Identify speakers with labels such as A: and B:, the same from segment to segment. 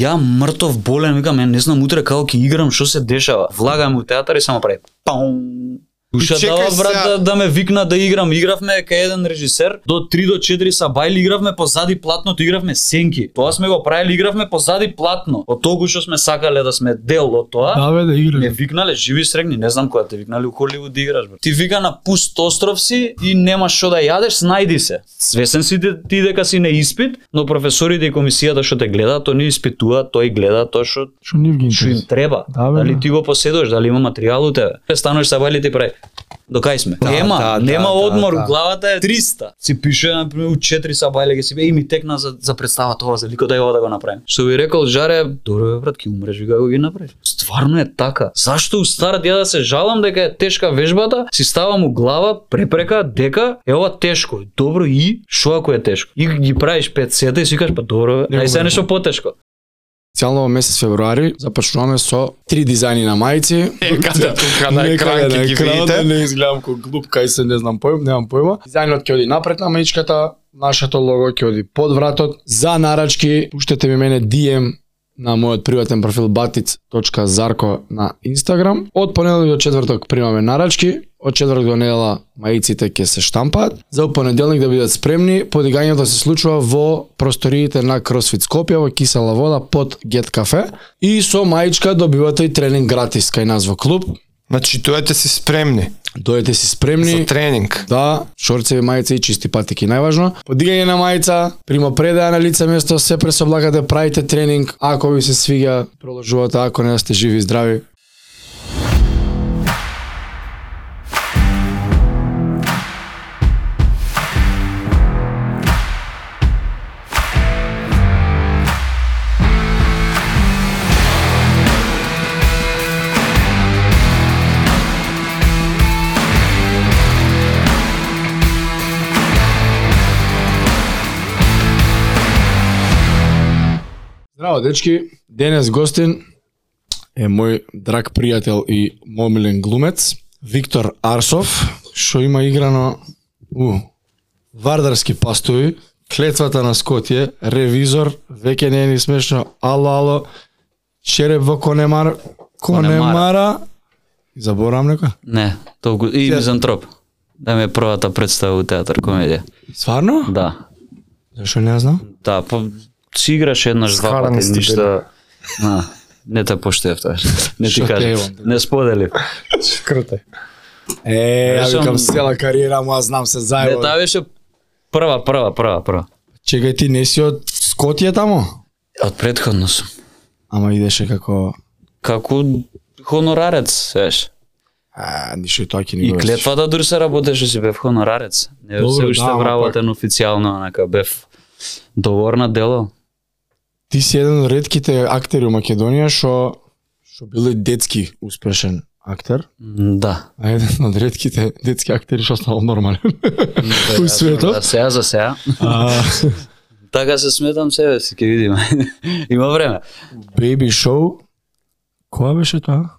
A: Ја мртов болен, викам, ја не знам утре како ќе играм, што се дешава. Влагам у театар и само прави паум. Душа
B: чекај
A: дава брат
B: сега.
A: да, да ме викна да играм. Игравме кај еден режисер, до 3 до 4 са бајли игравме позади платното, игравме сенки. Тоа сме го правили, игравме позади платно. Од толку што сме сакале да сме дел од тоа.
C: Да, бе, да
A: Ме
C: играш.
A: викнале живи и срегни, не знам кога те викнале у Холивуд да играш, брат. Ти вика на пуст остров си и немаш што да јадеш, снајди се. Свесен си де- ти дека си на испит, но професорите и комисијата што те гледаат, тој не испитува, тој гледа тоа што
C: Што нив ги
A: што им
C: интересува.
A: треба.
C: Да, бе,
A: дали
C: да.
A: ти го поседуваш, дали има материјал у тебе. Те Стануваш са бајлите прај. До кај сме?
B: Да,
A: нема,
B: да, да,
A: нема
B: да,
A: одмор,
B: да.
A: главата е 300. Си пише на пример у 4 са бајле ги си бе, и ми текна за за представа тоа, за лико да ја да го направим. Што би рекол Жаре, добро бе брат, ќе умреш вика го ги направиш. Стварно е така. Зашто у старат ја да се жалам дека е тешка вежбата, си ставам у глава препрека дека е ова тешко. Добро и што ако е тешко? И ги правиш 5 сета и си кажеш па добро, бе,
C: Не
A: ај
C: го
A: се
C: правам.
A: нешто потешко.
B: Специјално во месец февруари започнуваме со три дизајни на мајци.
D: Некаде тука на
B: Некаде
D: екран ќе
B: на
D: ги
B: екранот да
D: видите.
B: Не изгледам како глуп, кај се не знам појм, немам појма. Дизајнот ќе оди напред на маичката, нашето лого ќе оди под вратот. За нарачки пуштете ми мене DM на мојот приватен профил batic.zarko на Инстаграм. Од понеделник до четврток примаме нарачки, од четврток до недела маиците ќе се штампаат. За понеделник да бидат спремни, подигањето се случува во просториите на CrossFit Скопје во Кисела вода под Get Cafe и со маичка добивате и тренинг гратис кај нас во клуб.
D: Значи, дојдете си спремни
B: Дојдете си
D: за
B: спремни.
D: тренинг.
B: Да, шорцеви, мајца и чисти патеки најважно. Подигање на мајца, примопредаја на лице место, се пресоблагате, правите тренинг, ако ви се свига, продолжувате, ако не сте живи и здрави. Здраво, дечки. Денес гостин е мој драг пријател и мој милен глумец, Виктор Арсов, што има играно у Вардарски пастови, Клетвата на Скотје, Ревизор, веќе не е ни смешно, Ало, ало, Череп во Конемар, Конемара, заборам некој?
A: Не, толку и
B: Се-
A: мизантроп. Да ми е првата представа у театар комедија.
B: Сварно?
A: Да.
B: Зашо не ја знам?
A: Да, па си играш еднаш два
D: Схарани
A: пати
D: сте,
A: ништа. На, не те поштев тоа. Не ти
B: Шо те
A: кажам.
B: имам, да.
A: Не сподели.
D: Круто.
B: Е,
A: Јас
B: ја
A: сум-
B: викам цела кариера моја знам се
A: Не,
B: зајава.
A: таа беше прва, прва, прва, прва.
B: Чекај ти не си од Скотје тамо?
A: Од предходно сум.
B: Ама идеше како
A: Како хонорарец, знаеш.
B: А, ништо и тоа ќе ни
A: И
B: го
A: клетвата дури се работеше си бев хонорарец. Не бев
B: Добро,
A: се
B: да,
A: уште
B: ама пак.
A: вработен официјално, онака бев договор на дело.
B: вршиш. Ти си еден од ретките актери во Македонија што што бил и детски успешен актер,
A: М, Да.
B: а еден од ретките детски актери што станал нормален.
A: Да,
B: светот?
A: Да, сега за сега.
B: А,
A: Така се сметам себе си, ќе видиме. Има време.
B: Baby Show која беше тоа?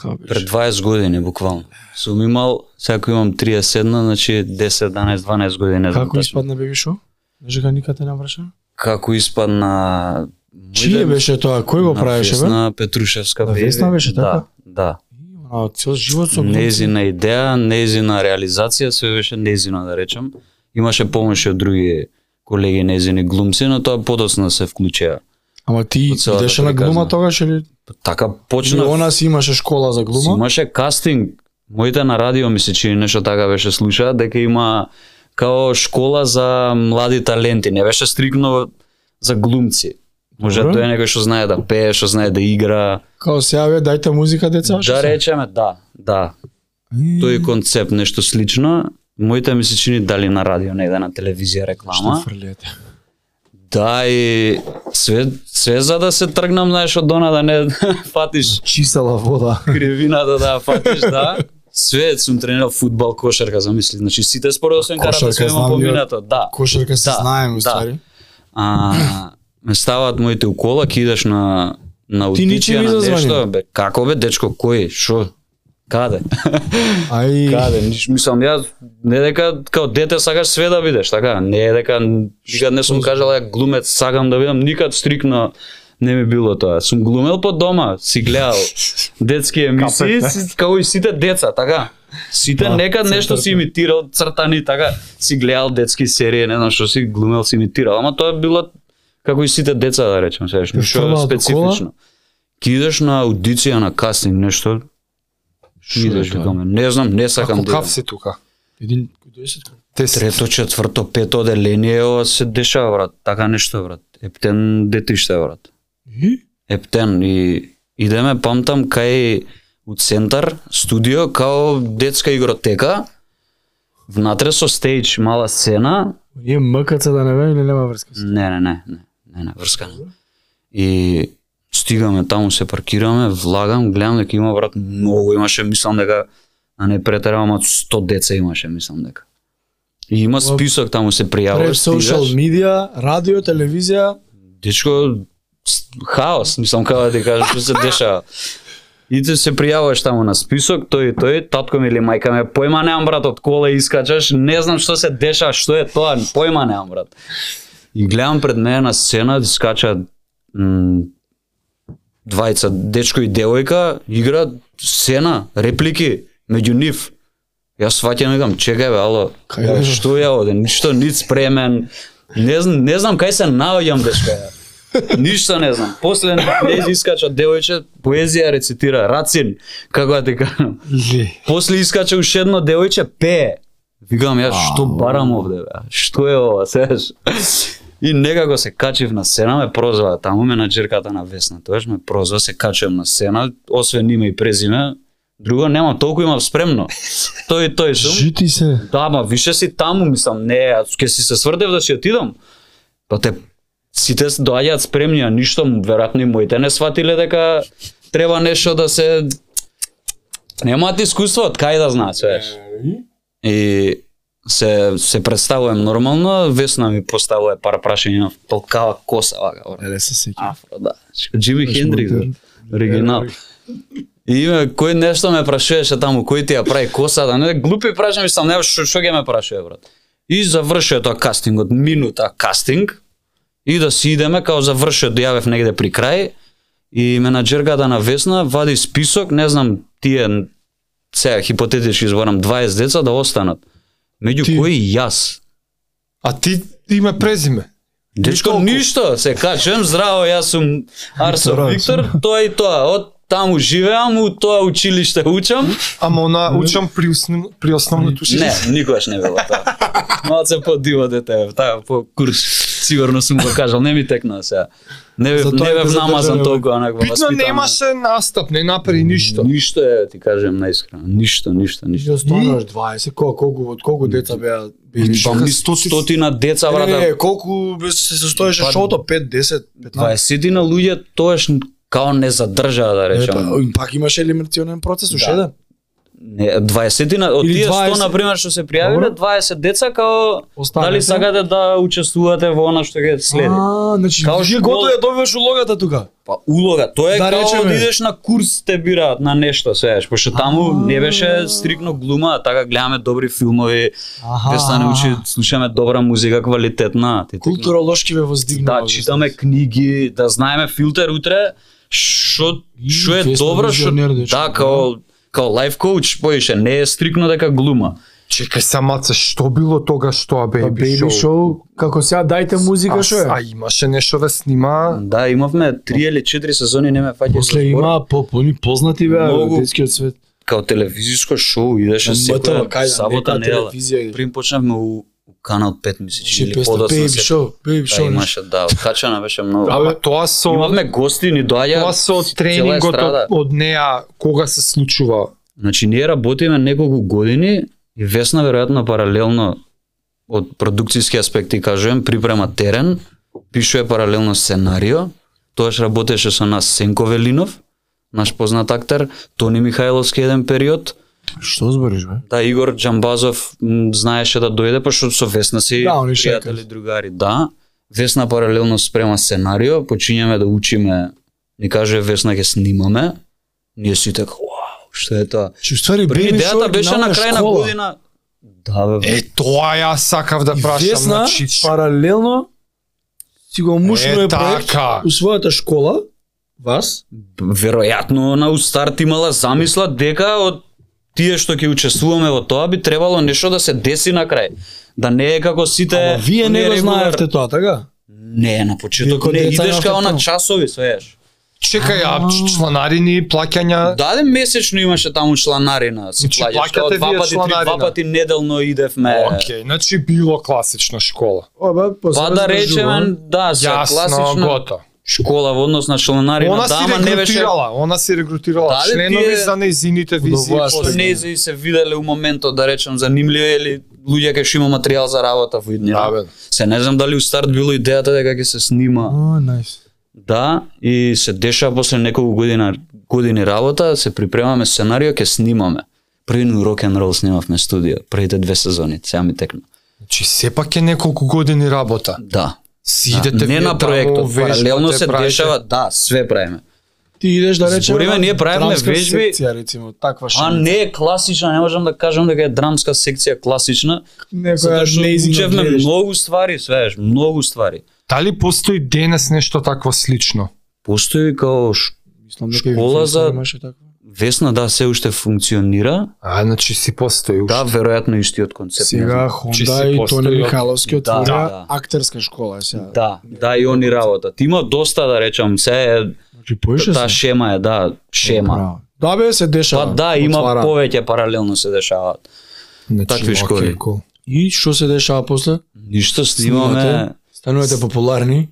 B: Која
A: Пред
B: беше?
A: 20 години буквално. Сум имал, сега имам 31, значи 10, 11, 12 години. не знам
B: Како
A: точно.
B: испадна Baby Show? Даже га никад не навршен?
A: Како испадна... мој
B: Чие
A: ден
B: беше тоа? Кој го
A: на
B: правеше бе?
A: Весна Петрушевска.
B: На
A: бе.
B: Весна беше така?
A: Да, да.
B: А, цел живот со
A: Незина идеја, незина реализација, се беше незина да речам. Имаше помош и од други колеги незини глумци, но тоа подоцна се вклучија.
B: Ама ти
A: Од целата
B: идеше на
A: приказна.
B: глума тогаш или
A: Така
B: или
A: почна
B: она си имаше школа за
A: Си
B: глума?
A: Имаше кастинг. Моите на радио ми се чини нешто така беше слуша дека има као школа за млади таленти, не беше стрикно за глумци. Може
B: Добро.
A: тоа е некој што знае да пее, што знае да игра.
B: Као сега ве дајте музика деца. што
A: Да
B: се?
A: речеме, да, да. Тој концепт нешто слично. Моите ми се чини дали на радио, негде на телевизија реклама.
B: Што фрлиете?
A: Да и све све за да се тргнам, знаеш, од она да не фатиш
B: Чисела вода.
A: кривината да ја фатиш, да. Све сум тренирал фудбал, кошарка, замисли. Значи сите спорт освен карата
B: Кошарка,
A: се има
B: знам ја.
A: поминато, да.
B: Кошарка се
A: Да,
B: знаем,
A: да.
B: устари.
A: А ме ставаат моите у кола, ќе идеш на на
B: Ти ничи
A: аудиција
B: не
A: на
B: зазвани.
A: нешто, бе. Како бе, дечко, кој? Шо? Каде?
B: Ај,
A: Каде? Ниш, мислам ја не дека као дете сакаш све да бидеш, така? Не е дека никад не сум кажал ја глумец сакам да бидам, никад стрикно Не ми било тоа. Сум глумел по дома, си гледал детски емисии,
D: Капет,
A: си- како и сите деца, така. Сите
B: Да,
A: некад нешто си имитирал цртани, така. Си гледал детски серии, не знам што си глумел, си имитирал, ама тоа било како и сите деца да речем, сеаш, ништо
B: фала од
A: специфично. Ки идеш на аудиција на кастинг нешто,
B: е
A: идеш
B: тоа?
A: викаме, не знам, не сакам да.
D: Кав
A: идам.
D: Така, си тука?
B: Един, десет,
D: Десет.
A: Трето, четврто, пето одделение ова се дешава, брат. Така нешто, брат. Ептен детиште, брат.
B: И?
A: Ептен и идеме памтам кај у центар, студио, као детска игротека. Внатре со стејдж, мала сцена.
B: Ние мъкаца да не бе или нема връзка с
A: Не, не, не, не, не, не, врска не. И стигаме таму, се паркираме, влагам, гледам дека има брат многу имаше, мислам дека а не претерам, ама 100 деца имаше, мислам дека. И има список таму се
B: Пред
A: пријавуваш,
B: социал
A: стигаш.
B: медија, радио, телевизија,
A: Дечко, с- хаос, мислам како да ти кажам што се дешава. И ти се пријавуваш таму на список, тој и тој, татко ми или мајка ме, појма немам брат, од кола искачаш, не знам што се дешава, што е тоа, појма немам брат. И гледам пред мене на сцена, скача м, двајца, дечко и девојка, игра сцена, реплики, меѓу нив. Јас сваќам и викам, чекај бе, ало,
B: Кај е?
A: што ја оде, ништо, нит спремен, не, знам- не знам кај се наоѓам, дечко ја. Ништо не знам. После не искача девојче, поезија рецитира, Рацин, како да ти кажам. После искача уште едно девојче пее. Викам ја што барам овде бе? Што е ова, сеш? И некако се качив на сцена, ме прозва таму менаџерката на Весна, тоаш ме прозва, се качувам на сцена, освен име и презиме, друго нема, толку имам спремно. Тој и тој сум.
B: жити се.
A: Да, ма више си таму, мислам, не, аз ќе си се сврдев да си отидам. Па те сите с- доаѓаат спремни, а ништо, веројатно и моите не сватиле дека треба нешто да се немаат искуство, од кај да знаат, свеш. И се се представувам нормално, Весна ми поставува пар прашања, толкава коса вака, брат.
B: Еле се сеќа.
A: Афро, да. Џими Хендрикс,
B: модерн.
A: бе, да. оригинал. И име, кој нешто ме прашуваше таму, кој ти ја прави косата, не, глупи прашања, сам не што што ќе ме прашува, брат. И завршува тоа кастингот, минута кастинг, и да си идеме, као завршува, дојавев негде при крај, и менаџерката на Весна вади список, не знам, тие, сега хипотетички зборам, 20 деца да останат. Меѓу
B: Ти-
A: кои и јас.
D: А ти име презиме.
A: Дечко,
D: толку.
A: ништо, се качувам, здраво, јас сум Арсо
B: Здраво
A: Виктор, тоа и тоа, од таму живеам, у тоа училиште учам.
D: Ама она учам при, основ... при основното шест.
A: Не, никогаш не било тоа. Малце по диво дете, бе, таа по курс, сигурно сум го кажал, не ми текна сега. Не бев,
B: Затоа
A: не
B: и
A: бев
B: те
A: намазан
B: задржава.
A: толку онаква
D: Битно немаше настап, не направи ништо.
A: Ништо е, ти кажам наискрено, ништо, ништо,
B: И
A: ништо.
B: да останаш 20, колку колку од колку деца беа били?
A: Па, ми стотина деца, да.
B: Не, не,
A: брата,
B: не, колку бе се состоеше
A: Па,
B: шоуто 5, 10, 15.
A: 20 Па, на луѓе, тоаш као не задржаа да
B: Е,
A: речам.
B: па, пак имаше елиминационен процес, уште
A: Да.
B: еден.
A: Не, 20-тина, од
B: Или
A: тие 100,
B: 20.
A: на пример, што се пријавиле, 20 деца, као,
B: Останете.
A: дали сакате да учествувате во она што ќе следи?
B: А, значи,
A: Као
B: ти
A: што-
B: готово ја добиваш улогата тука.
A: Па улога, тоа е
B: Да
A: као
B: речеме.
A: да идеш на курс те бираат на нешто, сеаш, пошто таму
B: А.
A: не беше стрикно глума, а така гледаме добри филмови,
B: Аха.
A: Весна не учи, слушаме добра музика, квалитетна. ти текна.
B: Културолошки ве воздигнува.
A: Да, читаме книги, да знаеме филтер утре, што
B: И,
A: што е
B: вие сте
A: добро, што
B: визионер, дечко,
A: да,
B: да.
A: као као лайф коуч, поише, не е стрикно дека глума.
D: Чекај самаца, што било тога што а беби
B: Бейби
D: шоу?
B: шоу, како сега дајте музика
D: А,
B: шо е.
D: а имаше нешто да снима?
A: Да, имавме три или четири сезони, не ме фаќа.
B: После
A: за збор.
B: има попуни познати беа
A: Многу.
B: во детскиот свет.
A: Као телевизиско шоу, идеше
B: МТВ,
A: секоја
B: кај да,
A: сабота,
B: некоја
A: недела.
B: телевизија Значи, или-
A: Прим почнавме у, у канал 5, мисля, че
B: Ши
A: или
B: песна
A: подоцна
B: Бейби
A: се.
B: шоу, Бейби
A: Да,
B: шоу. значи. нешто.
A: имаше, да, качана беше многу.
D: Абе, тоа со
A: Имавме гости, ни
D: тоа
A: доаѓа
D: со
A: цела
D: тренингот
A: естрада.
D: од, од неа кога се случува?
A: Значи ние работиме неколку години и Весна веројатно паралелно од продукцијски аспект ти кажувам, припрема терен, пишува паралелно сценарио, тоаш работеше со нас Сенко Велинов, наш познат актер, Тони Михајловски еден период,
B: Што збориш бе?
A: да Игор Џамбазов м, знаеше да дојде, пошто со Весна си
B: Да, они
A: пријатели,
B: шекат.
A: другари, да. Весна паралелно спрема сценарио, почињаме да учиме, ни каже Весна ќе снимаме, ние сите како, вау, што е тоа?
B: Че ствари
A: Први
B: Бейби шоу
A: идејата беше на крај на
B: година.
A: година. Да, бе, бе.
D: Е, тоа ја сакав да
B: И
D: прашам,
A: значи,
B: Весна
D: значи,
B: паралелно сигурно
D: Е,
B: е проект
D: така.
B: у својата школа, вас,
A: Веројатно на Устарт имала замисла дека од тие што ќе учествуваме во тоа би требало нешто да се деси на крај. Да не е како сите...
B: ама вие не го
A: regular-
B: знаевте тоа, така?
A: Не, на
B: Вие
A: почеток
B: кој
A: не
B: деца
A: идеш
B: имавте
A: како на
B: таму.
A: часови, свееш.
D: Чекај, а ч- членарини, плаќања...
A: Даде месечно имаше таму чланарина, си
D: Значи,
A: плаќаш,
D: плаќате
A: тоа два
D: вие
A: пати, три,
B: да.
D: чланарина.
A: два пати неделно идевме.
D: Океј, значи било класична школа.
B: Оба,
A: Па да речеме, да, се
D: Јасно,
A: класична
D: гото.
A: школа во однос на чланарина,
D: Она
A: да,
D: си
A: ама не беше
D: регрутирала, она си регрутирала
A: Дали
D: членови
A: тие-
D: за неизините визии.
B: Удоволство.
D: после.
A: Па што нези се виделе у моментот да речем занимливи или луѓе кај што има материјал за работа во иднина.
D: Да, бе.
A: Се не знам дали у старт било идејата дека ќе се снима.
D: О, најс.
A: Да, и се деша после неколку година години работа, се припремаме сценарио, ќе снимаме. Првино рок н рол снимавме студио, првите две сезони, сега ми текна.
D: Значи сепак е неколку години работа.
A: Да.
D: Си
A: да,
D: идете
A: не
D: вие
A: на
D: таму,
A: проектот,
D: вежбате,
A: паралелно се
D: правите.
A: дешава, да, све правиме.
B: Ти идеш да речеме.
A: Збориме,
B: на
A: ние правиме
B: драмска
A: вежби.
B: секција, рецимо, таква
A: А
B: шанс.
A: не е класична, не можам да кажам дека е драмска секција класична,
B: Некоја
A: затоа што
B: неизина
A: учевме
B: гледаш.
A: многу ствари, свееш, многу ствари.
D: Дали постои денес нешто такво слично?
A: Постои као ш-
B: Мислам дека и
A: школа
B: во
A: за-
B: Франција имаше таква.
A: Весна, да, се уште функционира,
D: А, значи си постои уште.
A: да, веројатно истиот концепт. не
B: Сега
A: знам.
D: Че се
B: Хонда и
D: постои
B: Тони
D: од-
B: Михайловски
A: Да,
B: отвора
A: да.
B: актерска школа е сега.
A: Да, да и они работат. Има доста да речам, се е
B: Значи поише
A: таа шема е, да, шема.
B: Браво. Да бе се
A: Па
B: дешава.
A: да, има
B: отвара.
A: повеќе паралелно се дешаваат.
D: Значи,
A: такви
D: окей,
A: школи.
D: кул.
B: И што се дешава после?
A: Ништо снимаме,
B: Снимате? Станувате популарни.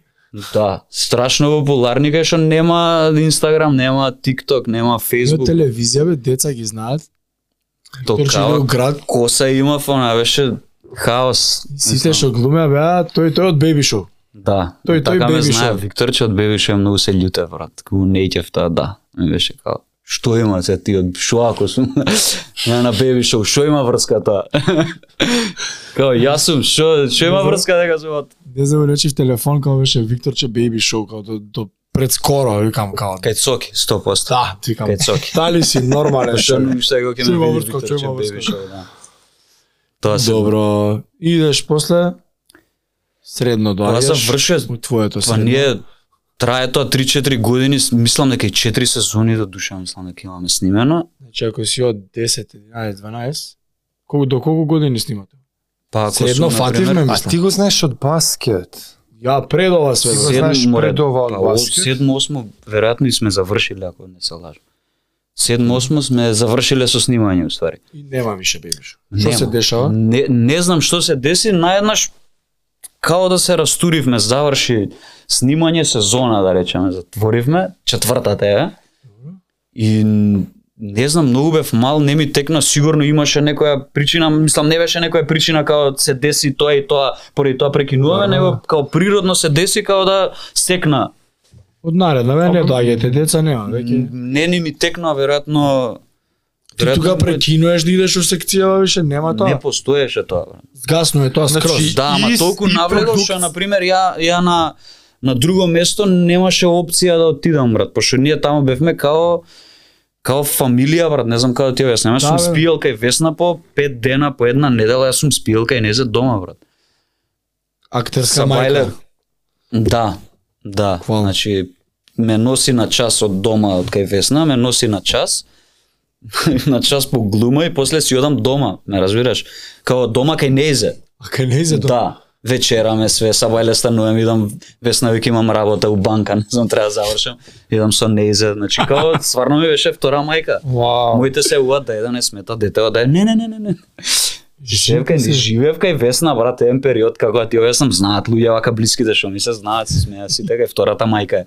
A: да, страшно популарни кај што нема Инстаграм, нема TikTok, нема
B: Има
A: Facebook.
B: телевизија бе, деца ги знаат. Перчилио
A: Токава
B: град.
A: коса има она беше хаос.
B: и Сите што глумеа беа, тој тој од Baby Show.
A: Да,
B: Тој- тој
A: така ме
B: Baby
A: знае,
B: Show.
A: Викторче од Baby Show многу се љуте, брат. Ку нејќев таа, да. Ми беше као, што има се ти од шо ако сум ја на Baby Show, што има врска таа? као, јас сум, што што има врска дека сум од
B: Не знам, речев телефон као беше Викторче Baby Show, као до, до предскоро, викам као.
A: кај Цоки 100%.
B: Да, ти викам.
A: Кај Цоки.
B: Тали си нормален
A: Што
B: шо?
A: што го ќе
B: Што има
A: ме види
B: врска, што
A: Викторче
B: има
A: Baby
B: врска.
A: Show, да. Тоа Па се
B: Добро, идеш после средно
A: Тоа
B: доаѓаш.
A: заврши
B: у твоето
A: Па
B: средно.
A: ние трае тоа 3-4 години, с- мислам дека и 4 сезони до душа, мислам дека имаме снимено.
B: Значи ако си од 10, 11, 12, колку до колку години снимате?
A: Па ако
B: Средно
A: сум, например,
B: фативме,
D: А
B: мислам.
D: ти го знаеш од баскет.
B: Ја пред ова све. да
D: Ти
B: бе.
D: го
A: Седмо,
D: знаеш
A: море,
D: пред ова од
A: па, о-
D: баскет?
A: Седмо, осмо, веројатно и сме завршиле, ако не се лажам. Седмо, осмо сме завршиле со снимање, у ствари.
B: И нема више бебиш. Што се
A: Нема.
B: дешава?
A: Не, не знам што се деси, наеднаш као да се растуривме, заврши снимање сезона, да речеме, затворивме, четвртата е. И н- не знам, многу бев мал, не ми текна, сигурно имаше некоја причина, мислам, не беше некоја причина као се деси тоа и тоа, поради тоа прекинуваме,
B: Да.
A: него као природно се деси као да секна.
B: Од наредна ве
A: Па,
B: не доаѓате, деца нема,
A: Н-
B: веќе.
A: Не ни ми текна, веројатно...
B: Ти тука прекинуваш да идеш во секцијава више, нема
A: Не
B: тоа.
A: постоеше тоа. брат.
B: Згасно е тоа
D: Значи,
B: скроз.
A: Да, ама
D: Ист-
A: толку
D: и продукт.
A: навлегов што на пример ја ја на на друго место немаше опција да отидам брат, пошто ние таму бевме као као фамилија брат, не знам како ти ја објаснам. Јас
B: Да,
A: сум
B: бе.
A: спиел кај Весна по 5 дена, по една недела јас сум спиел кај незе дома брат.
B: Актерска
A: Сабајле.
B: мајка.
A: Да. Да.
B: Хвала.
A: Значи ме носи на час од дома од кај Весна, ме носи на час. на час по глума и после си одам дома, ме разбираш? Као дома кај незе.
B: А кај не за тоа?
A: Да, вечераме све, сабајле станувам, идам весна вик имам работа у банка, не знам треба да завршам. Идам со неизе, значи као сварно ми беше втора мајка.
D: Вау.
A: Моите се уат да еден не смета детева да е. Не, не, не, не, не. Живевка и живевка и весна брат еден период како ти објаснам знаат луѓе вака блиските што ми се знаат се смеа си дека е втората мајка е.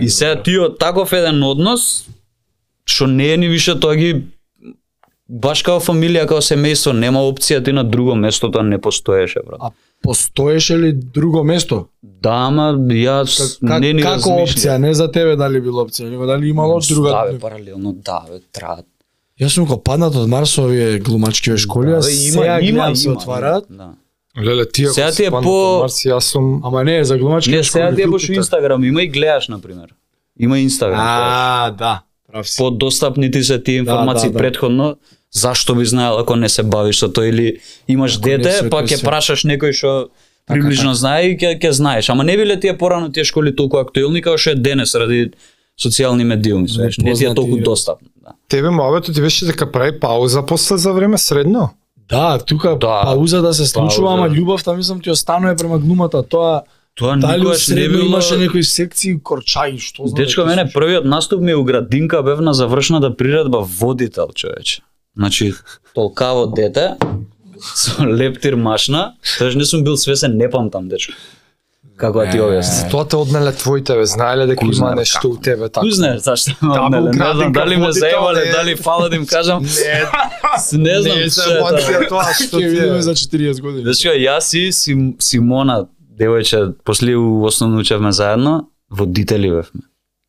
A: И
B: да.
A: сега ти од таков еден однос што не е ни више тоа ги баш као фамилија, као семејство, нема опција ти на друго место тоа не постоеше брат.
B: А постоеше ли друго место?
A: Да, ама јас
B: Как,
A: не ни
B: како опција, не за тебе дали била опција, него дали имало друга.
A: Да, бе, паралелно, да, бе, траат.
B: Јас сум го паднат од Марс овие глумачки ве школи, а
A: Бе,
B: сега гледам се отвараат.
A: Да.
D: Леле, ти ако
A: Сега ти е
D: си фан
A: по-
D: на Марс, јас сум...
B: Ама не, за глумачки
A: Не,
B: ве школи.
A: сега ти е
B: бил
A: бош
B: питак.
A: Инстаграм, има и гледаш, например. Има Инстаграм.
B: А, да, прав си.
A: Подостапни ти се тие информации
B: да, да.
A: предходно, зашто би знаел ако не се бавиш со тоа или имаш
B: не
A: дете,
B: се,
A: па
B: тој
A: ќе
B: се. Така,
A: прашаш некој што приближно знае и ќе, ќе знаеш. Ама не биле тие порано тие школи толку актуелни како што е денес ради социјални медиуми, знаеш, не ти е
B: Непознати-
A: толку достапно. Да.
D: Тебе мавето ти беше дека прави пауза после за време средно.
B: Да, тука
A: Да.
B: пауза да се случува,
A: Пауза.
B: ама љубовта мислам ти останува према глумата, тоа
A: Тоа
B: дали
A: никогаш не
B: средно
A: било...
B: имаше некои секции корчаи, што
D: да
B: знам.
A: Дечко, мене првиот наступ ми е у градинка бев на завршната да приредба водител, човече. Значи, толкаво дете, со лептир машна, тоаш не сум бил свесен, не памтам, дечко. Како да ти објасни?
D: Тоа те однеле твој тебе, знаеле дека
A: Кој
D: има
A: знае
D: нешто у тебе така.
A: Кој знаеш зашто? ме
D: Таму
A: однеле? Не знам
D: градинка
A: дали ме
D: водител,
A: заебале,
D: не.
A: дали фала да им кажам. Не знам што е тоа.
D: емоција тоа
B: ќе
D: што ти
B: видиме
D: е.
B: за 40 години.
A: Значи, јас и Сим, Симона, девојче, после у основно учевме заедно, водители бевме.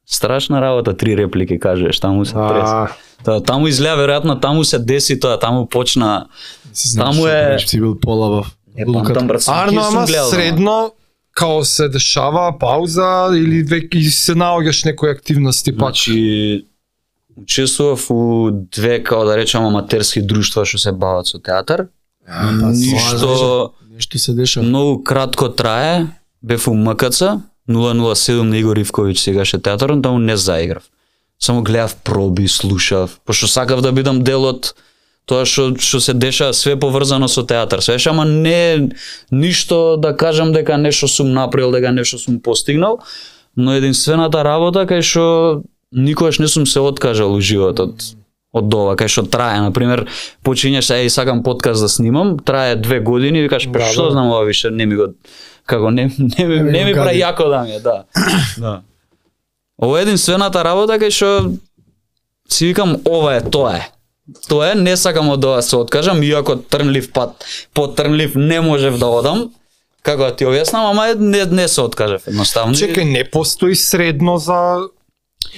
A: Страшна работа, три реплики кажеш, таму се трес.
D: А,
A: Та, таму изгледа веројатно таму се деси тоа, таму почна.
B: Си знаеш
A: Таму
B: што
A: е-
B: правиш, Си бил полабав.
A: Е, памтам брат, сам
D: Арно,
A: ќе сум
D: ама
A: гледал, да.
D: средно, као се дешава пауза или веќе се наоѓаш некои активности пак.
A: Значи, учествував у две, као да речам, аматерски друштва што се бават со театар.
B: па,
A: Ништо,
B: Нешто се дешава.
A: многу кратко трае, бев у МКЦ, 007 на Игор Ивковиќ сегаше театарот, таму не заиграв. Само гледав проби, слушав, пошто сакав да бидам дел од тоа што што се деша све поврзано со театар. Свеш, ама не ништо да кажам дека нешто сум направил, дека нешто сум постигнал, но единствената работа кај што никогаш не сум се откажал у животот од ова, кај што трае, на пример, почињеш, еј, сакам подкаст да снимам, трае две години, викаш, па
D: Браво.
A: што знам ова више, не ми го, како, не, не, не,
B: ми
A: не ми
B: го
A: пра
B: гади.
A: јако да ми е, да. да. Ова е единствената работа кај што си викам, ова е, тоа е. Тоа е, не сакам од ова да се откажам, иако трнлив пат, по трнлив не можев да одам, како да ти објаснам, ама е, не, не се откажав едноставно.
D: Чекај, не постои средно за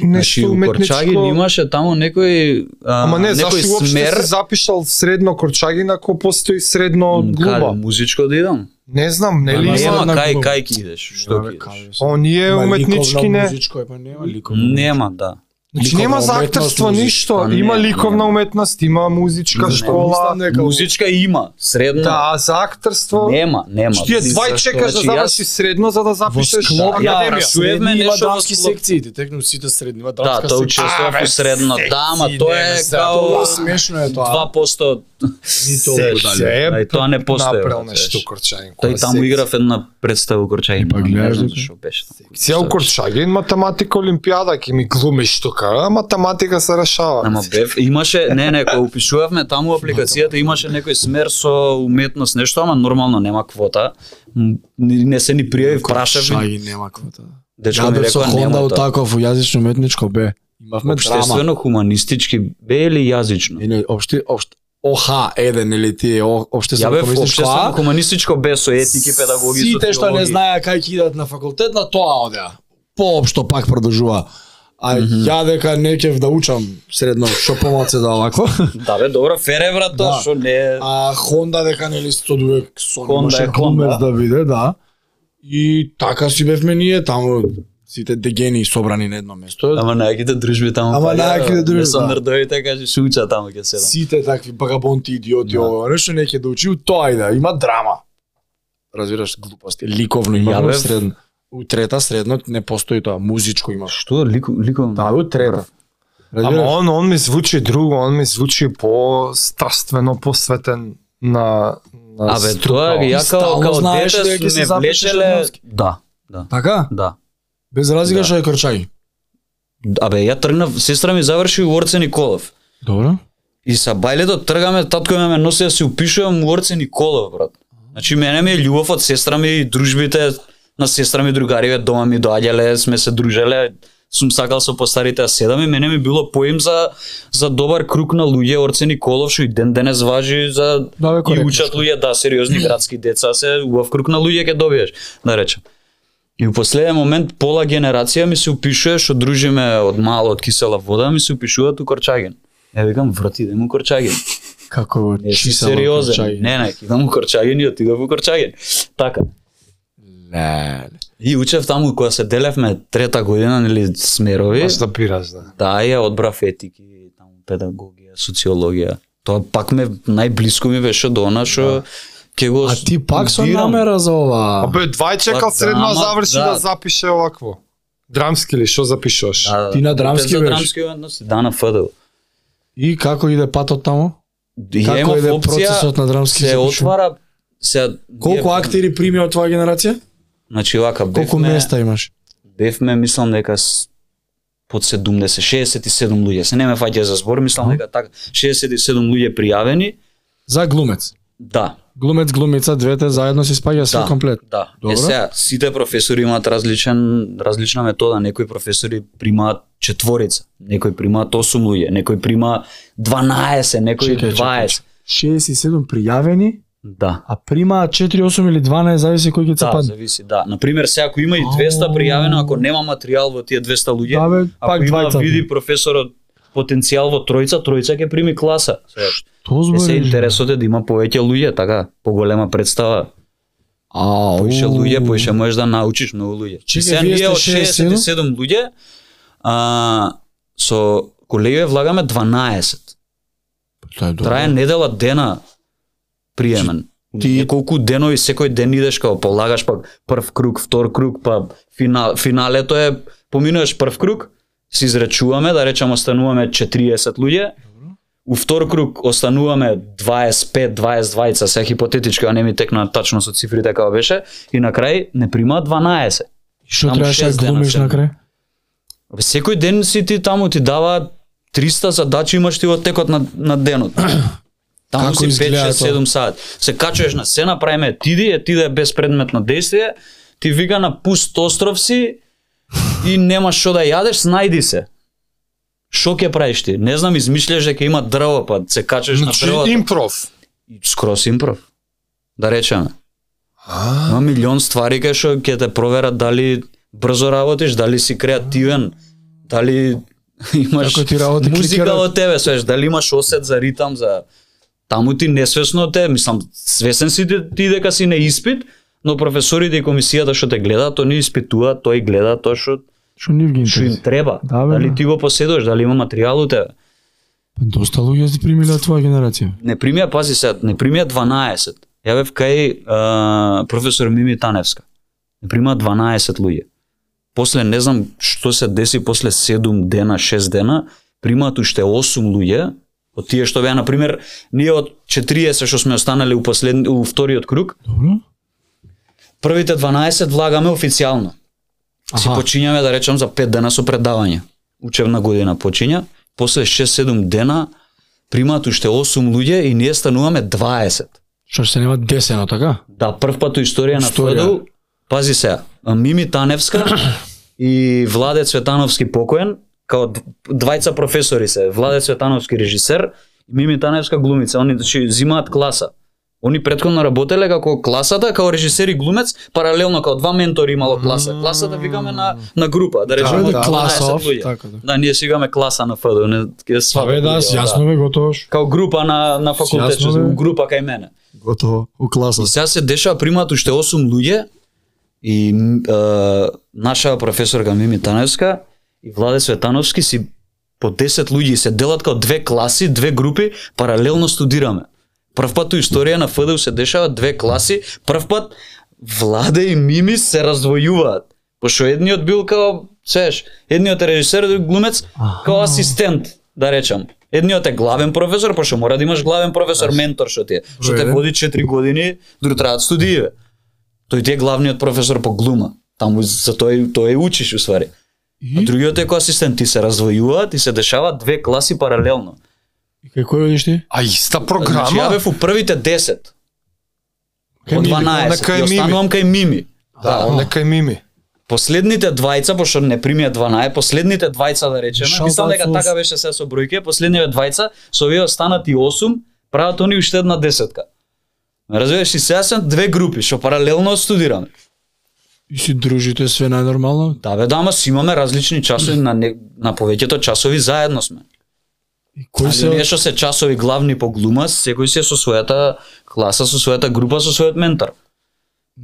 A: Значи,
D: нешто
A: у Корчагин
D: уметничко.
A: имаше таму некој, а,
D: Ама не,
A: некој
D: зашто уопште
A: смер,
D: си запишал средно Корчагин ако постои средно
A: Каде,
D: глуба?
A: музичко да идам?
D: Не знам, нели
A: Ама
D: има?
A: нема,
B: на
A: кај,
B: глуба?
A: кај ки идеш? Што ки идеш?
D: Оние уметнички не.
B: Музичко, е, па нема ликовна
A: Нема, да.
D: Значи
B: Ликовна
D: нема
B: уметност,
D: заактерство
B: музичка.
D: ништо,
A: Па не,
D: има
A: не.
D: ликовна уметност, има музичка
A: Не.
D: школа.
B: Мислам дека-
A: Музичка има, средно.
D: Да, а за актерство.
A: Нема, нема.
D: Што Ти е двај чекаш да
A: Значи, јас-
D: завршиш средно за да запишеш
B: склоп на
D: академија.
A: раз- Чуевме
B: Средни има
A: нешто во
B: драмски
A: склоп.
B: секции, ти текнув сите средни, има
A: Да,
B: драмска
A: тоа
B: секција.
A: учествував у средно. Да, ама тоа е као
B: Тоа смешно е тоа.
A: 2%
B: Ни толку
D: Се
B: дале.
D: е
A: Да, и тоа не постои,
D: Направил
A: брат,
D: нешто
A: знаеш.
D: Корчагин.
A: Тој
D: која
A: таму
D: секција.
A: играв една представа у Корчагин.
B: Е, па
A: ама не
B: гледаш
A: знам
B: дека-
A: што беше.
D: Цел Корчагин математика олимпијада ќе ми глумиш тука, а математика се решава.
A: Ама бев, имаше, не, не, кога упишувавме таму апликацијата, имаше некој смер со уметност, нешто, ама нормално нема квота. М, ни- Не се ни пријави, прашав, ми,
B: Шаги нема квота.
A: дечко ми
B: Јадев со
A: рекоа
B: Хонда
A: нема
B: у
A: тоа.
B: таков, у јазично уметничко бе. Имавме драма.
A: Обштествено хуманистички бе или јазично?
B: Не, не, општи, општи, ОХ, еден или ти, о-
A: Ја
B: општествено
A: бев
B: комунистичко
A: обштествено
B: А.
A: хуманистичко бе со етики, педагоги,
B: Сите што не
A: социологи.
B: знаеа кај ќе идат на факултет, на тоа одеа. Поопшто пак продолжува. А ја дека не ќе да учам средно, што помалце да овако.
A: Да бе, добро, фере брат, тоа
B: Да.
A: што не е...
B: А Хонда дека нели сто дуек со
A: Honda е Honda.
B: глумец да биде, да. И така си бевме ние таму сите дегени собрани на едно место.
A: Ама најаките дружби таму.
B: Ама
A: па, ја,
B: најаките дружби,
A: Не
B: да.
A: сам нердовите, кажи, ше уча таму ќе седам.
B: Сите такви багабонти идиоти ова, нешто не ќе да учи, у тоа и да има драма. Разбираш глупости, ликовно
A: Ја
B: има
A: бев-
B: средно. У трета средно не постои тоа, музичко има.
A: Што, лико, лико...
B: Да, у трета.
D: Ама
B: Разбираш?
D: он, он ми звучи друго, он ми звучи по страствено посветен на на
A: Па, Абе,
D: струка.
A: тоа е, ја као,
B: Стално
A: као
B: знаеш
A: дете
B: дека ќе се
A: сме
B: запишеш
A: влечеле...
B: едновски.
A: Да, да,
B: Така?
A: да.
B: Без разлика
A: Да.
B: што е Корчаги.
A: Абе, ја тргнав, сестра ми заврши у Орце Николов.
B: Добро.
A: И са бајлето тргаме, татко ме ме носи да се упишувам у Орце Николов, брат. Значи, мене ми е љубов од сестра ми и дружбите на сестра ми другариве дома ми доаѓале, сме се дружеле, сум сакал со постарите да седам и мене ми било поим за, за добар круг на луѓе Орце Николов, што и ден денес важи за
B: Да, бе,
A: и
B: коректно.
A: учат луѓе, да, сериозни градски деца се, убав круг на луѓе ќе добиеш, да речем. И у последен момент пола генерација ми се упишува што дружиме од мало од кисела вода, ми се упишуваат у Корчаген. Ја викам врати да му Корчаген.
B: Како го
A: Не си
B: чисало
A: сериозен.
B: Корчаги.
A: Не, не, идам у Корчаген и отидов у Корчаген. Така.
B: Не,
A: И учев таму кога се делевме трета година или смерови.
D: Можеш да бираш, да.
A: Да, ја одбрав етики, таму педагогија, социологија. Тоа пак ме најблиско ми беше до она што Ке го
B: Да. А ти пак со
A: студирам.
B: намера за ова.
D: А бе, два е чекал
A: Па,
D: средно, а
A: драма,
D: заврши
A: да.
D: да запише овакво. Драмски ли, што запишуваш?
A: Да, да,
B: Ти на драмски
A: беше.
B: беше.
A: драмски односи, да, на ФДУ.
B: И како иде патот таму?
A: И
B: Како
A: имав
B: иде
A: опција,
B: процесот на драмски
A: се
B: запишување?
A: отвара, се,
B: Колку актери прими од твоја генерација?
A: Значи вака,
B: Колку
A: бевме-
B: места имаш?
A: Бевме, мислам дека с- под 70, 67 луѓе. Се не ме фаќа за збор, мислам дека така 67 луѓе пријавени.
B: За глумец.
A: Да,
B: Глумец, глумица, двете заедно се спаѓа се
A: Да.
B: комплет.
A: да.
B: Добро.
A: Е сега, сите професори имаат различен различна метода. Некои професори примаат четворица, некои примаат 8 луѓе, некои примаат 12, некои
B: Чекај, чекај,
A: 20.
B: 67 пријавени,
A: Да.
B: а примаат 4, 8 или 12, зависи кој ќе
A: Да,
B: цапа.
A: зависи, да. Например, се ако има и 200
B: Ау.
A: пријавено, ако нема материјал во тие 200 луѓе,
B: Да, бе,
A: Ако
B: пак
A: има
B: двајца.
A: види професорот потенцијал во тројца, тројца ќе прими класа.
B: Тоа
A: Е, се
B: збориш, бе.
A: интересот е да има повеќе луѓе, така, поголема представа.
B: А,
A: Поише
B: уу.
A: Па луѓе, поише можеш да научиш многу луѓе.
B: Чекај,
A: И сега
B: вие
A: ние
B: сте
A: од
B: 67?
A: 67 луѓе, а, со колегиве влагаме 12.
B: Тоа е добро.
A: Трае недела дена приемен.
B: Ти-
A: Ти... Неколку денови секој ден идеш како полагаш па прв круг, втор круг, па финал, финалето е поминуваш прв круг, се изречуваме, да речеме остануваме 40 луѓе. У втор круг остануваме 25, 22, се хипотетички, а не ми текна тачно со цифрите како беше, и на крај не примаат 12.
B: И Што
A: Таму
B: требаше да
A: шест дена
B: глумиш
A: седна.
B: на крај?
A: Абе, Секој ден си ти таму ти дава 300 задачи имаш ти во текот на, на денот. Таму
B: Како
A: си 5,
B: изгледа
A: 6,
B: тоа?
A: 7 сати. Се качуваш на сцена, правиме тиди, е тиде е без предметно действие, ти вика на пуст остров си и немаш што да јадеш, најди се. Шо ќе правиш ти? Не знам, измишляш дека има дрво, па се качаш на
D: Значи,
A: дрвото.
D: импров.
A: Скрос импров. Да речеме.
D: А,
A: Има милион ствари кај што ќе те проверат дали брзо работиш, дали си креативен, дали имаш
B: Како ти работи
A: музика
B: кликерот?
A: од тебе, свеш, дали имаш осет за ритам, за таму ти несвесно те, мислам, свесен си ти, ти дека си на испит, но професорите и комисијата што те гледаат, они испитуваат, тој гледа тоа што
B: Што нив ги
A: што им
B: интересува?
A: треба.
B: Да, бе,
A: дали
B: да.
A: ти го поседуваш, дали има материјал у тебе.
B: Доста луѓе се примиле од твоја генерација.
A: Не примија, пази се, не примија 12. Ја бев кај а, професор Мими Таневска. Не примија 12 луѓе. После не знам што се деси после 7 дена, 6 дена, примаат уште 8 луѓе, од тие што беа на пример, ние од 40 што сме останали у последни у вториот круг,
B: Добро?
A: првите 12 влагаме официјално. Си
B: Аха.
A: почињаме да речам за 5 дена со предавање. Учебна година почиња, после 6-7 дена примаат уште 8 луѓе и ние стануваме 20.
B: Што се нема десено, така?
A: Да, прв пат у историја на
B: Историја.
A: ФДУ, пази се, Мими Таневска и Владе Цветановски покоен, као д- двајца професори се, Владе Цветановски режисер, и Мими Таневска глумица, они значи, зимаат класа. Они предходно работеле како класата, како режисер и глумец, паралелно како два ментори имало класа. Класата викаме на на група, да речеме
B: Абе,
A: од
B: да,
A: 12
B: класов,
A: луѓе.
B: така да.
A: Да, ние си играме класа на ФДУ, не ке свата
B: Абе, да,
A: луѓе,
B: јасно бе, готово. ш-
A: Као група на на факултет,
B: Јасно, бе.
A: група кај мене.
B: Готово, у класа.
A: И сега се дешава примат уште 8 луѓе и м, е, наша професорка Мими Таневска и Владе Светановски си по 10 луѓе и се делат како две класи, две групи, паралелно студираме. Прв пат у историја на ФДУ се дешава две класи, прв пат Владе и Мими се раздвојуваат. Пошто едниот бил као, сеш, едниот е режисер, друг глумец, као асистент, да речам. Едниот е главен професор, пошто мора да имаш главен професор, ментор што ти е. Што те
B: Добре.
A: води 4 години, друг траат студии. бе. Тој ти е главниот професор по глума. Таму за тој тој учиш усвари. А
B: И
A: другиот е кој асистент, ти се раздвојуваат и се дешаваат две класи паралелно.
B: и кај кој одиш ти?
D: а иста
A: Значи, ја
D: програма?
A: бев у првите 10, од
B: Мими.
A: 12,
D: кај
A: и
D: Мими.
A: останувам кај Мими.
D: Да, он е кај Мими.
A: Последните двајца, пошто не примија 12, последните двајца да речеме,
B: Шал
A: мислам дека
B: двајца,
A: така беше се со бројке, последните двајца, со овие останат и 8, прават они уште една десетка. Ме Разбираш, и сега се две групи, што паралелно студираме.
B: И си дружите све најнормално.
A: Да бе, да, ама си имаме различни часови, на, не, на повеќето часови заедно сме.
B: И кој
A: Али не
B: се
A: што се часови главни по глума, секој си е со својата класа, со својата група, со својот ментор.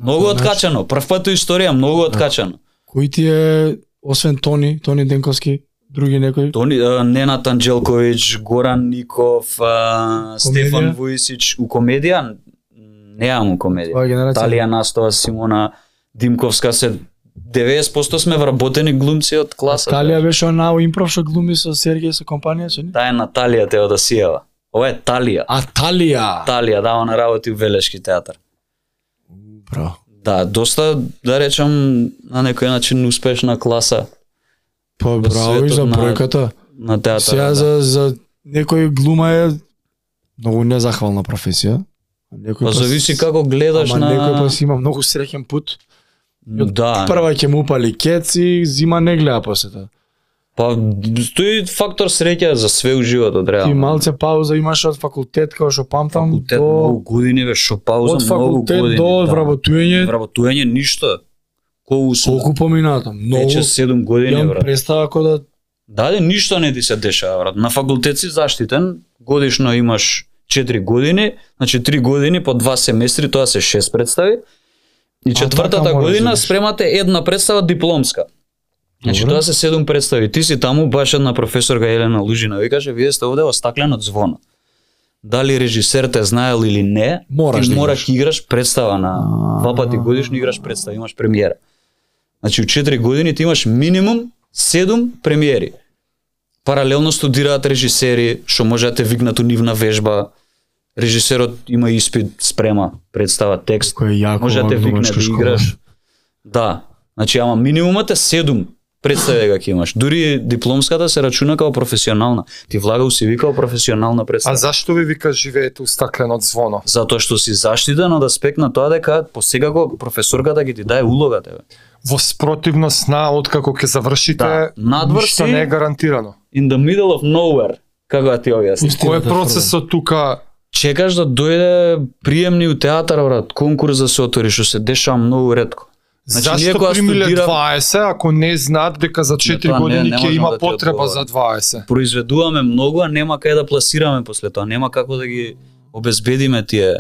A: Многу
B: Значи-
A: откачано, прв пат у историја, многу откачано.
B: кој ти е освен Тони, Тони Денковски, други некои?
A: Тони, е, Ненат Анđелковиќ, Горан Ников, е, Стефан Вујсич, у комедија, м, Немам комедија.
B: Твоја генерација?
A: Талија Настова, Симона Димковска се 90% сме вработени глумци од класа.
B: Талија беше она у импров што глуми со Сергеј со компанија, со ни?
A: Таа е Наталија Теодосиева. Ова е Талија.
B: А Талија!
A: Талија, да, она работи у Велешки театар.
B: Браво.
A: Да, доста, да речам, на некој начин успешна класа
B: Па браво и за
A: светот на
B: бројката.
A: на да. театар.
B: Сега за, за некој глума е многу незахвална професија. А Некој
A: Па
B: с-
A: зависи како гледаш
B: Ама
A: на...
B: некој пас има многу среќен пут.
A: Да,
B: Прва ќе му упали кец и зима не гледа после тоа.
A: па стои фактор среќа за све у животот,
B: Ти
A: реално.
B: малце пауза имаш од факултет, како што памтам,
A: Факултет многу
B: до...
A: години бе, шо пауза
B: Од
A: многу
B: факултет
A: години.
B: до
A: да.
B: вработување,
A: Вработување ништо. Колку сум?
B: колку поминато? Многу.
A: Вече 7 години,
B: Имам
A: брат.
B: представа кој да
A: Даде ништо не ти се дешава, брат. На факултет си заштитен, годишно имаш 4 години, значи 3 години по 2 семестри, тоа се 6 представи. И четвртата
B: така мора да
A: година
B: бидеш.
A: спремате една представа дипломска. Значи
B: Добре.
A: тоа се 7 представи. Ти си таму баш една професорка Елена Лужина ви каже, вие сте овде во стакленот звонот. Дали режисер те знаел или не,
B: Мораш
A: ти
B: да
A: мораш играш представа на
B: А.
A: два пати годишно играш представа, имаш премиера. Значи у 4 години ти имаш минимум 7 премиери. Паралелно студираат режисери, што може да те викнат у нивна вежба. Режисерот има испит, спрема представа, текст.
B: кој е јако
A: Може да те викне
B: глумачка
A: да
B: школа.
A: играш. Да. Значи, ама минимумот е 7 представи ќе имаш. Дури дипломската се рачуна као професионална. Ти влага у CV као професионална
D: А
A: представа.
D: зашто ви вика живеете у стакленот звоно?
A: Затоа што си заштитен од аспект на тоа дека посекако професорката ќе ти даде улогата. Бе.
D: Во спротивност на откако ќе завршите,
A: Да. Надвор
D: ништо
A: си-
D: не е гарантирано.
A: In the middle of nowhere, како да ти објасни.
B: Пусти
D: Кој
B: да
D: е
B: те
D: процесот тука?
A: Чекаш да дојде приемни у театар, брат, конкурс да се отвори, што се дешава многу ретко. Значи, ние
D: Зашто
A: кога
D: примиле
A: студирав-
D: 20 ако не знаат дека за 4
A: тоа не-
D: години
A: не
D: ќе
A: можам
D: има
A: да ти
D: потреба
A: одговорам.
D: за 20?
A: Произведуваме многу, а нема кај да пласираме после тоа, нема како да ги обезбедиме тие.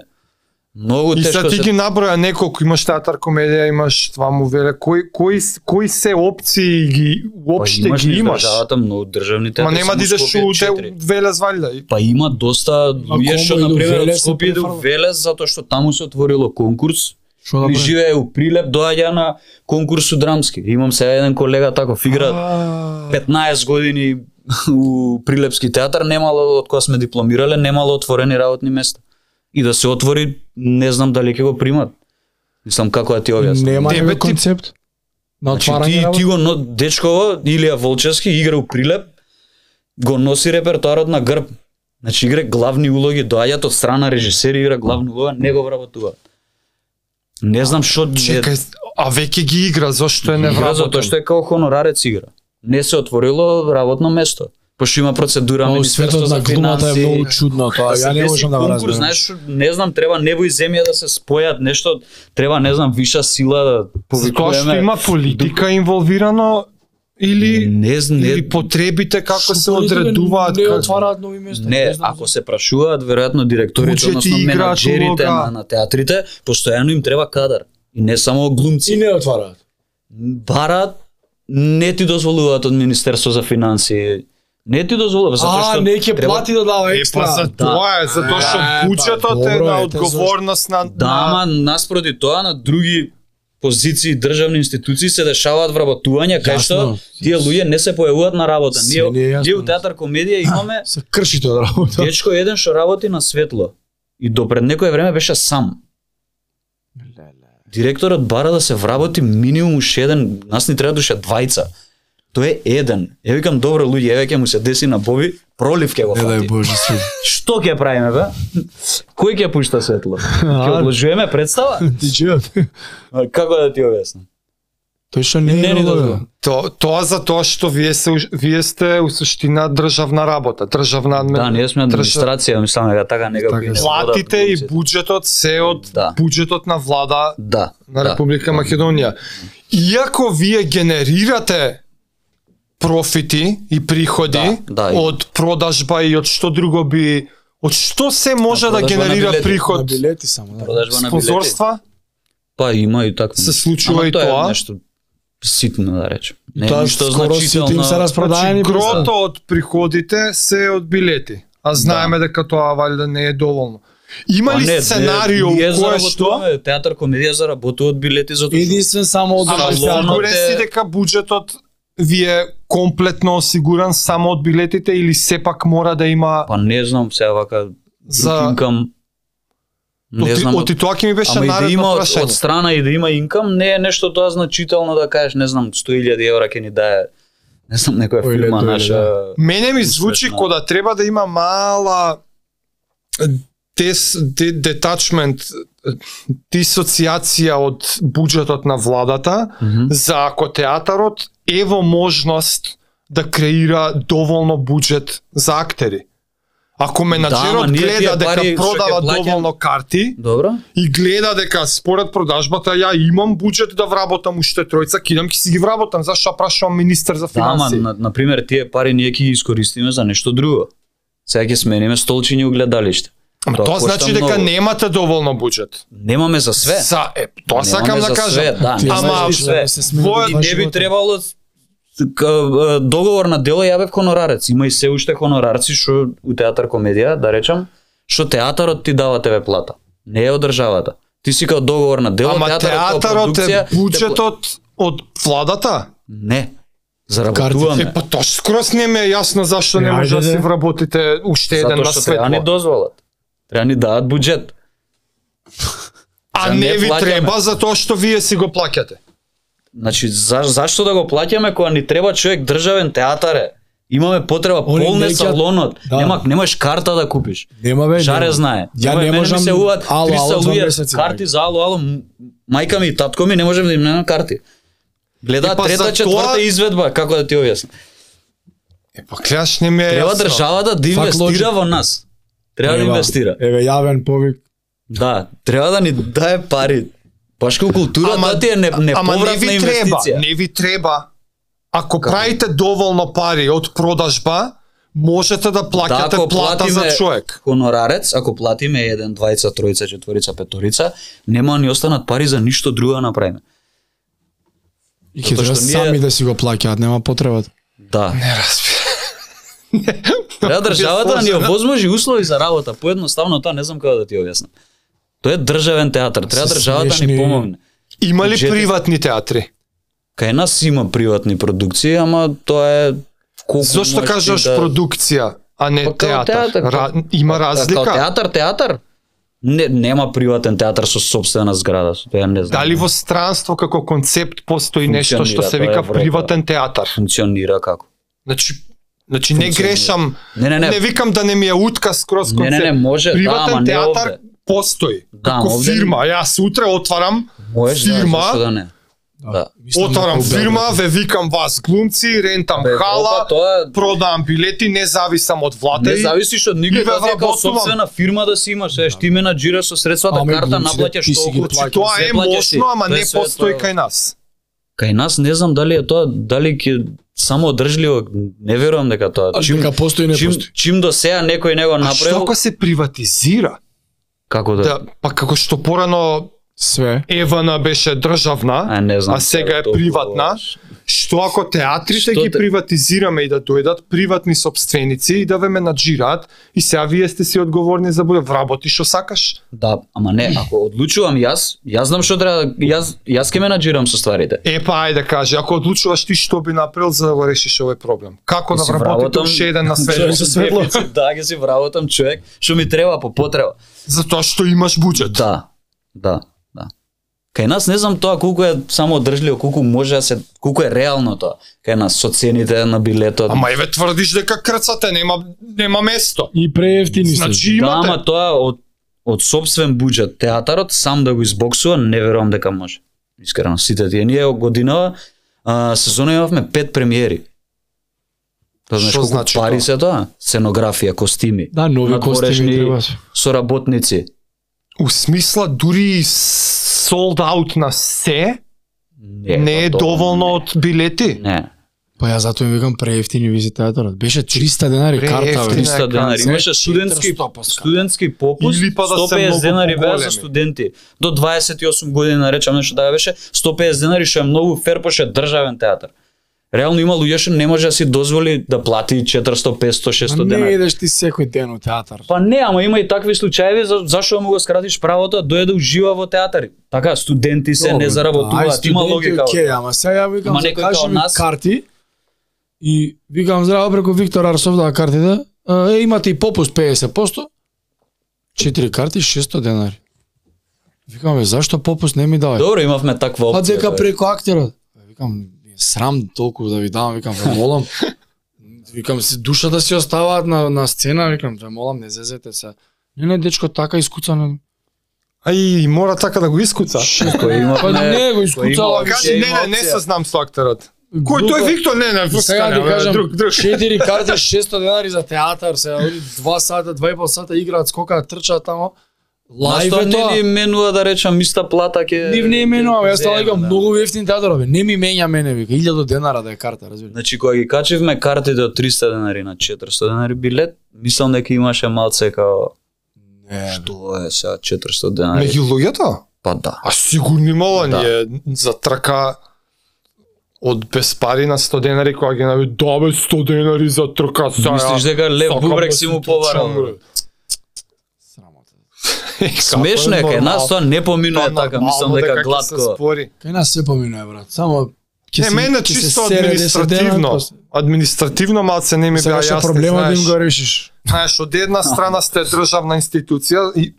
A: Многу
D: И сега
A: тешко
D: ти
A: се...
D: ги наброја неколку, имаш театар, комедија, имаш това му веле, кои, кои, кои се опции ги
A: Па
D: уопште
A: имаш
D: ги
A: низ
D: имаш?
A: Државата, многу државни
D: Ма
A: театри.
D: нема
A: само
D: да идеш
A: Скопје
D: у те-
A: четири.
D: веле звалја. и-
A: Па има доста луѓе
B: кому
A: што
B: иду
A: на пример од
B: Велес,
A: Скопје иду
B: префрло?
A: Велес затоа што таму се отворило конкурс.
B: Што да
A: И
B: прави?
A: живее у Прилеп, доаѓа на конкурсу драмски. Имам сега еден колега таков игра
D: А,
A: 15 години у Прилепски театар, немало од кога сме дипломирале, немало отворени работни места. И да се отвори, не знам дали ќе го примат. Мислам како да ти објаснам.
B: Нема
D: Тебе
B: некој
D: ти-
B: концепт на
A: Значи
B: отварање
A: ти, ти
B: работа?
A: го но, Дечкова, Илија Волчевски игра у Прилеп, го носи репертуарот на грб. Значи игра главни улоги, доаѓаат од страна режисери, игра главна улога, не го вработуваат. Не знам што
D: Чекај, а веќе ги игра, зашто е
A: не игра
D: невработен?
A: затоа што е како хонорарец игра. Не се отворило работно место. Пошто има процедура
B: О,
A: Министерство
B: светот
A: за
B: на глумата е
A: финансии.
B: многу чудно тоа,
A: да се
B: ја не
A: дesi
B: можам да го
A: конкурс,
B: разберам.
A: Знаеш, не знам, треба небо и земја да се спојат, нешто треба не знам виша сила да
D: Тоа што
A: повикуваме.
D: има политика инволвирано или
A: не, зн- не,
D: или потребите како се
B: Што политика
D: одредуваат,
B: Не
D: како-
B: отвараат нови места.
A: Не,
B: знам
A: ако се прашуваат веројатно директорите
D: Буџети
A: односно
D: играат
A: менаџерите
D: улога.
A: на, на театрите, постојано им треба кадар. И не само
B: за- И
A: глумци.
B: не отвараат.
A: Барат не ти дозволуваат од Министерство за финансии. Не ти дозволува затоа
B: А,
A: што
B: не ќе
A: треба-
B: плати да дава
D: Е, па за
B: екстра.
D: тоа е, затоа што
B: Да, па,
D: буџетот е
B: добро
D: на
B: е, те
D: одговорност на...
A: Да,
D: на-
A: ама наспроти тоа на други позиции државни институции се дешаваат вработувања кај што
B: Јасно.
A: тие луѓе не се појавуваат на работа.
B: Се
A: Ние
B: ни е јасно.
A: ние у театар комедија имаме
B: Се крши тоа работа.
A: Дечко еден што работи на светло и до пред некое време беше сам. Директорот бара да се вработи минимум уште еден, нас ни треба душа двајца. Тој е еден. Ја викам добро луѓе, еве ќе му се деси на Боби, пролив ќе го
B: Не дај
A: фати.
B: Боже си.
A: Што ќе правиме бе? Кој ќе пушта светло? Ќе
B: А.
A: одложуваме представа?
B: Ти чујат?
A: Како да ти објаснам?
B: Тој што не
A: Не
B: е
A: ни
B: улога.
A: дозволи.
D: То, тоа за тоа што вие се уж- вие сте у суштина државна работа, државна адми-
A: Да, ние сме администрација, мислам дека така некако
B: Така
A: и не
B: е.
D: платите
A: водат
D: и
A: глумците.
D: буџетот се од
A: Да.
D: буџетот на влада
A: Да.
D: на
A: да.
D: Република Македонија. Иако вие генерирате профити и приходи
A: Да, да, и-
D: од продажба и од што друго би од што се може да
A: продажба на
D: генерира
A: билети,
B: На
D: приход?
B: билети само. да.
A: Продажба на билети.
D: Спонзорства?
A: Па има и така.
D: Се случува
A: Ама
D: и
A: е
D: тоа.
A: нешто ситно да речем. Не
B: Тоа
A: тоа ништо
B: скоро сите им
A: значително.
B: се распродаени.
D: Значи,
B: представи.
D: грото од приходите се од билети. А знаеме дека тоа валјда не е доволно. Има
A: Па
D: ли
A: Да. не,
D: сценарио
A: ние
D: у кое што? да
A: заработуваме, Театар комедија заработуваат билети за тоа.
B: Единствен само од
D: Ама
A: Ама ловно
D: сигурен
A: те-
D: си дека буџетот ви е комплетно осигурен само од билетите или сепак мора да има
A: Па не знам сега вака за
D: за
A: инкам. Не
D: Оти,
A: знам.
D: оти тоа ќе ми беше
A: Ама и да
D: наредно
A: има од, од
D: прашање.
A: страна и да има инкам, не е нешто тоа значително да кажеш, не знам, 100.000 евра ќе ни даде. Не знам, некоја
B: Ој,
A: фирма
B: лето,
A: наша.
D: Мене ми звучи
A: Успешно.
D: кода треба да има мала дес, де, детачмент, дисоцијација од буџетот на владата,
A: Мгм.
D: за ако театарот е во можност да креира доволно буџет за актери. Ако менаџерот
A: Да, ама ние
D: гледа
A: тие
D: дека
A: пари што
D: продава
A: ќе плаќам-
D: доволно карти
A: Добро?
D: и гледа дека според продажбата ја имам буџет да вработам уште тројца, кидам ќе си ги вработам, зашто прашувам министер за
A: Да, ама,
D: финансии.
A: на, например, тие пари ние ќе ги искористиме за нешто друго. Сега ќе смениме столчини и огледалиште.
D: Ама
A: Тоа
D: тоа
A: кошта
D: значи дека
A: многу.
D: немате доволно буџет.
A: Немаме за све.
D: За, е, тоа
A: Немаме
D: сакам да
A: за
D: кажам.
A: све, да,
B: Ти
A: Ама,
B: знаеш,
A: све.
B: да се смени
D: Во-
B: да
A: И
B: два
A: не би
B: живота.
A: требало с- к- е, договор на дело ја бев хонорарец. Има и се уште хонорарци што у театар комедија, да речам, што театарот ти дава тебе плата. Не е од државата. Ти си као договор на дело,
D: Ама
A: театарот, као
D: театарот е
A: продукција, те пла-
D: буџетот од владата?
A: Не.
D: Е,
A: Заработуваме.
D: па тоа скрос не ми е јасно зашто не
B: Е,
D: може да
B: ајде,
D: си
B: де.
D: вработите уште еден
A: Затоа
D: на
A: што треба ни
D: светло.
A: дозволат. Треба ни даат буџет.
D: А
A: за
D: не
A: не
D: ви
A: плаќаме.
D: треба за тоа што вие си го плаќате.
A: Значи, за, зашто да го плаќаме кога ни треба човек државен театар е? Имаме потреба,
B: Они
A: полне
B: неќат-
A: салонот.
B: Да.
A: Нема, немаш карта да купиш.
B: Нема бе.
A: Шаре
B: нема.
A: знае.
B: Ја
A: Ова е, мене
B: не
A: ми
B: можам
A: се уват
B: ало,
A: 300
B: ало, два
A: луѓе
B: месеци,
A: карти за ало ало м- мајка ми и татко ми не можем да им најдам карти. Гледа
D: Е, па
A: трета,
D: за
A: четврта
D: тоа-
A: изведба, како да ти објаснам.
D: Е, па клеш не ми е
A: Треба
D: јасно.
A: државата да инвестира
B: логика.
A: во нас. Треба да
B: Ева,
A: инвестира.
B: Еве јавен повик.
A: Да, треба да ни дае пари. Баш како култура, тоа да ти е не,
D: ама не
A: неповратна
D: ви треба,
A: инвестиција.
D: не ви треба. Ако правите доволно пари од продажба, можете да плаќате
A: ако
D: плата
A: платиме-
D: за човек.
A: Хонорарец, ако платиме 1, 2, тројца, четворица, петорица, нема да ни останат пари за ништо друго да направиме.
B: И ќе
A: Затоа
B: треба
A: што ние-
B: сами да си го плаќаат, нема потреба.
A: Да.
D: Не разбира.
A: Треба државата да ни
D: сложно.
A: овозможи услови за работа. Поедноставно тоа не знам како да ти објаснам. Тоа е државен театар. Треба
B: Се
A: државата да ни
B: смешни.
A: помогне.
D: Има ли
A: Буџетите-
D: приватни театри?
A: Кај нас има приватни продукции, ама тоа е колку
D: Зошто
A: можеш ти
D: кажеш
A: да...
D: продукција, а не
A: Па као
D: театар?
A: театар,
D: Ра...
A: као-
D: Има
A: Така,
D: разлика?
A: Театар, театар? Не, нема приватен театар со собствена зграда, со тоа не знам.
D: Дали во странство како концепт постои нешто што
A: Функционира, тоа
D: се
A: е
D: вика
A: Европа.
D: приватен театар?
A: функционира како?
D: Значи, значи не
A: Функционира.
D: грешам,
A: Не, не,
D: не,
A: не.
D: викам да не ми е утка скроз
A: Не,
D: концепт.
A: не, не, може, да,
D: приватен
A: ама не
D: театар
A: овде.
D: постои.
A: Да, ама
D: како
A: овде не-
D: фирма, јас утре отварам,
A: Можеш,
D: фирма,
A: да, зашто да не. Да.
D: отварам фирма, ве викам вас глумци, рентам
A: Бе, Европа,
D: хала,
A: тоа е
D: продавам билети, не зависам од влада.
A: Не
D: и-
A: зависиш од
D: и ве
A: никој да ти како
D: вработувам.
A: собствена фирма да си имаш, еш ти менаџира со средствата,
B: Ама и
A: карта
D: да
B: глумците, ти
A: наплаќаш
B: си ги
A: толку.
B: плаќаш.
D: значи, Тоа
A: се
D: е
A: плаќаш ти.
D: мощно, ама
A: Тоа е
D: не
A: све
D: постои
A: тоа.
D: кај нас.
A: Кај нас не знам дали е тоа, дали ќе само одржливо, не верувам дека тоа. Чим
B: Дека постои не
A: чим
B: постои.
A: чим до сега некој него
D: А што
A: направил
D: ако се приватизира?
A: како да
D: Да, па како што порано
B: Све.
D: ЕВН беше државна,
A: А не знам.
D: а сега е
A: толку
D: приватна.
A: говориш.
D: Што ако театрите
A: Што
D: ги
A: те-
D: приватизираме и да дојдат приватни собственици и да ве менаџираат и сега вие сте си одговорни за буде вработи што сакаш?
A: Да, ама не, ако одлучувам јас, јас знам што треба, јас јас ќе менаџирам со стварите.
D: Е па ајде кажи, ако одлучуваш ти што би направил за да го решиш овој проблем? Како да
A: Ќе си
D: вработите
A: вработам-
D: уште еден на светло?
A: Човек со светло. да, ќе си вработам човек што ми треба по потреба.
D: Затоа што имаш буџет.
A: Да. Да, да. Кај нас не знам тоа колку е само одржливо, колку може да се колку е реално тоа. Кај нас со цените на билетот.
D: Ама еве тврдиш дека крцате, нема нема место.
B: И преевтини се.
D: Значи
A: да,
D: имате.
A: ама тоа од од собствен буџет театарот сам да го избоксува, не верувам дека може. Искрено, сите тие ние годинава а, сезона имавме пет премиери. Тоа знаеш
D: Што
A: колку
D: значи
A: пари
D: тоа?
A: се тоа? Сценографија, костими,
B: Да, нови
A: надворешни-
B: костими треба.
A: соработници.
D: У смисла дури sold out на се, не, е
A: па тоа
D: доволно од билети.
A: Не.
B: Па ја затоа им викам преевтини визи театарот. Беше 300 денари карта бе.
D: Преевтини.
A: 300 денари.
B: Знаеш,
A: Имаше студентски
B: 400 поска.
A: студентски попуст,
D: Или па да се
A: 150
D: многу
A: денари беа за
D: поголеми.
A: студенти. До 28 години, наречам нешто да беше, 150 денари што е многу фер, пошто е државен театар. Реално има луѓе што не може да си дозволи да плати 400, 500,
D: Па
A: 600
B: не
A: денари.
B: идеш ти секој ден у театар.
A: Па не, ама има и такви случаеви, за, зашо да му го скратиш правото да дојде да ужива во театар. Така, студенти се не заработуваат, има логика. во
B: Окей, ама сега ја викам,
A: Ама
B: за
A: некој као
B: кажи ми
A: нас-
B: карти и викам здраво преку Виктор Арсов да картите. а, Е, имате и попуст 50%. Четири карти 600 денари. Викам, бе, зашто попуст не ми дава?
A: Добро, имавме таква опција. да.
B: Па дека
A: бе.
B: преку актерот. Викам, ми е срам толку да ви давам, викам, ве молам. викам, си, душата си оставаат на, на сцена, викам, ве молам, не зезете се. Не, не, дечко, така искуцано.
D: Ај, мора така да го искуца.
A: Кој има
B: Па не, го
A: Кој
B: искуцала.
A: има-
D: Кажи, не, не, не се знам со актерот. Кој тој Виктор? Не, не,
B: Сега
A: да
D: не,
B: ти
D: бе,
B: кажам,
D: друг, друг.
B: 4 карти, 600 денари за театар, се они 2 сата, 2 и пол сата играат, скокаат, трчаат тамо. Лајв
A: Лајве
B: е
A: тоа.
B: тоа.
A: Не ни менува да речам иста плата ќе...
B: Нив не менувам, јас тоа
A: ќе-
B: викам
A: да.
B: многу ефтин театар, бе. Не ми менја мене, вика, 1000 денара да е карта, разбираш.
A: Значи кога ги качивме картите од 300 денари на 400 денари билет, мислам дека имаше малце као
B: Не,
A: што е сега 400 денари.
D: Меѓу луѓето?
A: Па да.
D: А сигурно имало
A: Да.
D: да. е за трка од без пари на 100 денари која ги нави добе 100 денари за трка сега.
A: Мислиш дека Лев
D: Сакам
A: Бубрек
D: да
A: си
D: си
A: му
D: трчам,
A: побарал?
D: бе.
B: срамота.
A: Смешно е,
D: Како
A: кај нас
D: нормално?
A: тоа не поминува
D: Тоа
A: така,
D: Па, нормално
A: мислам
D: ќе
A: дека
D: се
A: гладко.
D: спори.
B: Кај нас се поминува, брат. Само ќе
D: Не,
B: се-
D: мене
B: ќе се
D: чисто
B: сере 10 дена,
D: административно.
B: после.
A: па-
D: Административно малце не ми беа
B: Сега ќе
D: јасни,
A: да
B: проблемот им
D: знаеш.
B: го решиш.
D: Знаеш, од една страна сте државна институција и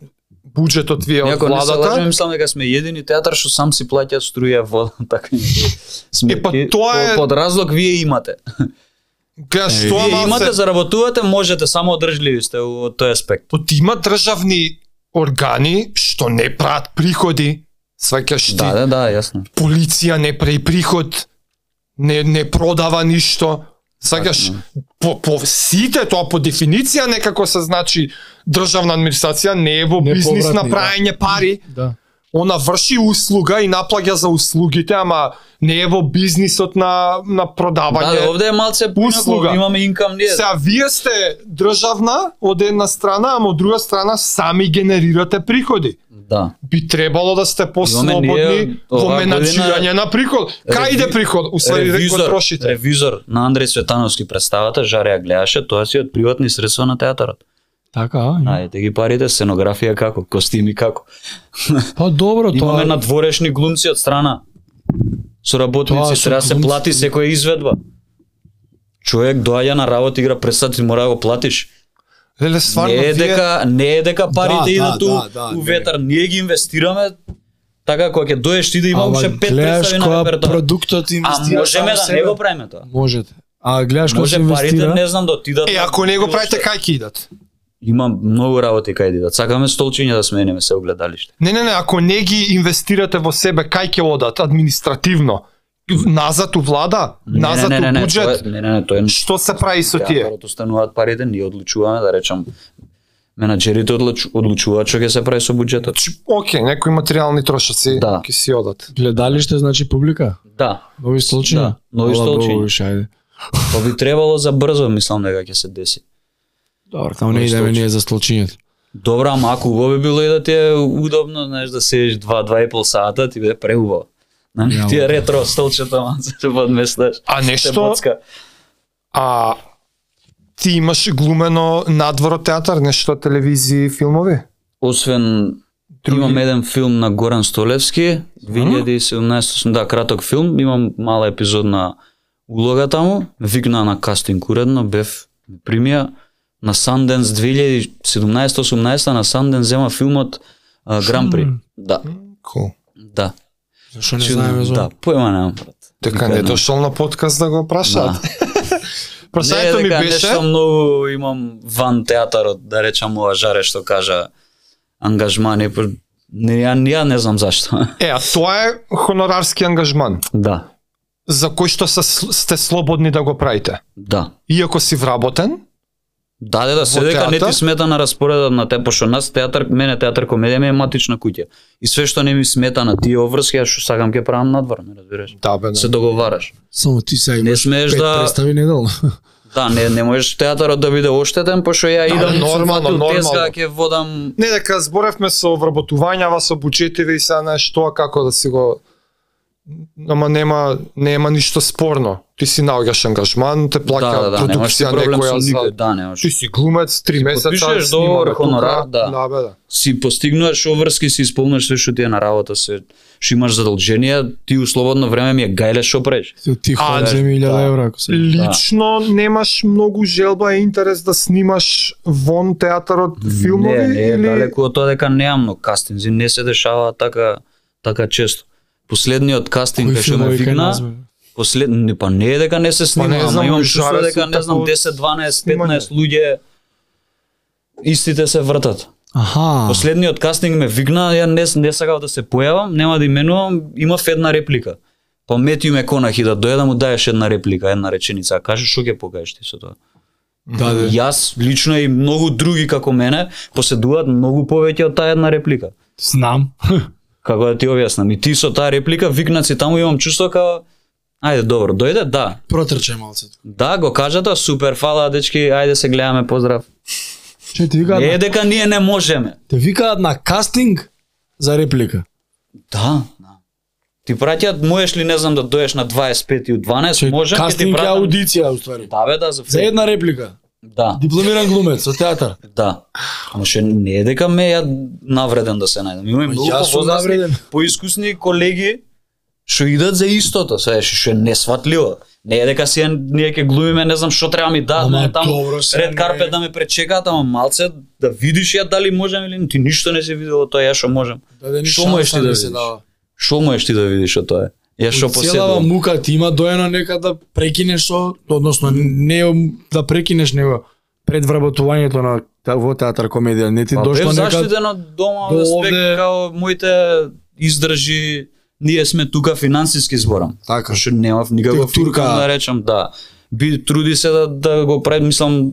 D: буџетот ви е од
A: Иако не се лажам,
D: владата.
A: мислам дека сме едини театар што сам си плаќа струја, вода, така и нешто. сме.
D: Е, па тоа е-
A: под разлог вие имате.
D: Гледаш,
B: Е,
D: тоа
A: Вие имате,
D: малце...
A: да заработувате, можете, само одржливи сте во тој аспект.
D: Па ти Има државни органи што не прават приходи. Сваќаш ти.
A: Да, да, да, јасно.
D: полиција не прави приход, не, не продава ништо. Сакаш, по, по сите тоа по дефиниција некако се значи државна администрација не е во
B: Не
D: бизнис на
B: повратни, да.
D: праење пари.
B: Да.
D: Она врши услуга и наплаќа за услугите, ама не е во бизнисот на на
A: Да,
D: продавање.
A: да, овде е малце поинаку,
D: Па услуга.
A: имаме инкам ние.
D: Сега вие сте државна од една страна, ама од друга страна сами генерирате приходи.
A: Да.
D: би требало да сте
A: Имаме ние
D: послободни во
A: оваа
D: менаджирање
A: година
D: на приход. Кај
A: реви-
D: иде приход? Услади дека
A: Ревизор,
D: трошите.
A: ревизор на Андреј Светановски представата, Жаре ја гледаше, тоа си од приватни средства на театарот.
B: Така, а?
A: Ајде Да, ги парите, сценографија како, костими како.
B: Па добро,
A: Имаме
B: тоа
A: на надворешни глумци од страна.
B: Тоа
A: Соработници
B: се
A: треба се
B: глумци.
A: плати секоја изведба. Човек доаѓа на работа, игра представа, ти мора да го платиш.
D: Леле, стварно,
A: не е дека не е дека парите
B: Да,
A: идат
B: да,
A: у,
B: да, да,
A: у
B: не.
A: ветар, ние ги инвестираме. Така кога ќе доеш ти да има
B: Ама
A: уште пет
B: гледаш
A: представи на
B: која
A: репертоар.
B: продуктот
A: А
B: инвестира
A: можеме
B: сам
A: да
B: себе?
A: не го правиме тоа.
B: Можете. А гледаш кој
A: Може
B: се
A: парите,
B: инвестира?
A: не знам да отидат.
D: Е,
A: на
D: ако не го
A: било
D: правите,
A: што.
D: кај ќе идат?
A: Има многу работи кај да идат. Сакаме столчиња да смениме се огледалиште.
D: Не, не, не, ако не ги инвестирате во себе, кај ќе одат административно? Назад у влада? Назад у буџет?
A: тоа е- не, не, не, тоа е
D: Што се прави со тие?
A: Театарот остануваат парите, ние одлучуваме да речам менаџерите одлуч- одлучуваат што ќе се прави со буџетот.
D: Значи, Океј, некои материјални трошаци
A: па- Да.
D: ќе си одат.
B: Гледалиште значи публика?
A: Да,
B: Нови столчиња?
A: Да, нови
B: Ала,
A: столчиња.
B: Богу, више, ајде.
A: тоа би требало за брзо, мислам дека ќе се деси.
B: Добро, таму не
A: Нови
B: идеме
A: столчиња.
B: ние за столчињето.
A: Добра, ама ако убаво би било и да ти е удобно, знаеш, да седиш 2-2,5 сата, ти биде преубаво. На
B: Ја,
A: тие ретро столчета, ма, се подместаш.
D: А
A: Се
D: нешто,
A: боцка.
D: а ти имаш глумено надвор од театар, нешто телевизии, филмови?
A: Освен
D: Други?
A: Имам еден филм на Горан Столевски, 2017, да, краток филм, имам мала епизодна улога таму, Ме викна на кастинг уредно, бев ме примија на Санденс 2017-18 на Санденс зема филмот а, Гран При.
B: Шм.
A: Да,
D: Кул.
A: да.
B: Зашо не
A: Чудно,
B: знаеме за
A: Да,
B: да.
A: поема немам, брат.
D: Дека
A: Никад
D: не
A: не.
D: дошол на подкаст да го прашаат.
A: Да.
D: Прашањето
A: Не,
D: ми
A: дека
D: беше,
A: Нешто многу имам ван театарот, да речам ова жаре што кажа ангажмани, па, не, ја, ја не знам зашто.
D: е, а тоа е хонорарски ангажман,
A: да,
D: за кој што се, сл- сте слободни да го правите.
A: да.
D: Иако си вработен,
A: Да, да, да, се
D: Во
A: дека не
D: театар?
A: ти смета на распоредот на те, пошто нас театар, мене театар комедија ми е матична куќа. И све што не ми смета на тие оврски, аз што сакам ќе правам надвор, ме разбираш?
D: да бе,
A: Се
D: не.
A: договараш.
B: Само ти сега
A: Не
B: имаш
A: смееш
B: пет
A: да...
B: представи неделно.
A: Да, не, не можеш театарот да биде оштетен, пошто ја
D: Да,
A: идам
D: нормално,
A: фатил
D: нормално.
A: теска, ќе водам...
D: Не, дека зборевме со вработувањава, со буџетиве и сега знаеш тоа како да си го ама нема, нема ништо спорно. Ти си наоѓаш ангажман, те плаќа
A: да, да, да, немаш ти
D: продукција
A: проблем со
D: некоја
A: никој,
D: за...
A: да, немаш.
D: Ти си глумец, три месеца,
A: потпишеш
D: снимаме
A: договор,
D: тука,
A: хонорар, да.
D: да, бе, да.
A: си постигнуваш обврски, си исполнуваш све што ти е на работа, се што имаш задолженија, ти у слободно време ми е гајле што преш.
B: Ти
D: ходаеш
B: ходаеш ми
A: да.
B: 1000 евра ако се.
D: Лично немаш многу желба и интерес да снимаш вон театарот филмови
A: не, не,
D: или
A: далеку од тоа дека немам но кастинзи, не се дешава така така често. Последниот кастинг кај што ме викна, послед... не, па не е дека не се снима,
D: не знам,
A: ама имам
D: Жаре
A: чувство
D: се
A: дека не
D: такво
A: знам 10, 12, 15 луѓе истите се вртат.
B: Аха.
A: Последниот кастинг ме вигна, ја не, не сакав да се појавам, нема да именувам, имав една реплика. Па Метју ме конахи да дојде да му даеш една реплика, една реченица, а кажеш што ќе покажеш ти со тоа.
B: Да, да.
A: Јас лично и многу други како мене поседуваат многу повеќе од таа една реплика.
B: Знам.
A: Како да ти објаснам, и ти со таа реплика викнат си таму имам чувство како Ајде, добро, дојде, да.
B: Протрче малце.
A: Да, го кажата, супер, фала, дечки, ајде се гледаме, поздрав.
B: Че ти викаат?
A: Не е
B: на-
A: дека ние не можеме.
B: Те викаат на кастинг за реплика.
A: Да. Ти праќаат, можеш ли не знам да доеш на 25 и у 12,
B: Че
A: можам ќе ти
B: кастинг е
A: пратам.
B: аудиција уствари.
A: Да бе, да, за,
B: За една реплика.
A: Да,
B: Дипломиран глумец со театар.
A: да. Ама што не е дека ме ја навреден да се најдам. Имам
B: Ма
A: многу
B: јас сум навреден.
A: повозрастни, поискусни колеги што идат за истото, се што е несватливо. Не е дека си ние ќе глумиме, не знам што треба ми да,
B: Ама
A: ама таму
B: добро, се
A: ред
B: не.
A: карпет да ме пречекаат, ама малце да видиш ја дали можам или не. ти ништо не си видел од тоа ја што можам.
B: Даде ни
A: Што
B: шанса
A: можеш ти
B: не
A: да
B: се
A: видиш?
B: дава.
A: Што можеш ти да видиш од тоа? Ја што
B: Целава
A: поседувам.
B: мука ти има доено нека да прекинеш со, односно не ја- да прекинеш него пред вработувањето на та- во театар комедија. Не ти
A: Па бев
B: дошло нека
A: заштитен од дома
B: до
A: од аспект
B: овде-
A: као моите издржи ние сме тука финансиски зборам.
B: Така.
A: Што немав никаков
B: Ти турка.
A: турка да речам, да. Би труди се да да го прави, мислам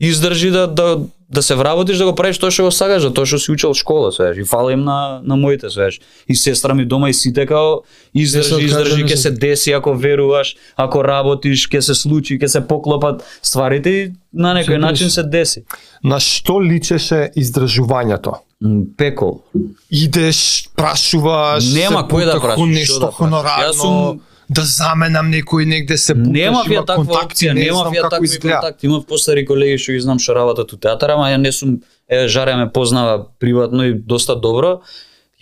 A: издржи да да да се вработиш да го правиш тоа што го сакаш, за тоа што си учел школа, свеш. И фала им на на моите, свеш. И сестра ми дома и сите као
B: Не се
A: издржи,
B: откажа,
A: издржи,
B: не
A: ќе
B: се-
A: се деси ако веруваш, ако работиш, ќе се случи, ќе се поклопат стварите и на некој начин се деси.
D: на што личеше издржувањето?
A: М, Пекол.
D: идеш, прашуваш,
A: Нема
D: се
A: кој да
D: пука
A: прашаш,
D: кон
A: што
D: нешто
A: да прашаш.
D: хонорарно,
A: Јас сум-
D: да заменам некој негде се пукаш,
A: Немав ја
D: има
A: таква
D: контакти,
A: опција,
D: не
A: немав
D: знам
A: ја
D: како
A: такви
D: изгледа.
A: контакти. Имав постари колеги што ги знам што работат у театар, ама ја не сум е Жаре ме познава приватно и доста добро.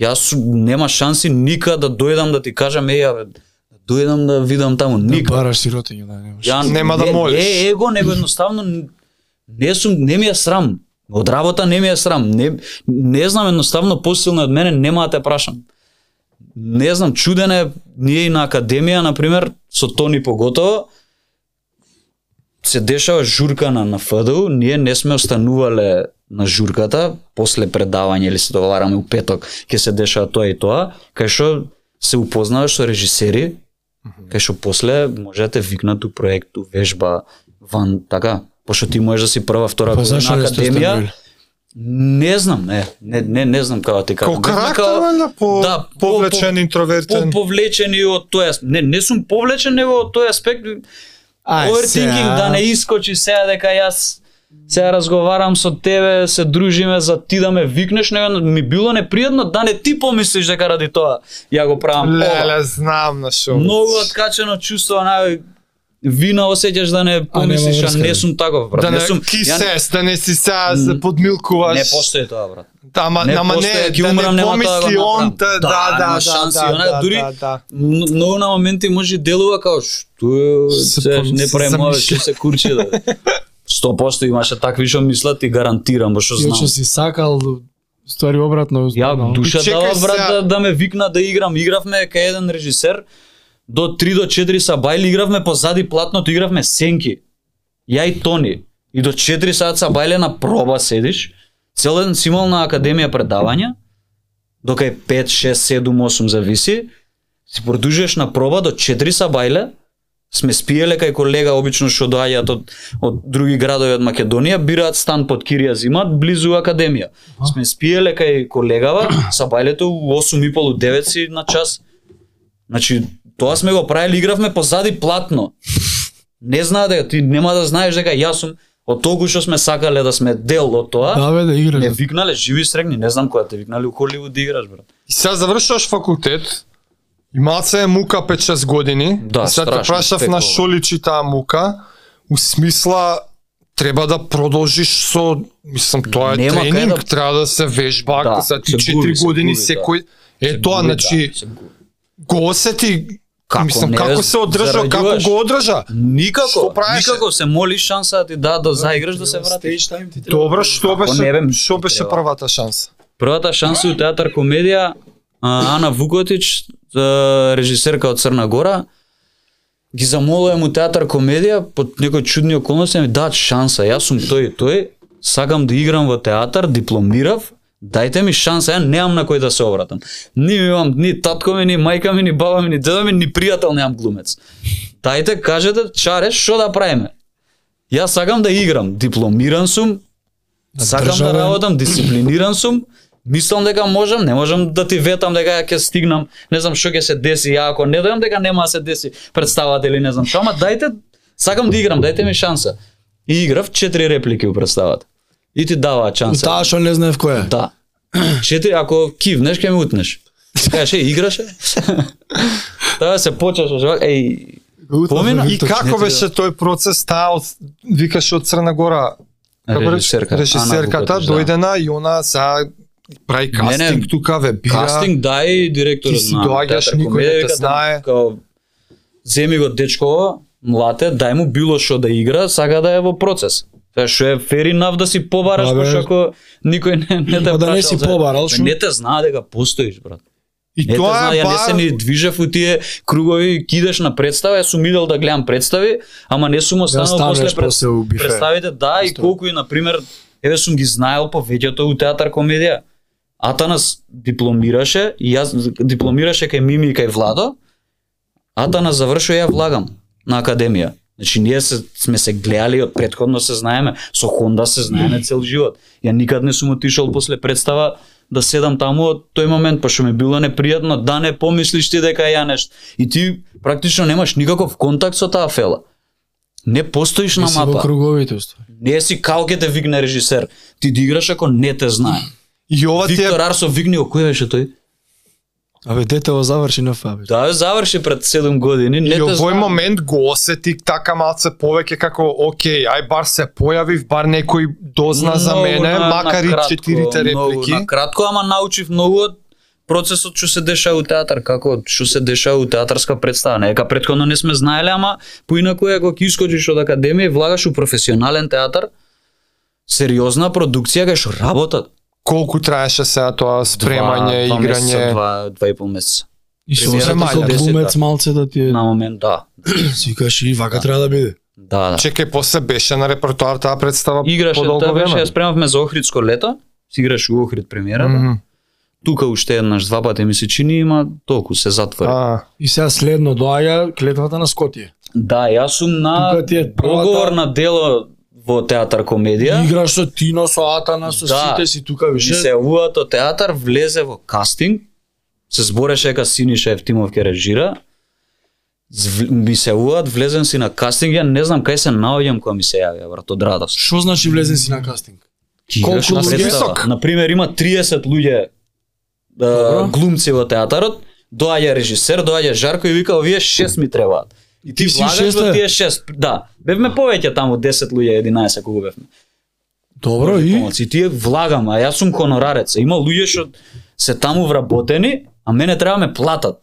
A: Јас сум- нема шанси никада да дојдам да ти кажам еј абе, да дојдам да видам таму
B: да
A: никога.
B: бараш сиротиња да немаш.
A: Ја
D: Нема да
A: не-
D: молиш.
A: Не е его, него едноставно н- не сум не ми е срам. Од работа не ми е срам. Не не знам едноставно посилно од мене нема да те прашам. Не знам, чуден е ние и на академија на пример со Тони поготово се дешава журка на на ФДУ, ние не сме останувале на журката, после предавање или се договараме у петок, ќе се дешава тоа и тоа, кај што се упознаваш со режисери, кај што после може да те викнат у проект, у вежба, ван, така, пошто ти можеш да си прва, втора
B: Па
A: година
B: зашто
A: на
B: не сте
A: академија,
B: останували?
A: не знам, не, не, не, не знам како да ти кажам.
D: Како
A: Бевме
D: карактер,
A: као-
D: валја, по,
A: да, по-
D: повлечен,
A: по-
D: интровертен.
A: по- повлечен и од тој асп- не не сум повлечен него од тој аспект
B: Ај,
A: overthinking
B: сега.
A: да не искочи сега дека јас сега разговарам со тебе, се дружиме за ти да ме викнеш, него ми било непријатно да не ти помислиш дека ради тоа ја го правам. ова.
D: Леле, знам на шо.
A: Многу откачено чувство на вина осеќаш да не помислиш, а,
B: врска,
A: не
B: бе.
A: сум таков, брат.
D: Да не,
A: не сум, не,
D: кисес, да не си сега се подмилкуваш.
A: не постои тоа, брат.
D: Да, ама,
A: Не
D: ама
A: постои,
D: не,
A: ќе
D: да
A: умрам, нема
D: не
A: тоа да го
D: помисли
A: направам.
D: он, да, да,
A: Да,
D: да,
A: нема
D: да,
A: шанси,
D: да,
A: она
D: да,
A: дури-
D: да, да.
A: М- Многу на моменти може и делува као што е,
D: Се
A: се,
D: пом-
A: не
D: се
A: правим ова,
D: замишља.
A: што се курче да. 100% имаше такви што мислат и гарантирам, бо што
B: Ја
A: знам.
B: што си сакал ствари обратно.
A: Ја
B: останало.
A: душа
D: Чекај
A: дава брат
D: сега.
A: да, да ме викна да играм. Игравме кај еден режисер до 3 до 4 са бајле игравме позади платното, игравме сенки. Ја и Тони. И до 4 саат са бајле на проба седиш. Цел ден си имал на академија предавања. Дока е 5, 6, 7, 8 зависи. Си продужуваш на проба до 4 са бајле. Сме спиеле кај колега обично што доаѓаат од, од други градови од Македонија, бираат стан под Кирија зимат близу академија сме спиеле кај колегава, са бајлето у 8 и полу 9 си на час. Значи, тоа сме го правили, игравме позади платно. Не знае дека ти нема да знаеш дека јас сум од толку што сме сакале да сме дел од тоа.
B: Да бе да играш.
A: Ме викнале живи и срегни, не знам која те викнале у Холивуд да играш брат.
D: И сега завршуваш факултет, И маца е мука 5-6 години.
A: Да,
D: И Сега те
A: страшно,
D: прашав
A: текла.
D: на шо личи таа мука. У смисла, треба да продолжиш со, мислам, тоа е
A: Нема кај
D: тренинг,
A: да-
D: треба да се вежба,
A: Да,
D: да, за
A: се губи,
D: 4
A: се
D: години
A: губи, да.
D: секој. Е тоа,
A: Губи, да,
D: значи,
A: се губи.
D: го осети,
A: Како
D: мислам,
A: не,
D: како се одржа, како
A: зараѓуваш.
D: го одржа.
A: Никако,
D: Што правиш?
A: никако се молиш шанса да ти да да заиграш да се вратиш.
D: Добро,
A: не
D: што беше,
A: бе,
D: што
A: ми
D: беше
A: треба.
D: првата шанса?
A: Првата шанса у театар комедија а, Ана Вукотич, а, режисерка од Црна Гора, ги замолувам у театар комедија под некои чудни околности да ми дадат шанса. Јас сум тој и тој, сакам да играм во театар, дипломирав, дајте ми шанса, ја немам на кој да се обратам. Ни имам ни татко ми, ни мајка ми, ни баба ми, ни дедо ми, ни пријател немам глумец. Дајте, кажете, чаре, што да правиме? Јас сакам да играм, дипломиран сум, сакам да
B: Државен.
A: работам, дисциплиниран сум, мислам дека можам, не можам да ти ветам дека ја ќе стигнам, не знам што ќе се деси, ја ако не дојам дека нема да се деси представата или не знам што, ама дајте, сакам да играм, дајте ми шанса. И играв четири реплики у представата. И ти даваа шанса.
B: Таа што не знае која. е.
A: Да. Четири, ако кивнеш, ќе ми утнеш. Кажеш, е, играше? Таа се почеш, еј, помина?
D: И како беше тој процес таа од викаш од Црна Гора? Како рече?
A: Режисерка, Ана
D: Режисерката
A: Вукотич, да.
D: дојдена и она за прави
A: Не,
D: кастинг
A: не,
D: тука ве бира.
A: Кастинг дај
D: Ти
A: директорот
D: си доаѓаш,
A: театар
D: никој
A: комедија,
D: не те
A: вика,
D: знае.
A: Као, земи го дечкова, млате, дај му било што да игра, сака да е во процес. Тоа што е fair enough да си побараш,
B: Абе.
A: пошто ако никој не, не те
B: Ма да не
A: прашал
B: си
A: за-
B: побарал,
A: Ме
B: шо-
A: Не те знае дека постоиш, брат.
D: И
A: Не те
D: тоа
A: знае,
D: е
A: ја не се
D: бар...
A: ни движев у тие кругови, кидеш на представа, ја сум идел да гледам представи, ама не сум останал
B: станеш
A: после, пред-
B: после у бифе.
A: представите, да, и колку и, например, еве сум ги знаел повеќето у театар комедија. Атанас дипломираше, и јас дипломираше кај Мими и кај Владо, Атанас завршува ја влагам на академија. Значи ние се, сме се гледали од предходно се знаеме, со Хонда се знаеме цел живот. Ја никад не сум отишол после представа да седам таму од тој момент, пошто ми било непријатно, да не помислиш ти дека ја нешто. И ти практично немаш никаков контакт со таа фела. Не постоиш на
B: Си во
A: мапа.
B: круговите уствари.
A: Не си као ке те викне режисер. Ти да играш ако не те знае.
D: И ова Па ти е
A: Виктор Арсов викни, о, кој беше тој?
B: Абе дете го заврши на фабе.
A: Да, ја заврши пред 7 години, не
D: И
A: те
D: овој
A: знае.
D: момент го осетих така малце повеќе како окей, ај бар се појавив, бар некој дозна за
A: Многу
D: мене,
A: на-
D: макар и
A: накратко,
D: четирите реплики.
A: Многу, на кратко, ама научих многу од процесот што се дешава у театар, како што се дешава у театарска представа. Нека предходно не сме знаеле, ама поинаку е кога искочиш од академија и влагаш у професионален театар, сериозна продукција кај што работат.
D: Колку траеше сега тоа спремање,
A: Два- два месеца,
D: играње?
A: два, два и пол месеца.
B: И се
A: Премиера
B: осетиш
A: мања,
B: од глумец
A: десет,
B: малце да ти е.
A: На момент, да.
B: Си кажеш и вака треба да биде.
A: Да, да.
D: Чекај, после беше на репертоар таа представа
A: Играше,
D: подолго
A: таа беше,
D: време.
A: ја спремавме за Охридско лето, си играше у Охрид премиерата.
D: Мгм.
A: Тука уште еднаш, два пати ми се чини, има толку се затвори.
D: А,
B: И сега следно доаѓа клетвата на Скотие.
A: Да, јас сум на
B: Тука ти е да. првата-
A: договор на дело во театар комедија.
B: И Играш со Тино, со Атана, со
A: Да.
B: сите си тука
A: Ми
B: више.
A: се јавуваат од театар, влезе во кастинг, се збореше дека Синиша Евтимов ќе режира. Зв- Ми се јавуваат, влезен си на кастинг, ја не знам кај се наоѓам кога ми се јавија, брат, од радост.
B: Што значи влезен си на кастинг?
A: Ти
B: Колку
A: играш на
B: луѓе?
A: представа.
D: Висок.
A: Например, има 30 луѓе
B: Добро.
A: да, глумци во театарот, доаѓа режисер, доаѓа Жарко и вика, овие 6 ми требаат. И ти,
B: Ти си
A: влагаш
B: шеста?
A: во тие 6. Да, бевме повеќе таму 10 луѓе, 11 кога бевме.
B: Добро
A: Боже,
B: и
A: помоци, и тие влагам, а јас сум хонорарец. Има луѓе што се таму вработени, а мене треба ме платат.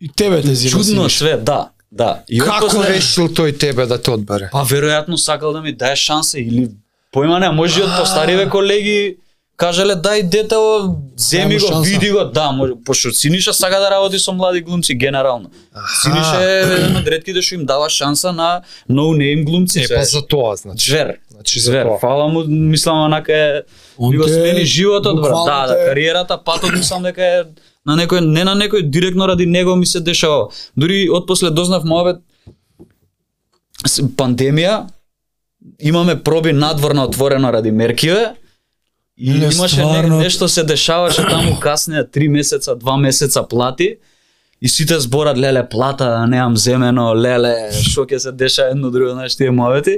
B: и тебе те зима
A: Чудно
B: Синиша.
A: све, да, да. И он
D: како
A: после-
D: решил тој тебе да те одбере?
A: Па веројатно сакал да ми дае шанса или појма не, може и од постариве колеги кажале дај дете о,
B: Дај
A: земи
B: му
A: го,
B: шанса.
A: види го, да, може, пошто Синиша сака да работи со млади глумци генерално. Синиша е еден од ретките што им дава шанса на no name глумци.
D: Е,
A: се.
D: па за тоа, значи.
A: Звер,
D: Значи, за
A: звер.
D: тоа.
A: Фала му, мислам онака е
B: Он
A: ми го
B: те-
A: смени животот, брат.
B: буквално
A: Да, да,
B: те-
A: кариерата, патот мислам дека е на некој не на некој директно ради него ми се дешава. Дури од после дознав мојот пандемија имаме проби надвор на отворено ради меркиве. И
B: Не,
A: имаше
B: стварно.
A: не, нешто се дешаваше таму каснија 3 месеца, 2 месеца плати. И сите зборат, леле, плата, неам земено, леле, што ќе се деша едно друго, знаеш, тие мовети.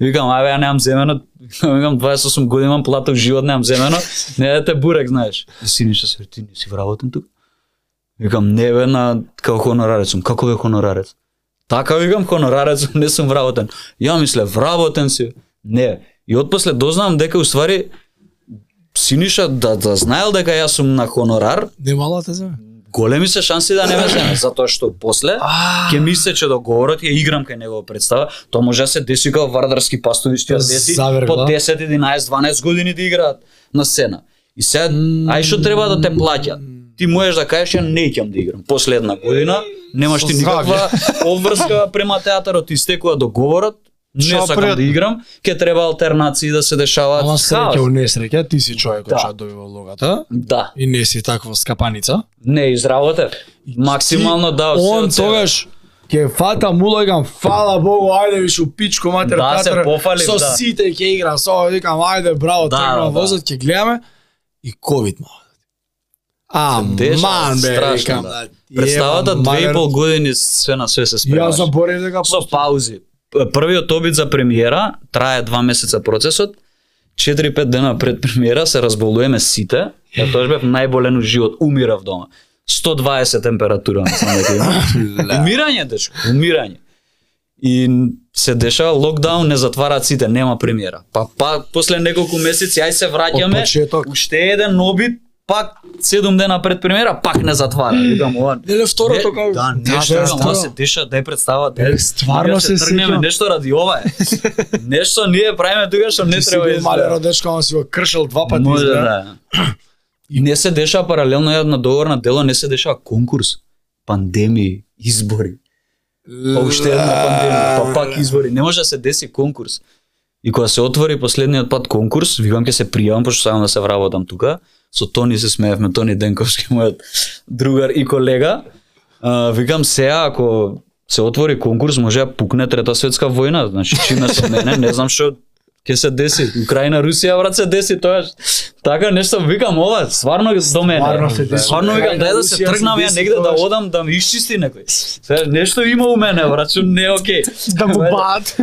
A: И викам, аве, ја немам земено, викам, 28 години имам плата, у живот немам земено, не да те бурек, знаеш. И Синиша се, ти не си вработен тука. Викам, не бе, на, као хонорарец сум. Како бе хонорарец? Така викам, хонорарец сум, не сум вработен. Ја мисле, вработен си. Не. И отпосле дознам дека уствари Синиша да, да знаел дека јас сум на хонорар,
B: Немала те земе.
A: големи се шанси да не ме земе, затоа што после ќе мисле че договорот ја играм кај негова представа, тоа може да се деси као вардарски пастови што ја деси
B: Завергла.
A: по 10, 11, 12 години да играат на сцена. И сега, ај што треба да те плаќат? Ти можеш да кажеш ја не ќе да играм. Последна година немаш
D: Со
A: ти никаква обврска према театарот, истекува договорот, не
D: Шо
A: сакам да
D: пријатно.
A: играм, ќе треба алтернации да се дешаваат.
B: Ама среќа у
A: Хаос.
B: несреќа, ти си човекот
A: Да.
B: да. што добива улогата
A: Да,
B: и не си таква скапаница.
A: не изработев. Максимално да.
B: Ти-
A: се
B: Он
A: од себе.
B: тогаш ќе фатам улогам, фала Богу, ајде виш у пичко матер
A: Да, се
B: татар,
A: пофалив,
B: Со
A: да.
B: сите ќе играм, со викам ајде браво,
A: Да,
B: тргнам
A: да, да.
B: возот, ќе гледаме и ковид ма. А,
A: Дешава,
B: ман бе,
A: страшно,
B: викам.
A: да.
B: да, ти
A: Представата
B: ебам,
A: две и
B: мајер.
A: пол години све на све се
B: Ја да
A: спремаше.
B: заборев дека
A: Со паузи. П- Првиот обид за премиера трае два месеца процесот. 4-5 дена пред премиера се разболуваме сите. Ја тоа бев најболен у живот, умирав дома. 120 температура, мислам дека имам. Умирање, дечко, умирање. И се дешава локдаун, не затвараат сите, нема премиера. Па, па после неколку месеци ај се
B: Од
A: враќаме,
B: почеток.
A: уште еден обид, пак 7 дена пред премиера, пак не затвара. Викам, ова
B: Леле второто
A: не,
B: како
A: Да,
B: Знаеш,
A: нешто
B: второ.
A: да се диша, дај представа, дај.
B: Е, стварно
A: Ние
B: се
A: тргнеме
B: сеќам.
A: нешто ради ова е. Нешто ние правиме тука што не
B: Ти си
A: треба.
B: бил
A: да
B: мале
A: изгледа.
B: родечко, он си го кршил два пати.
A: Може
B: изгледа.
A: да. И не се деша паралелно ја на договорна дело, не се дешава конкурс, пандемии, избори. Па уште една пандемија, па пак избори. Не може да се деси конкурс. И кога се отвори последниот пат конкурс, викам ќе се пријавам пошто сакам да се вработам тука. Со Тони се смеевме, Тони Денковски, мојот другар и колега. А, викам сега ако се отвори конкурс, може да пукне трета светска војна, значи чиме со мене, не знам што ќе се деси. Украина, Русија, брат, се деси тоа. Така нешто викам ова, сварно до мене.
B: Стварно се деси.
A: Сварно викам дај да се
B: Украина, Русија се
A: тргнам ја
B: деси
A: негде да
B: тоа.
A: одам да ми исчисти некој. Сега нешто има у мене, брат, што не е окей.
B: Да го бат.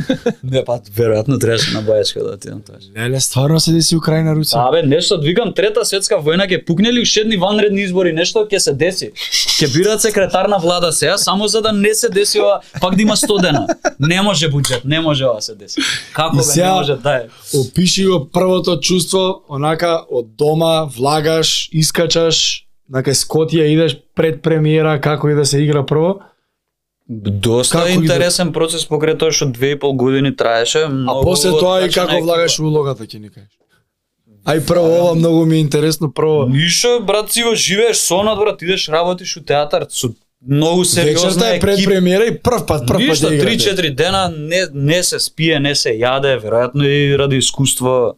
A: Не, па веројатно требаше на бајачка да отидам тоа.
B: Леле, стварно се деси Украина Русија.
A: Абе, Да, нешто викам трета светска војна ќе пукне ли ушедни ванредни избори, нешто ќе се деси. Ќе бират секретар на влада сега само за да не се деси ова, пак да има 100 дена. Не може буџет, не може ова да се деси. Како
B: И
A: бе, не
B: сега-
A: може да е.
B: Опиши го првото чувство, онака од дома влагаш, искачаш, на кај Скотија идеш пред премиера како и да се игра прво.
A: Доста
B: Како иде?
A: интересен процес покрај тоа што две и пол години траеше.
B: А после тоа
A: значи
B: и како влагаш у улогата ќе ни кажеш. Ај прво ова многу ми е интересно прво.
A: Ништо, брат, си го живееш сонот, брат, идеш работиш у театар со многу сериозна
B: Вечерта е пред
A: екипа.
B: премиера и прв пат прв пат
A: Ништо,
B: да играте.
A: 3-4 дена не, не се спие, не се јаде, веројатно и ради искуство,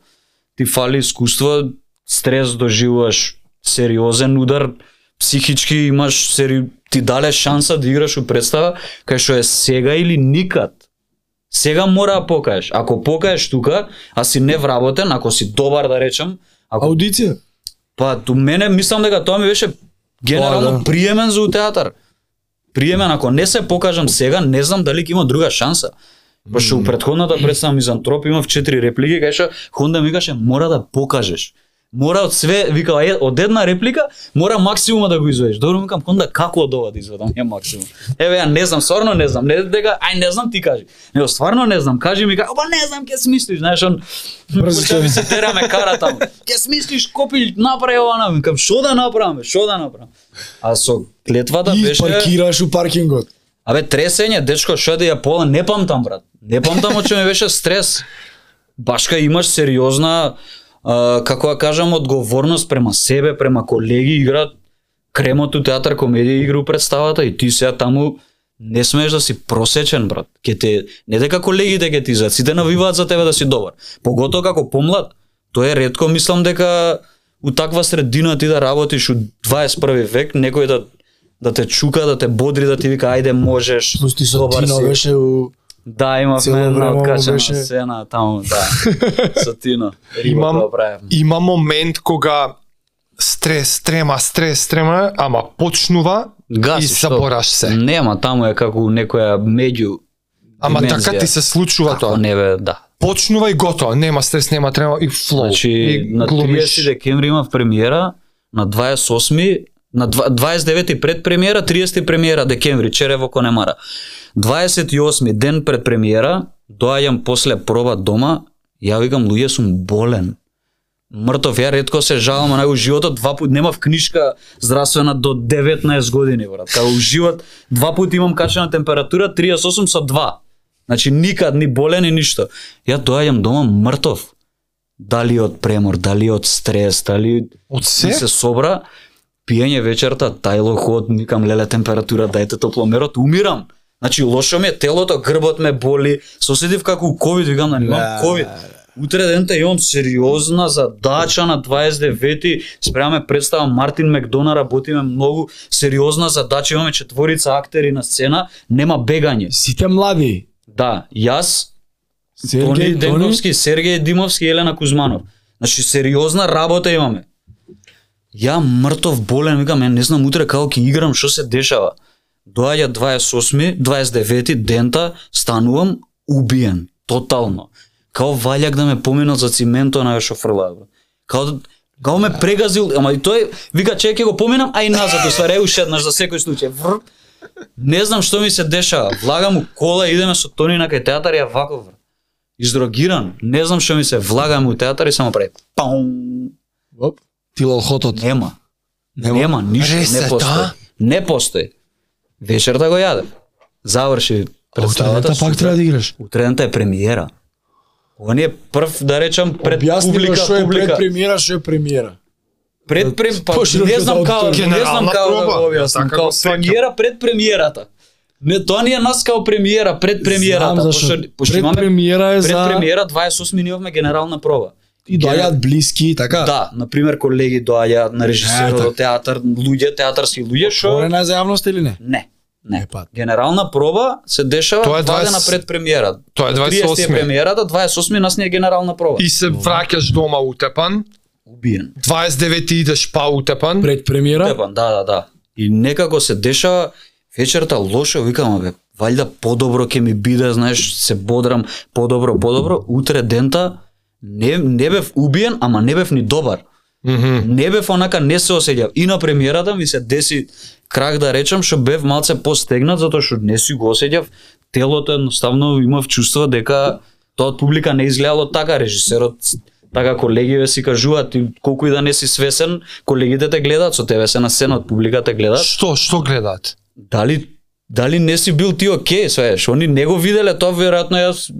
A: ти фали искуство, стрес доживуваш, сериозен удар, психички имаш, сери... ти дале шанса да играш у представа, кај што е сега или никад. Сега мора да покажеш. Ако покажеш тука, а си невработен, ако си добар да речам, ако
B: Аудиција.
A: Па, до мене мислам дека тоа ми беше
B: Тоа,
A: генерално
B: да.
A: приемен за у театар. Приемен, ако не се покажам сега, не знам дали ќе има друга шанса. Пошто у претходната представа Мизантроп имав четири реплики, кај што Хонда ми каже мора да покажеш. Мора од све, вика, е, од една реплика, мора максимума да го изведеш. Добро му викам, Хонда, како од ова да изведам ја максимум? Еве, ја не знам, стварно не знам, не дека, ај не знам ти кажи. Него, стварно не знам, кажи ми, ка- па не знам, ќе смислиш, знаеш, он,
B: Брзо
A: Пошто ми се тера ме кара таму. Ке смислиш копи направи ова на викам што да направам, бе, што да направам. А со клетвата
B: И
A: Да, беше
B: паркираш у паркингот.
A: Абе тресење, дечко, што да ја пола, не памтам брат. Не памтам од што ми беше стрес. Башка имаш сериозна а, како ја кажам одговорност према себе, према колеги, игра кремот у театар комедија игра у представата и ти сега таму не смееш да си просечен брат. Ке те не дека колегите ќе ти зад, сите навиваат за тебе да си добар. Поготоа како помлад. Тоа е ретко мислам дека у таква средина ти да работиш у 21 век, некој да да те чука, да те бодри, да ти вика ајде можеш.
B: Плюс ти со
A: добар
B: Тино
A: си.
B: беше у
A: Да,
B: Цело
A: имавме
B: време
A: една
B: му
A: откачена
B: беше-
A: сцена таму, да. Со Тино. Риба
D: Имам-
A: го правевме.
D: Има момент кога стрес, трема, стрес, трема, ама почнува
A: Гаси,
D: и
A: што?
D: забораш се.
A: Нема, таму е како у некоја меѓу
D: Ама
A: димензија.
D: така ти се случува
A: Како
D: тоа.
A: не бе, да.
D: Почнува и готово, нема стрес, нема трема и флоу.
A: Значи,
D: и
A: на
D: глумиш.
A: 30 декември имав премиера, на 28 На два- 29-ти пред премиера, 30-ти премиера декември, чере во Конемара. 28-ми ден пред премиера, доаѓам после проба дома, ја викам луѓе сум болен. Мртов, ја ретко се жалам, онај у животот два пут немав книшка здравствена до 19 години, брат. Као у живот два пут имам качена температура 38 со 2. Значи никад ни болен ни ништо. Ја доаѓам дома мртов. Дали од премор, дали од стрес, дали
D: Од
A: се?
D: се?
A: се собра, пиење вечерта, тајло ход, никам леле температура, дајте топломерот, умирам. Значи лошо ми е телото, грбот ме боли, се осетив како у ковид, викам да
B: Да.
A: имам ковид. Утре дента имам сериозна задача на 29-ти, спремаме представа Мартин Макдона, работиме многу, сериозна задача, имаме четворица актери на сцена, нема бегање.
B: Сите млади.
A: Да, јас, Тони
B: Сергеј, Тони,
A: Денковски, Сергеј Димовски, Елена Кузманов. Значи сериозна работа имаме. Ја мртов болен, викам, ја не знам утре како ќе играм, што се дешава. Доаѓа 28 29 дента, станувам убиен, тотално. Као валјак да ме поминат за циментот на што фрлаа. бе. Као да- Као ме прегазил, ама и тој вика чеј ќе го поминам, а и назад, устваре уште еднаш за секој случај. Вр. Не знам што ми се дешава. Влагам у кола, идеме со Тони на кај театар, ја вако вр. Издрогиран, не знам што ми се, влагам у театар и само прави. Паум.
B: Оп, тилал хотот.
A: Нема. Нема, Нема ништо, не
D: Ресет,
A: постои.
B: да.
D: а?
A: Не постои. Вечерта го јадев. Заврши представата.
B: Представата пак
A: супер.
B: треба да играш.
A: Утредната е премиера. Ова ни е прв, да речам, пред
B: Објасни
A: публика,
B: го што е пред
A: публика.
B: премиера, што е премиера.
A: Пред прем, па,
B: Поширок
A: не знам
B: за
A: како,
B: аудиторија.
A: не знам
D: Генерална
A: како да
D: проба,
A: го објаснам,
D: така
A: како
D: го сеќам.
A: премиера пред премиерата. Не, тоа ни е нас као премиера, пред премиерата.
B: Знам
A: пошто-
B: зашо.
A: пошто
B: Пред
A: имаме-
B: премиера е
A: пред
B: за...
A: премиера 28 ми имавме генерална проба.
B: И да, доаѓаат блиски и така.
A: Да, на пример колеги доаѓаат на режисерот
D: да.
B: Театар.
A: до театар, луѓе, театарски луѓе што
B: Отворена е за јавност или не?
A: не.
B: Е,
A: Не.
B: па.
A: Генерална проба се дешава
D: Тоа
A: два
D: е 20
A: дена пред премиера.
D: Тоа е
A: 30 е
D: 28.
A: премиерата, 28 нас не е генерална проба.
D: И се враќаш дома утепан,
A: Убиен.
D: 29 идеш па утепан.
B: Пред премиера?
A: Тепан, да, да, да. И некако се дешава вечерта лошо, викам, бе, валјда подобро ќе ми биде, знаеш, се бодрам подобро, подобро, утре дента не, не бев убиен, ама не бев ни добар.
D: Мгм.
A: не бев онака не се осеќав. И на премиерата ми се деси крак да речам што бев малце постегнат затоа што не си го осеќав телото едноставно имав чувство дека тоа од публика не изгледало така режисерот така колегиве си кажуваат и колку и да не си свесен колегите те гледаат со тебе се на сцена од публика те гледаат
D: Што, што гледаат?
A: дали дали не си бил ти окей сваеш они не го виделе тоа веројатно јас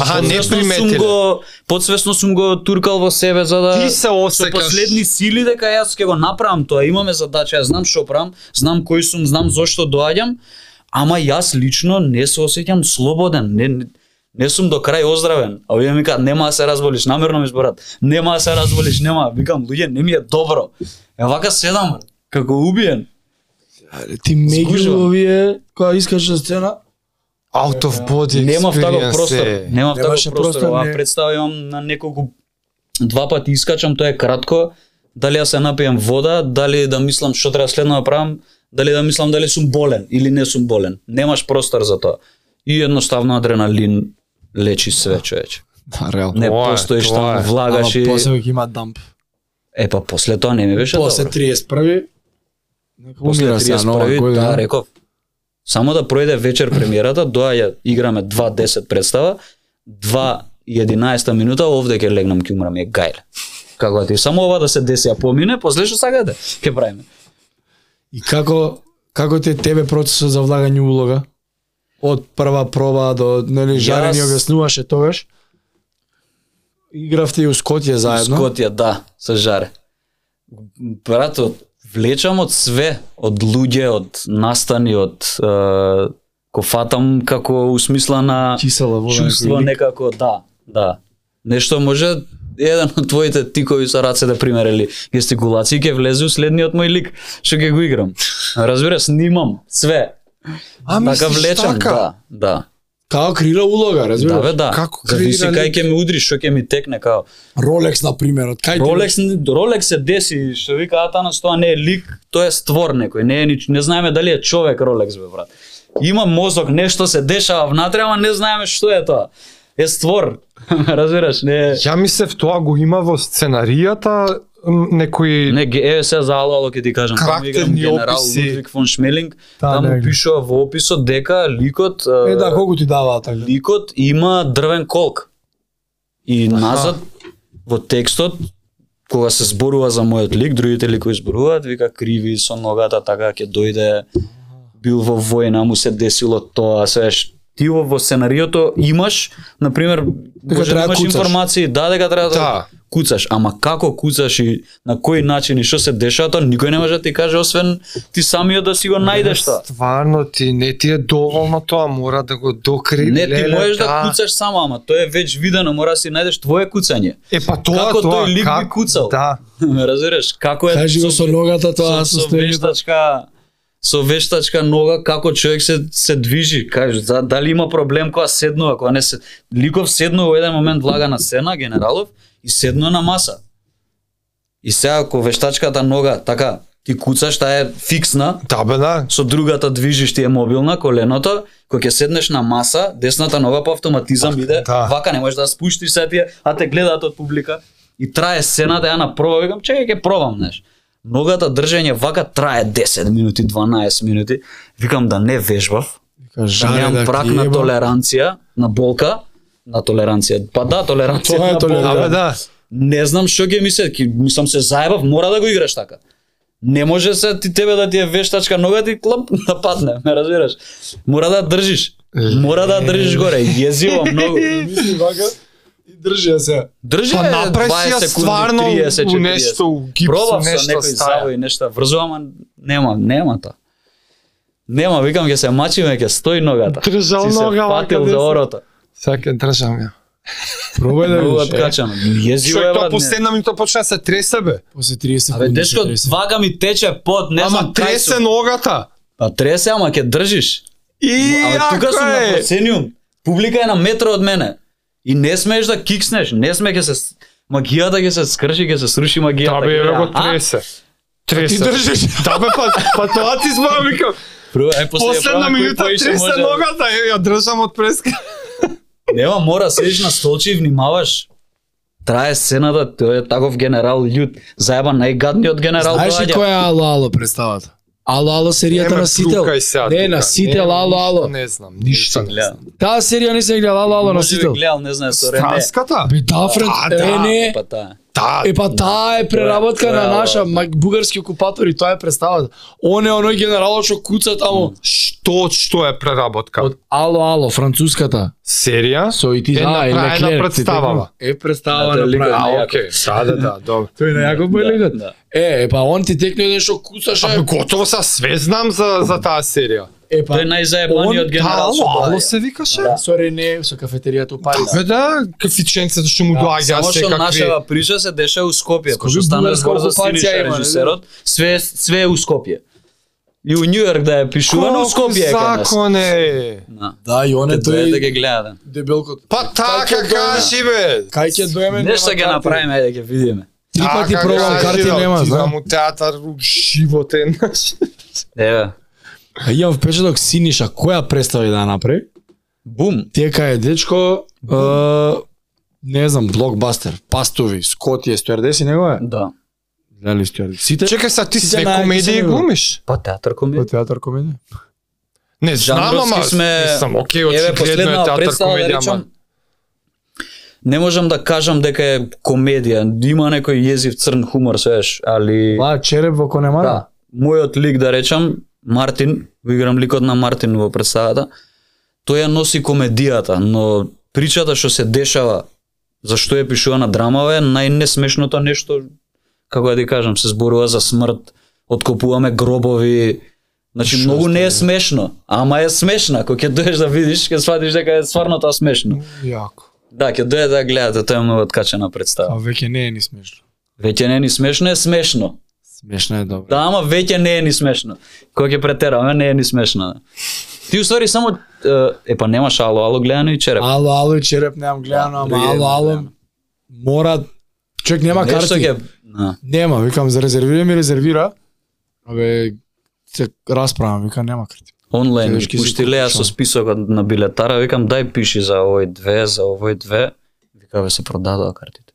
D: Аха, не
A: подсвесно
D: приметиле.
A: сум го подсвесно сум го туркал во себе за да
D: Ти се
A: со
D: осекаш.
A: последни сили дека јас ќе го направам тоа. Имаме задача, јас знам што правам, знам кој сум, знам зошто доаѓам, ама јас лично не се осеќам слободен, не не- не сум до крај оздравен. А овие ми кажат нема да се разболиш, намерно ми зборат. Нема да се разболиш, нема. Викам луѓе, не ми е добро. Е вака седам брат, како убиен. Да,
B: Ти меѓу
A: Скужувам.
B: овие која искаш на сцена?
D: Out of body
A: Нема таков
D: experience
A: простор.
D: е.
A: Нема
B: Немаше
A: таков простор.
B: простор,
A: Ова
B: не.
A: представа имам на неколку два пати искачам, тоа е кратко. Дали јас се напијам вода, дали да мислам што треба следно да правам, дали да мислам дали сум болен или не сум болен. Немаш простор за тоа. И едноставно адреналин лечи све, човече.
B: Да, реално.
A: Не
D: Тоа е,
A: постоиш
D: тоа
A: таму,
D: е.
B: Ама
A: влагаш и
B: после ќе има дамп.
A: е па после тоа не ми беше
B: После
A: добро.
B: 31-ви. нека
A: После
B: умира сега нова
A: 31-ви,
B: година.
A: да, реков. Само да пројде вечер премиерата, доаѓа, играме 2-10 представа, 2-11 минута, овде ќе легнам, ќе умрам, е гајле. Како ти, само ова да се деси, а помине, после што сакате, ќе правиме.
B: И како како ти е тебе процесот за влагање улога? Од прва проба до нели Жаре ни
A: Јас-
B: објаснуваше тогаш. Игравте и у Скотје заедно.
A: Скотија, да, се жаре. Брат, од- влечам од све, од луѓе, од настани, од е, ко фатам како усмисла на
B: Кисела вода.
A: чувство
B: некој лик.
A: некако, да, да. Нешто може еден од твоите тикови со рацете пример или гестикулации ќе влезе у следниот мој лик што ќе го играм. Разбира, снимам све.
D: А,
A: така
D: мислиш
A: влечам,
D: така?
A: да, да.
B: Како крира улога,
A: Да,
B: разбираш?
A: бе, да.
D: Како
A: Зависи
D: креира
A: кај
D: лик?
A: ќе ми удри, што ќе ми текне као.
B: Rolex на пример, од кај ти-
A: Ролекс, Ролекс се деси, што вика Атанас, тоа не е лик, тоа е створ некој, не е нич, не знаеме дали е човек Ролекс бе брат. Има мозок, нешто се дешава внатре, ама не знаеме што е тоа. Е створ, разбираш, не е...
D: Ја мислев тоа го има во сценаријата м, некои...
A: Не,
C: Значи,
A: ге- е, сега за ало, ало ќе ти кажам. Таму играм
D: Карактерни
A: генерал
D: описи.
A: Лудвиг фон Шмелинг,
C: Та,
A: таму
C: не,
A: пишува во описот дека ликот
C: Е, да,
A: е,
C: колку ти даваа така?
A: ликот има дрвен колк. И назад во текстот кога се зборува за мојот лик, другите ликови зборуваат, вика криви со ногата така ќе дојде бил во војна, му се десило тоа, се ш- ти во во сценариото имаш, на пример, може да
B: треба
A: имаш
B: куцаш.
A: информации, да дека треба да
D: Да.
A: куцаш, ама како куцаш и на кој начин и што се дешава, тоа никој не може да ти каже освен ти самиот да си го најдеш тоа.
D: Стварно ти не ти е доволно тоа, мора да го докриви.
A: Не ти
D: леле,
A: можеш да куцаш само, ама тоа е веќе видено, мора да си најдеш твое куцање.
D: Е па тоа
A: Како
D: тоа
A: тој лик би куцал?
D: Да.
A: Ме разбираш, како е
B: Кажи го со ногата
A: со,
B: тоа
A: со
B: состојањето.
A: вештачка со вештачка нога како човек се се движи, кажеш, за, дали има проблем кога седнува, кога не се Ликов седнува во еден момент влага на сцена генералов и седнува на маса. И сега ако вештачката нога така ти куцаш таа е фиксна,
D: Да бе, да.
A: со другата движиш ти е мобилна коленото, кога ќе седнеш на маса, десната нога по автоматизам иде,
D: да.
A: вака не можеш да ја спуштиш се тие, а те гледаат од публика и трае сцената, ја на проба викам, чекај ќе пробам, знаеш. Ногата држење вака трае 10 минути, 12 минути. Викам да не вежбав, да
B: Жаре
A: немам
B: да
A: прак на толеранција, на болка, на толеранција. Па да, толеранција.
B: Тоа е
A: на болка.
B: толеранција.
D: Абе да.
A: Не знам што ќе мисле, ќе мислам се заебав, мора да го играш така. Не може се ти тебе да ти е вештачка нога ти клап да падне, ме разбираш. Мора да ја држиш. Мора да ја држиш горе, језиво многу.
B: Мисли вака и држи ја се.
A: Држи
D: Па
A: ја
D: направи си
A: 20
D: ја
A: секунди,
D: стварно
A: 30,
D: у
A: 40.
D: нешто, у гипс, у
A: Пробав со
D: нешто
A: некој
D: стаја.
A: завој, нешто врзувам, ама нема, нема та. Нема, викам ќе се мачиме, ќе стои ногата.
D: Држал
A: Си се
D: нога,
A: патил
D: вака,
A: за
D: десна.
A: орото.
D: Сака држам ја.
B: Пробај да
A: Многу
B: видиш. е.
A: откачано. Језиво
D: Човек па
A: е
D: тоа
A: брат. не.
D: последна минута почна да се тресе бе.
B: После 30 секунди.
A: Абе,
B: се
A: дечко,
B: тресе.
A: вага ми тече под, не знам
D: Ама
A: кај
D: тресе
A: сум.
D: ногата.
A: Па тресе, ама ќе држиш.
D: И
A: Абе, тука сум
D: ако
A: на
D: е.
A: proscenium. Публика е на метро од мене. И не смееш да кикснеш, не сме ќе се с- магијата ќе се скрши, ќе се сруши магијата.
D: Да бе, еве
A: ќе-
D: го
A: така А,
D: тресе. Тресе.
B: Ти држиш.
D: Да бе, па, па тоа ти зборам, викам.
A: Прво, е, после
D: Последна
A: пробам кој
D: минута
A: поише
D: тресе
A: може.
D: ногата, е, ја држам од преска.
A: Нема, мора седиш на столче и внимаваш. Трае сцената, тој е таков генерал лют, заеба најгадниот генерал
B: Знаеш ли
A: доаѓа.
B: која е Ало Ало представата? Ало Ало серијата
D: Еме,
B: на Сител.
D: трукај се,
B: Не,
D: тука,
B: на Сител,
D: не,
B: Ало Ало.
D: ништо Не знам, ништо не
A: Гледа.
D: знам.
B: Таа серија не се гледа, Ало Ало на
A: Може да би
B: Сител.
A: гледал, не знае, со Рене.
D: Транската?
B: Би да, Фред,
D: Да, да.
B: е, не.
A: Па таа.
D: Да,
B: Е па таа
A: тоа
B: е преработка
A: е
B: на
A: Ало
B: наша
A: Ало.
B: мак- бугарски окупатори, тоа е представата. Он е оној генерал што куца таму.
D: што што е преработка?
B: Од Ало Ало, француската.
D: серија?
B: Со и ти
D: Е
B: да, и
D: направена
B: Леклер. ти
D: представава.
B: текам. така? Е представава
A: Да, тој ликот на
B: направена.
A: Јаков.
D: А, окей. Да, да, да, добро.
B: Тој на Јаков бе
A: Да,
B: ликот.
A: да.
B: Е, е, па он ти текне еден што куцаше.
D: Абе готово са, све знам за за таа серија.
B: Е па
A: Тој е најзаебаниот генерал Да.
D: Ало,
A: што
D: ало
A: доаѓа.
D: се викаше?
B: со Рене, со кафетеријата у Париз.
D: Бе да, кафиченцето што му доаѓа
A: Да, Само што
D: секакви.
A: нашава прича се деша у Скопје,
B: Скопје,
A: пошто стана
B: бугарска
A: збор за
B: окупација
A: Синиша
B: има, не?
A: режисерот, све све е у Скопје. И у Њујорк да е пишувано, у
D: Колку
A: Скопје е кај нас.
D: законе?
A: Да.
B: Да, и он е
A: Тој да
B: тој
A: ги гледа.
B: дебелкот.
D: Па така
B: ќе
D: кажи бе.
B: Кај ќе доеме?
A: Нешто
B: нема
A: ќе
B: карти.
A: направиме, ајде ќе видиме.
B: Три пати
D: Така
B: пробам
D: кажи,
B: карти
D: да,
B: нема,
D: ти
B: знам.
D: Знам у театар у живот е наш.
A: Еве.
B: А Имам впечаток Синиша која представи да ја направи?
A: Бум.
B: Тие кај дечко, е, не знам, блокбастер, пастови, Скот е стюардеси него е.
A: Да.
B: Гледали стюардеси? Сите
D: Чекај са, ти
B: Сите
D: све
B: најаки се
D: комедии
B: него.
D: глумиш?
A: Па театар
B: во
A: комедија.
B: театар комедија.
D: Не знам,
A: Жанровски
D: ама
A: сме-
D: сам окей,
A: Еве
D: очигледно е
A: последна
D: театар
A: представа да
D: комедија, ама
A: речам. Не можам да кажам дека е комедија, има некој језив црн хумор сееш, али
B: Па череп во Конемара.
A: Да. Мојот лик да речам, Мартин, го играм ликот на Мартин во представата. Тој ја носи комедијата, но причата што се дешава за што е пишувана драмава е најнесмешното нешто како да ти кажам, се зборува за смрт, откопуваме гробови. Значи многу не е смешно, ама е смешна, кога ќе доеш да видиш, ќе сватиш дека е стварно тоа смешно.
B: Јако.
A: Да, ќе дојде да ја гледате, тоа е многу откачена
B: А
A: представа.
B: веќе не е ни смешно.
A: Веќе не е ни смешно, е смешно.
B: Смешно е добро.
A: Да, ама веќе не е ни смешно. Кога ќе претераме, не е ни смешно. да. Ти устори само е, е па немаш ало, ало гледано и череп.
B: Ало, ало, череп немам гледано, ама
A: Други
B: ало,
A: немам
B: ало.
A: гледано.
B: Мора Човек нема
A: Нешто
B: карти.
A: ќе да.
B: Нема, викам за резервира ми резервира. Абе се расправам, викам нема карти.
A: онлайн ми
B: Телешки
A: пушти
B: си
A: леа
B: купиш,
A: со списокот на билетара, викам дај пиши за овој две, за овој две. Вика бе се продадоа картите.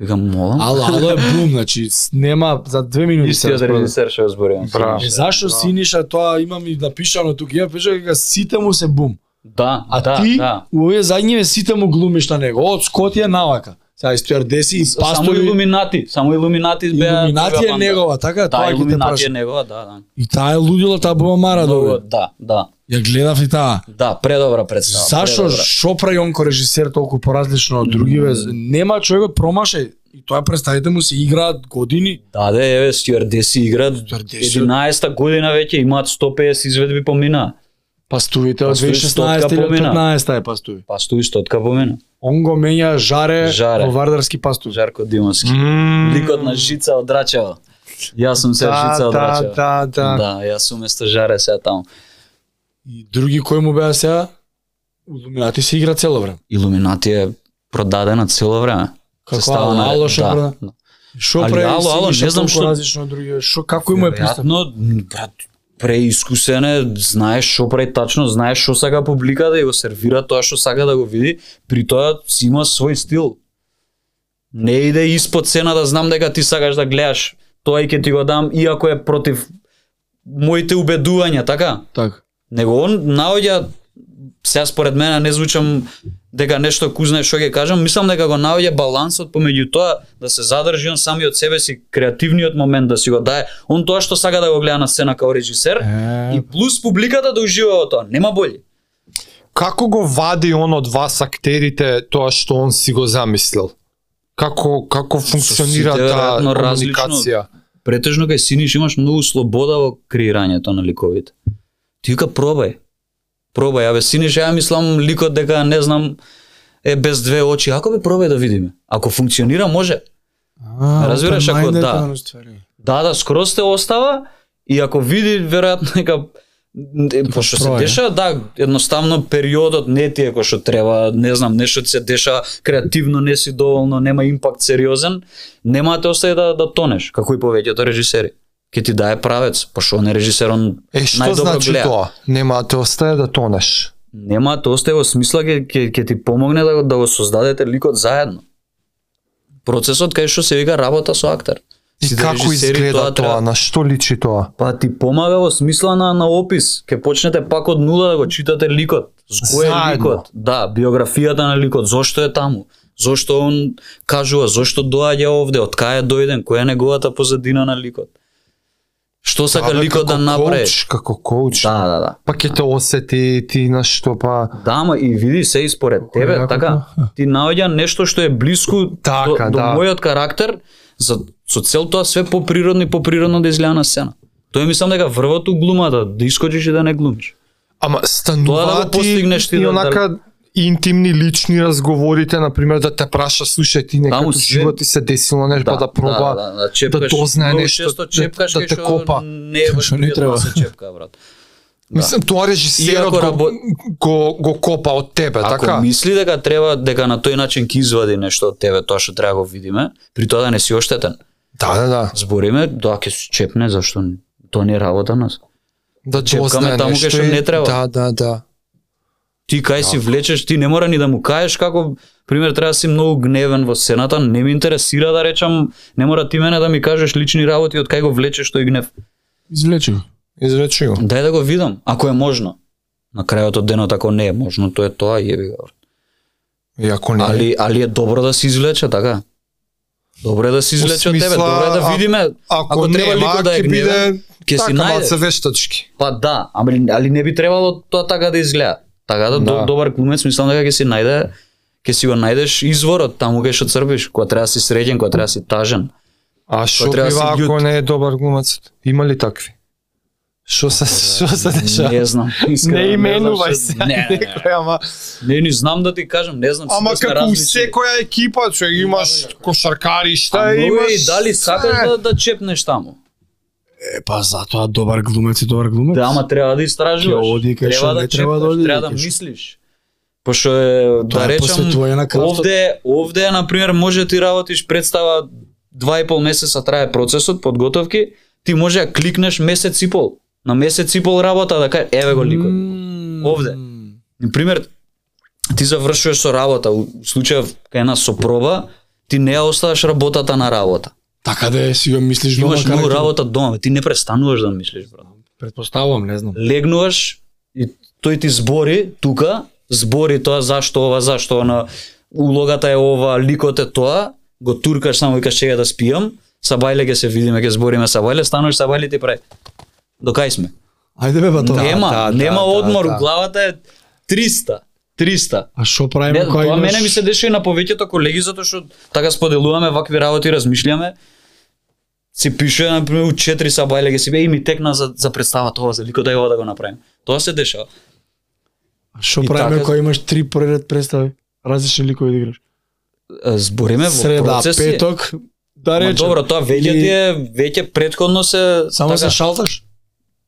A: Викам, молам.
B: Ало, ало е бум, значи с- нема за две минути да се
A: Истиот
B: распродаде.
A: режисер што ја зборувам.
D: Браво.
B: Е,
A: да.
B: зашо Синиша тоа имам и да напишано тука, имам пиша дека сите му се бум.
A: Да,
B: А
A: да,
B: ти
A: да.
B: у овие задњиве сите му глумиш на него. Од Скотија навака. Сега и стюардеси и
A: Само
B: пастови.
A: илуминати, само илуминати беа.
B: Илуминати
A: друга
B: е
A: банда.
B: негова, така?
A: Да,
B: Тоа ќе те
A: илуминати е
B: прашам.
A: негова, да, да.
B: И таа е лудила, таа бума мара
A: Многу,
B: добро.
A: да, да.
B: Ја гледав и таа.
A: Да, предобра представа.
B: Зашо
A: предобра.
B: шо прави онко режисер толку поразлично од другиве? Нема човекот промаше и тоа представете му се играат години.
A: Да, да, еве, стюардеси играат.
B: Стюардеси.
A: 11-та година веќе имаат 150 изведби по мина.
B: Пастувите од
A: Пастуви
B: 2016 или од
A: помина.
B: 15 е пастуви.
A: Па стои стотка по мина.
B: Он го мења жаре,
A: Жаре.
B: во вардарски пастув.
A: Жарко Димовски.
D: М,
A: Ликот на Жица од Драчево. Јас сум се Жица од
B: да,
A: Драчево.
B: да, да.
A: Да, јас сум место Жаре сега таму.
B: И други кои му беа сега? Луминати се игра цело време.
A: Илуминати е продадена цело време.
B: Како
A: Се става
B: Ало,
A: на-
B: Ало шо
A: да,
B: прода?
A: да.
B: Шо
A: Али,
B: прави
A: ало,
B: Синиша
A: ало, не знам
B: толку
A: што-
B: различно од другиве? Шо како му е пристап?
A: Веројатно, брат, преискусен е, знаеш што прави тачно, знаеш што сака публиката и го сервира тоа што сака да го види, при тоа си има свој стил. Не иде испод цената, знам дека ти сакаш да гледаш, тоа и ќе ти го дам, иако е против моите убедувања, така?
B: Така.
A: Него он наоѓа сега според мене не звучам дека нешто кузне што ќе кажам, мислам дека го наоѓа балансот помеѓу тоа да се задржи он сами од себе си креативниот момент да си го дае, он тоа што сака да го гледа на сцена као режисер и плюс публиката да ужива во тоа, нема боли.
D: Како го вади он од вас актерите тоа што он си го замислил? Како како функционира
A: сите
D: таа
A: веројатно различно.
D: комуникација?
A: Претежно кај Синиш имаш многу слобода во креирањето на ликовите. Ти вика пробај. Пробај, абе Синиш, ја мислам ликот дека не знам е без две очи, ако бе пробај да видиме. Ако функционира може. Разбираш, ако да. Да, да, скроз те остава и ако види веројатно дека е, пошто се
B: Проја.
A: деша, да, едноставно периодот не ти е кој што треба, не знам, нешто ти се деша креативно, не си доволно, нема импакт сериозен, нема да те остави да, да тонеш, како и повеќето режисери. Ке ти даде правец, пошто он е режисер, он
D: Е што
A: Најдобро
D: значи
A: гледа.
D: тоа? Нема да те остае да тонеш.
A: нема да те остави во смисла ке, ке, ке ти помогне да, го- да го создадете ликот заедно. Процесот кај што се вика работа со актер.
D: И
A: Сите
D: како
A: режисери треба-
D: изгледа тоа, на што личи тоа?
A: Па ти помага во смисла на, на опис. Ке почнете пак од нула да го читате ликот. С кој е
D: Заедно.
A: ликот? Да, биографијата на ликот. Зошто е таму? Зошто он кажува? Зошто доаѓа овде? Од кај е дојден? Која е неговата позадина на ликот? Што сака
D: Абе,
A: ликот
D: како
A: да направи?
D: коуч, Како коуч.
A: Да, да, да.
D: Па ќе те осети ти на што па
A: Да, ама и види се и според тебе,
D: јако
A: така, ти наоѓа нешто што е близко
D: Така,
A: до,
D: да.
A: до мојот карактер, за, со цел тоа све поприродно и поприродно да изгледа на сцена. Тоа е мислам дека врвото глумата, да искочиш и да не глумиш.
D: Ама станува
A: Тоа да го постигнеш ти
D: и
A: да-
D: онака интимни лични разговорите, на пример да те праша, слушај ти
A: Таму
D: некако
A: се-
D: живот ти се деsilо нешто па да проба.
A: да, да, да, чепкаш,
D: да дознае
A: Многу
D: нешто,
A: често
D: да-
A: чепкаш
D: да
A: кај
D: те
A: што
D: копа.
A: Не е
B: Што не
A: не
B: треба.
A: треба се чепка, брат.
D: Мислам тоа режисерот
A: да. Иако
D: го,
A: рабо-
D: го, го копа од тебе,
A: Ако
D: така?
A: мисли дека треба дека на тој начин ќе извади нешто од тебе, тоа што треба да го видиме, при тоа да не си оштетен.
D: Да, да, да.
A: Збориме, да ќе се чепне, зашто не? тоа не е работа нас.
D: Да
A: Чепкаме
D: дознае
A: таму
D: нешто
A: кај што
D: и-
A: не треба.
D: Да, да, да.
A: Ти кај си влечеш, ти не мора ни да му кажеш како пример треба да си многу гневен во сцената, не ме интересира да речам, не мора ти мене да ми кажеш лични работи од кај го влечеш тој гнев.
B: Извлечи го.
D: Изречи го.
A: Дај да го видам, ако е можно. На крајот од денот ако не е можно, тоа е тоа, јеби го.
D: И ако не.
A: Али али е добро да се извлече, така? Добро е да се извлече од тебе,
D: смисла,
A: добро е да
D: а-
A: видиме.
D: ако,
A: ако
D: не,
A: треба ликот да е
D: ќе биде
A: гневен, ќе си
D: така, малце
A: најде.
D: вештачки.
A: Па да, ама али не би требало тоа така да изгледа. Така да,
D: Да.
A: да. добар глумец мислам дека ќе си најде ќе си го најдеш изворот таму кај што црпиш, кога треба да си среќен, кога треба да си тажен.
D: А што
A: Тоа треба да
D: бива
A: си
D: ако не е добар глумец? Има ли такви? Што се
A: да
D: што се дешава?
A: Не знам. искрено,
D: не
A: знам што-
D: именувај се
A: Не, не, не.
D: некој, ама
A: Не, не знам да ти кажам, не знам.
D: ама
A: сите сме
D: како у
A: различни.
D: секоја екипа, че имаш кошаркари,
A: А
D: шта
A: многу е
D: да имаш?
A: и дали сакаш
D: Е,
A: да, да чепнеш таму?
B: Е, па затоа добар глумец е добар глумец.
A: Да, ама треба да истражуваш.
B: Ќе оди кај што
A: треба да
B: не треба да
A: чекаш,
B: оди,
A: Треба да
B: викаш.
A: мислиш. Пошто е,
B: Тоа
A: да
B: е
A: речам,
B: посветување на крафтот.
A: овде, овде, например, може ти работиш представа два и пол месеца трае процесот, подготовки, ти може да кликнеш месец и пол. На месец и пол работа да кажеш, еве го ликот. Овде. Например, ти завршуваш со работа, у у случајов кај нас со проба, ти не ја оставаш работата на работа.
B: Така да е, си го мислиш дома.
A: Имаш многу
B: карај-
A: работа дома, бе, ти не престануваш да мислиш, брат.
B: Предпоставувам, не знам.
A: легнуваш и тој ти збори тука, збори тоа зашто ова, зашто она, улогата е ова, ликот е тоа, го туркаш само викаш чека да спијам, сабајле ќе се видиме, ќе збориме сабајле, стануваш сабајле и ти прави. До кај сме?
B: Ајде бе, бато.
A: нема, нема одмор,
B: да.
A: главата е 300. 300.
B: А што
A: Не,
B: правиме кога
A: тоа
B: имаш?
A: мене ми се деше и на повеќето колеги затоа што така споделуваме вакви работи, размишляме. Си пише на пример у 4 сабајле ќе си бе и ми текна за за представа тоа за лико да ја ова да го направим. Тоа се дешава.
B: А што
A: И
B: правиме
A: така-
B: кога имаш три поред представи? Различни ликови да играш.
A: Е, збориме во
B: Среда,
A: процеси.
B: петок, да
A: Ма
B: речем.
A: добро, тоа веќе
B: Или
A: ти е веќе предходно се
B: Само
A: така,
B: се шалташ?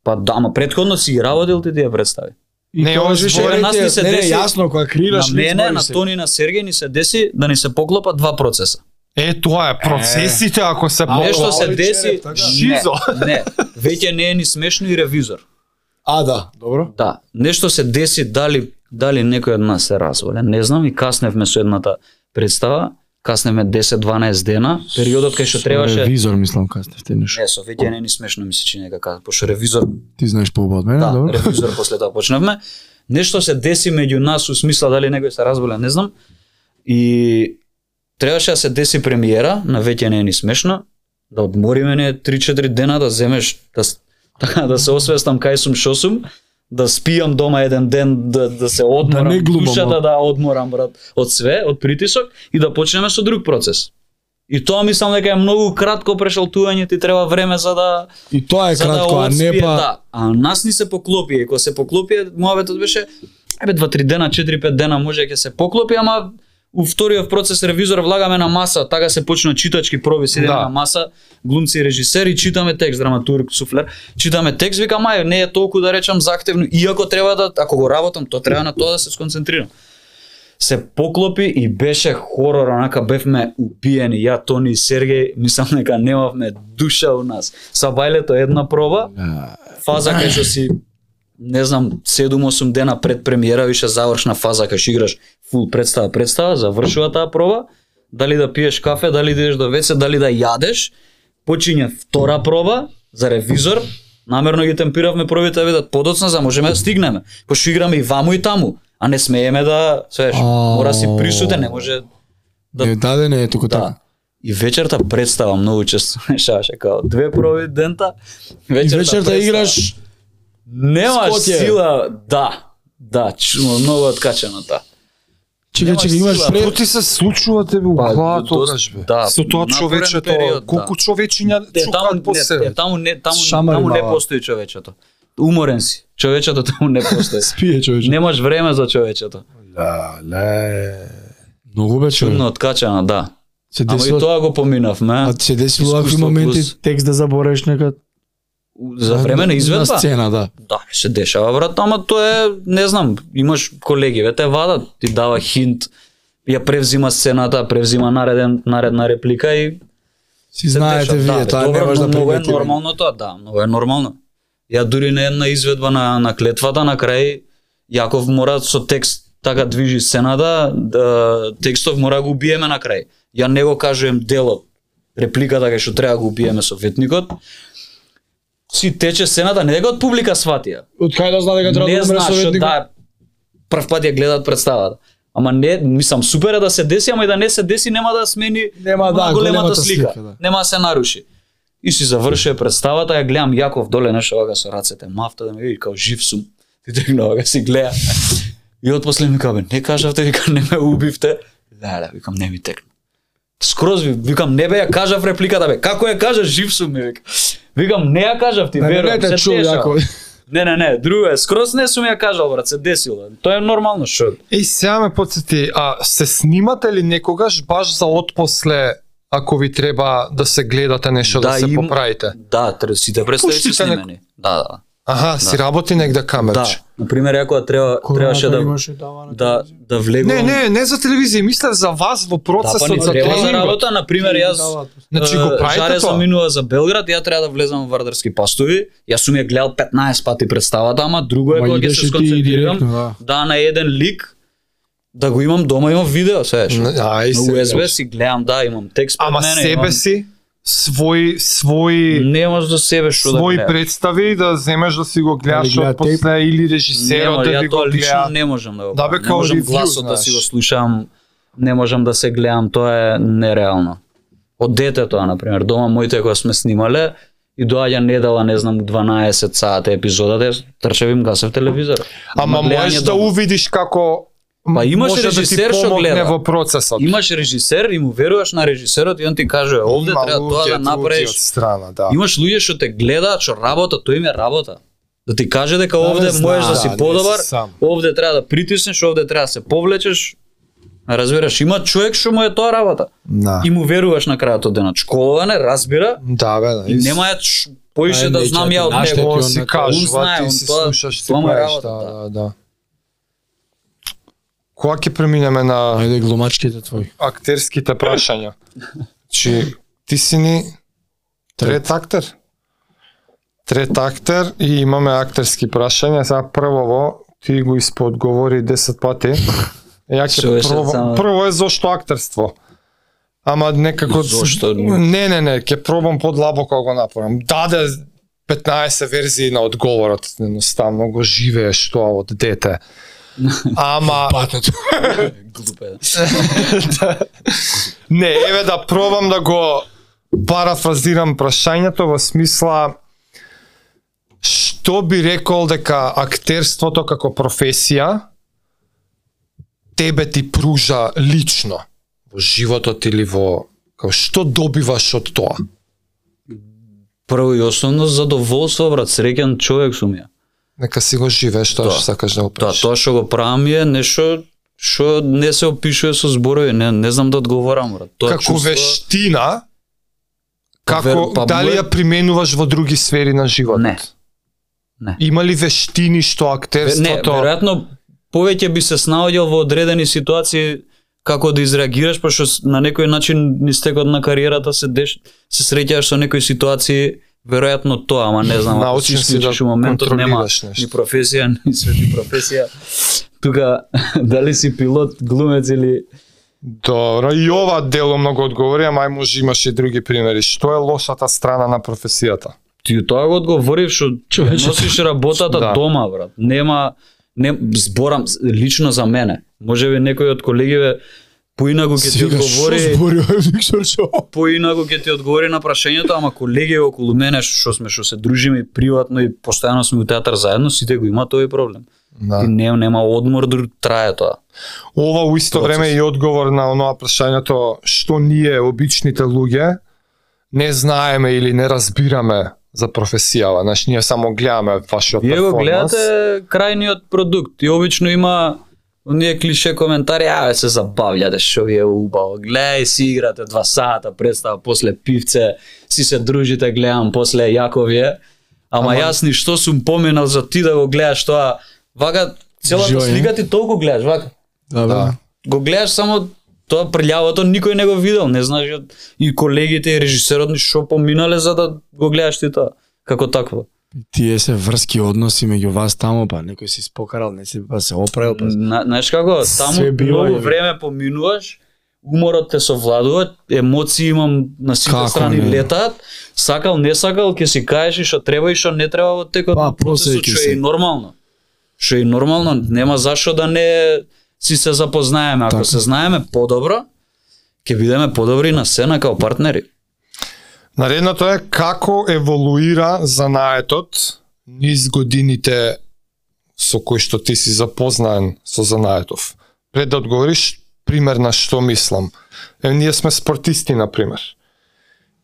A: па да, ама предходно си ги работил ти ти ја представи.
B: И
D: Не,
B: тоа
D: ово
B: беше
D: збори
B: рейтинг.
A: нас ни се
B: не, не,
A: деси-
B: јасно, кога
A: На
B: креираш
A: мене, на Тони, на Сергеј ни се деси да ни се поклопат два процеса.
D: Е, тоа е, процесите ако се
B: А,
A: Нешто
D: поклопат.
A: се
B: овој
A: деси,
B: череп, така?
D: Шизо.
A: не, не, веќе не е ни смешно и ревизор.
B: А, да, добро.
A: Да, нешто се деси дали дали некој од нас се разволе. Не знам и касневме со едната представа, касневме 10-12 дена, периодот кај што требаше
B: Ревизор, мислам, кога сте сте нешто.
A: Не, со веќе не е ни смешно ми се чини дека пошто ревизор
B: Ти знаеш по од мене,
A: да,
B: добро.
A: ревизор после тоа почнавме. Нешто се деси меѓу нас у смисла дали некој се разболе, не знам. И требаше да се деси премиера, на веќе не е ни смешно, да одмориме не 3-4 дена да земеш да с- така да се освестам кај сум што сум, да спијам дома еден ден, да, да се одморам
B: не глумам,
A: душата,
B: а?
A: да одморам брат од све, од притисок и да почнеме со друг процес. И тоа мислам дека е многу кратко прешалтување, ти треба време за да
B: И тоа е
A: за да
B: кратко, а
A: отспие,
B: не па...
A: Да, а нас ни се поклопи, и кога се поклопи, муабетот беше ебе 2-3 дена, 4-5 дена може ќе се поклопи, ама у вториот процес ревизор влагаме на маса, така се почна читачки проби, седеме
D: Да.
A: на маса, глумци и режисери, читаме текст, драматург, суфлер, читаме текст, викам ај, не е толку да речам захтевно, иако треба да ако го работам, тоа треба на тоа да се сконцентрирам се поклопи и беше хорор, онака бевме убиени, ја, Тони и Сергеј, мислам дека немавме душа у нас. Сабајлето е една проба, фаза кај што си не знам 7-8 дена пред премиера више завршна фаза кај што играш фул представа представа завршува таа проба дали да пиеш кафе дали да идеш до веце дали да јадеш почиња втора проба за ревизор намерно ги темпиравме пробите да видат подоцна за можеме да стигнеме пошто играме и ваму и таму а не смееме да свеш
B: Ао.
A: мора си присутен не може Да.
B: Не, да, да, не е туку
A: да
B: така.
A: и вечерта представа многу често шаше као две проби дента
B: И
A: вечерта,
B: вечерта
A: представа.
B: играш
A: Немаш
B: Скот е.
A: сила, да. Да, чумо, многу откачено та.
B: Чека,
A: Немаш
B: чека, имаш
A: сила,
B: пред...
D: Тоа ти се случува тебе у
A: Па,
D: глава
A: дос-
D: тогаш бе.
A: да,
D: Со тоа
A: напорен
D: човечето,
A: период, да.
D: колку човечиња
A: Е, таму,
D: чукаат по
A: не, е,
D: себе.
A: таму не, таму,
B: Шамари
A: таму не
B: мала.
A: постои човечето. Уморен си. Човечето таму не постои.
B: Спие, човече.
A: Немаш време за човечето. Па,
B: Да, ле... Многу бе, човече.
A: Чудно откачано, да.
B: Се
A: Ама и
B: десило...
A: тоа го поминавме.
B: А ти се десило вакви
A: Искуство плюс-
B: моменти текст да забореш некад? Да,
A: За време на изведба?
B: На сцена, да.
A: Да, се дешава брат, ама тоа е, не знам, имаш колеги, ве те вадат, ти дава хинт, ја превзима сцената, превзима нареден, наредна реплика и
B: Си
A: се
B: знаете
A: дешава.
B: вие,
A: бе,
B: тоа не
A: добро,
B: може да
A: но Многу е
B: примети.
A: нормално тоа, да, многу е нормално. Ја дури на една изведба на, на клетвата, на крај Јаков мора со текст така движи сцената, да, текстов мора го убиеме на крај. Ја не го кажувам делот, репликата кај што треба да го убиеме со ветникот. Си тече сцената, не дека од публика сватија.
B: Од кај да знае дека треба да
A: не
B: умре
A: знаеш,
B: советник?
A: да, прв пат ја гледаат представата. Ама не, мислам, супер е да се деси, ама и да не се деси, нема да смени
B: Нема, да,
A: големата,
B: големата
A: слика.
B: слика, да.
A: Нема да се наруши. И си завршува представата, ја гледам Јаков доле нешто вака со рацете, мафта да ме види, као жив сум. Ти тргна вака си гледа. И отпосле ми кажа, бе, не кажавте, вика, не ме убивте. Да, да, викам, не ми текна. Скроз ви, викам, не бе, ја кажав репликата, бе, како ја кажа, жив сум, ми вика. Викам, не ја кажав ти,
B: Да, не, не
A: верувам,
B: те
A: се
B: чу,
A: дешава.
B: Јако.
A: Не, не, не, друго е, скроз не сум ја кажал, брат, се десило. Тоа е нормално, шо?
D: Еј, сега ме подсети, а се снимате ли некогаш баш за отпосле ако ви треба да се гледате нешто да,
A: Да,
D: да се
A: им-
D: поправите?
A: Да, тр- сите представи се
D: Пуштите
A: снимени. Да, да.
D: Аха, си работи негде
A: Да,
D: камерче.
A: на пример, ако треба требаше да да да влегувам.
D: Не, не, не за телевизија, мислев за вас во
A: Да, па
D: процесот
A: ни
D: за
A: треба за
D: тренингот.
A: работа, на пример, јас
D: Значи го
A: е,
D: правите
A: Жаре
D: тоа?
A: заминува за Белград, ја треба да влезам во Вардарски пастови. Јас сум ја гледал 15 пати представата, ама друго е
B: Ма
A: кога ќе
B: идеше
A: се
B: ти
A: сконцентрирам
B: директно, да.
A: да на еден лик Да го имам дома, имам видео, сееш.
D: Н- Ај,
A: На
D: се.
A: USB си гледам, да, имам текст пред
D: Ама
A: мене,
D: себе
A: имам...
D: си, свои, свои,
A: Немаш до себе што да
D: свои
A: гледаш.
D: представи да земеш да си го гледаш
B: гледа
D: од после или режисерот
A: Нема,
D: да ти
A: ја
D: го
A: тоа лично
D: гледа.
A: не можам да го
D: Да,
A: правам.
D: бе,
A: не
D: као
A: можам
D: ревју,
A: гласот да
D: знаеш.
A: си го слушам, не можам да се гледам, тоа е нереално. Од дете тоа, например, дома моите кога сме снимале, и доаѓа недела, не знам, у 12 сата епизодата, јас трчев им гасев телевизор.
D: Ама можеш да увидиш како
A: Па имаш
D: може да ти
A: режисер што
D: помогне
A: гледа.
D: во процесот.
A: Имаш режисер и му веруваш на режисерот и он ти каже, овде
D: Има
A: треба тоа
D: луѓе,
A: да
D: луѓе од
A: направиш.
D: страна, да.
A: Имаш луѓе што те гледаат, што работа, тоа им е работа. Да ти каже дека овде
B: не
A: можеш да
B: знам,
A: си
B: да, не
A: подобар,
B: си сам.
A: овде треба да притиснеш, овде треба да се повлечеш. Разбираш, има човек што му е тоа работа.
D: Да.
A: И му веруваш на крајот од денот. Школоване, разбира,
D: Да, бе, да.
A: и нема ја ш- поише да
B: Ај,
A: знам
B: неќе,
A: ја од
B: наште
A: него.
B: ти
D: Тоа
B: он
D: си
B: на-
D: кажува,
A: знае,
D: ти
A: он
D: си
A: тоа-
D: слушаш, ти
A: тоа му е
D: правиш,
A: работа,
D: да,
A: да.
D: да, да. Кога ќе преминеме на
B: Ајде глумачките твои.
D: актерските прашања? Чи ти си ни трет актер? Трет актер и имаме актерски прашања. Сега првово ти го исподговори 10 пати. Ја ќе
A: Шо беше
D: прво,
A: само-
D: прво е зошто актерство. Ама некако
A: Зошто?
D: Не, не, не, ќе пробам подлабоко да го направам. Даде 15 верзии на одговорот, едноставно го живееш тоа од дете. Ама
B: Патето.
A: Глупе.
D: Не, еве да пробам да го парафразирам прашањето во смисла што би рекол дека актерството како професија тебе ти пружа лично во животот или во како што добиваш од тоа?
A: Прво и основно задоволство, брат, среќен човек сум ја.
D: Нека си го живееш тоа
A: Да.
D: што сакаш да го
A: Тоа
D: правиш.
A: тоа што го правам е нешто што не се опишува со зборови, не не знам да одговорам, брат. Тоа
D: како вештина
A: Па
D: како
A: вер- па
D: дали
A: мој-
D: ја применуваш во други сфери на животот?
A: Не. Не.
D: Има ли вештини што
A: Не,
D: актерството
A: веројатно повеќе би се снаоѓал во одредени ситуации како да изреагираш, пошто с- на некој начин низ текот на кариерата се деш, се среќаваш со некои ситуации, веројатно тоа, ама не знам, ако се
D: Научен си да
A: исклучиш у моментот нема
D: контролираш нешто.
A: ни професија, ни свети професија. Тука дали си пилот, глумец или
D: Добро, и ова дело многу одговори, ама ај може имаш и други примери. Што е лошата страна на професијата?
A: Ти тоа го одговорив што
B: Човече.
A: носиш работата
D: Да.
A: да. дома, брат. Нема не зборам с- лично за мене. Можеби некој од колегиве поинаку ќе ти
B: Сега што
A: одговори,
B: збори овој Виктор Шо?
A: поинаку ќе ти одговори на прашањето, ама колеги околу мене што сме што се дружиме и приватно и постојано сме у театар заедно, сите го има тој проблем.
D: Да.
A: И не нема одмор друг трае тоа.
D: Ова у исто
A: Процес.
D: време е и одговор на оноа прашањето што ние обичните луѓе не знаеме или не разбираме за професијава. Значи ние само гледаме вашиот
A: Вие го
D: перформанс.
A: гледате крајниот продукт и обично има оние клише коментари, а се забавляте што ви е убаво. Гледај си играте два сата представа, после пивце, си се дружите, гледам после јако ви е. Ама,
D: Ама-
A: јас ни што сум поминал за ти да го гледаш тоа. Вака целата
B: Живо е, не?
A: слика ти толку гледаш, вака.
B: Да,
D: Да.
B: да.
A: Го гледаш само тоа прљавото никој не го видел, не знаеш ја- и колегите и режисерот ни што поминале за да го гледаш ти тоа како такво.
B: Тие се врски односи меѓу вас тамо, па некој си спокарал, не си па се оправил, па
A: На, знаеш како, таму
B: Се бива,
A: многу
B: јаве.
A: време поминуваш, уморот те совладува, емоции имам на сите
B: Како
A: страни
B: не?
A: летаат, сакал, не сакал, ќе си кажеш и што треба и што не треба во текот
B: Па,
A: на процесот,
B: просеќи
A: што
B: се.
A: е и нормално. Што е и нормално, нема зашо да не си се запознаеме. Ако
B: Така.
A: се знаеме подобро, ќе бидеме подобри на сцена како партнери.
D: Наредното е како еволуира занаетот низ годините со кои што ти си запознаен со занаетов. Пред да одговориш, пример на што мислам. Е, ние сме спортисти, на пример.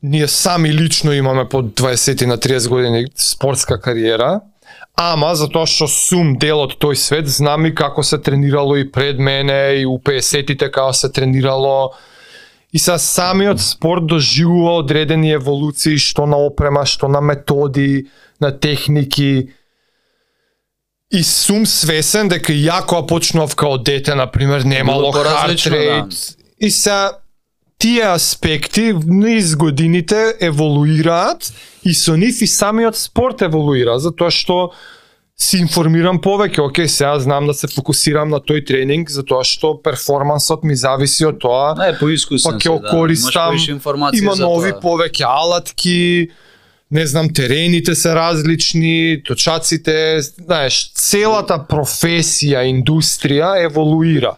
D: Ние сами лично имаме по 20 на 30 години спортска кариера, ама затоа што сум дел од тој свет, знам и како се тренирало и пред мене, и у 50-тите како се тренирало, И са самиот спорт доживува одредени еволуции, што на опрема, што на методи, на техники. И сум свесен дека и ја кога почнав као дете, например, немало
A: Било
D: хард
A: поразлично, да.
D: рейт. И се тие аспекти низ годините еволуираат и со нив и самиот спорт еволуира, затоа што си информирам повеќе, окей, сега знам да се фокусирам на тој тренинг, затоа што перформансот ми зависи од тоа.
A: Не, поискусен
D: Пак
A: си,
D: ја
A: да. Имаш
D: користам,
A: повеќе информации
D: Па Има
A: за
D: нови
A: тоа.
D: повеќе алатки, не знам, терените се различни, точаците, знаеш, целата професија, индустрија еволуира.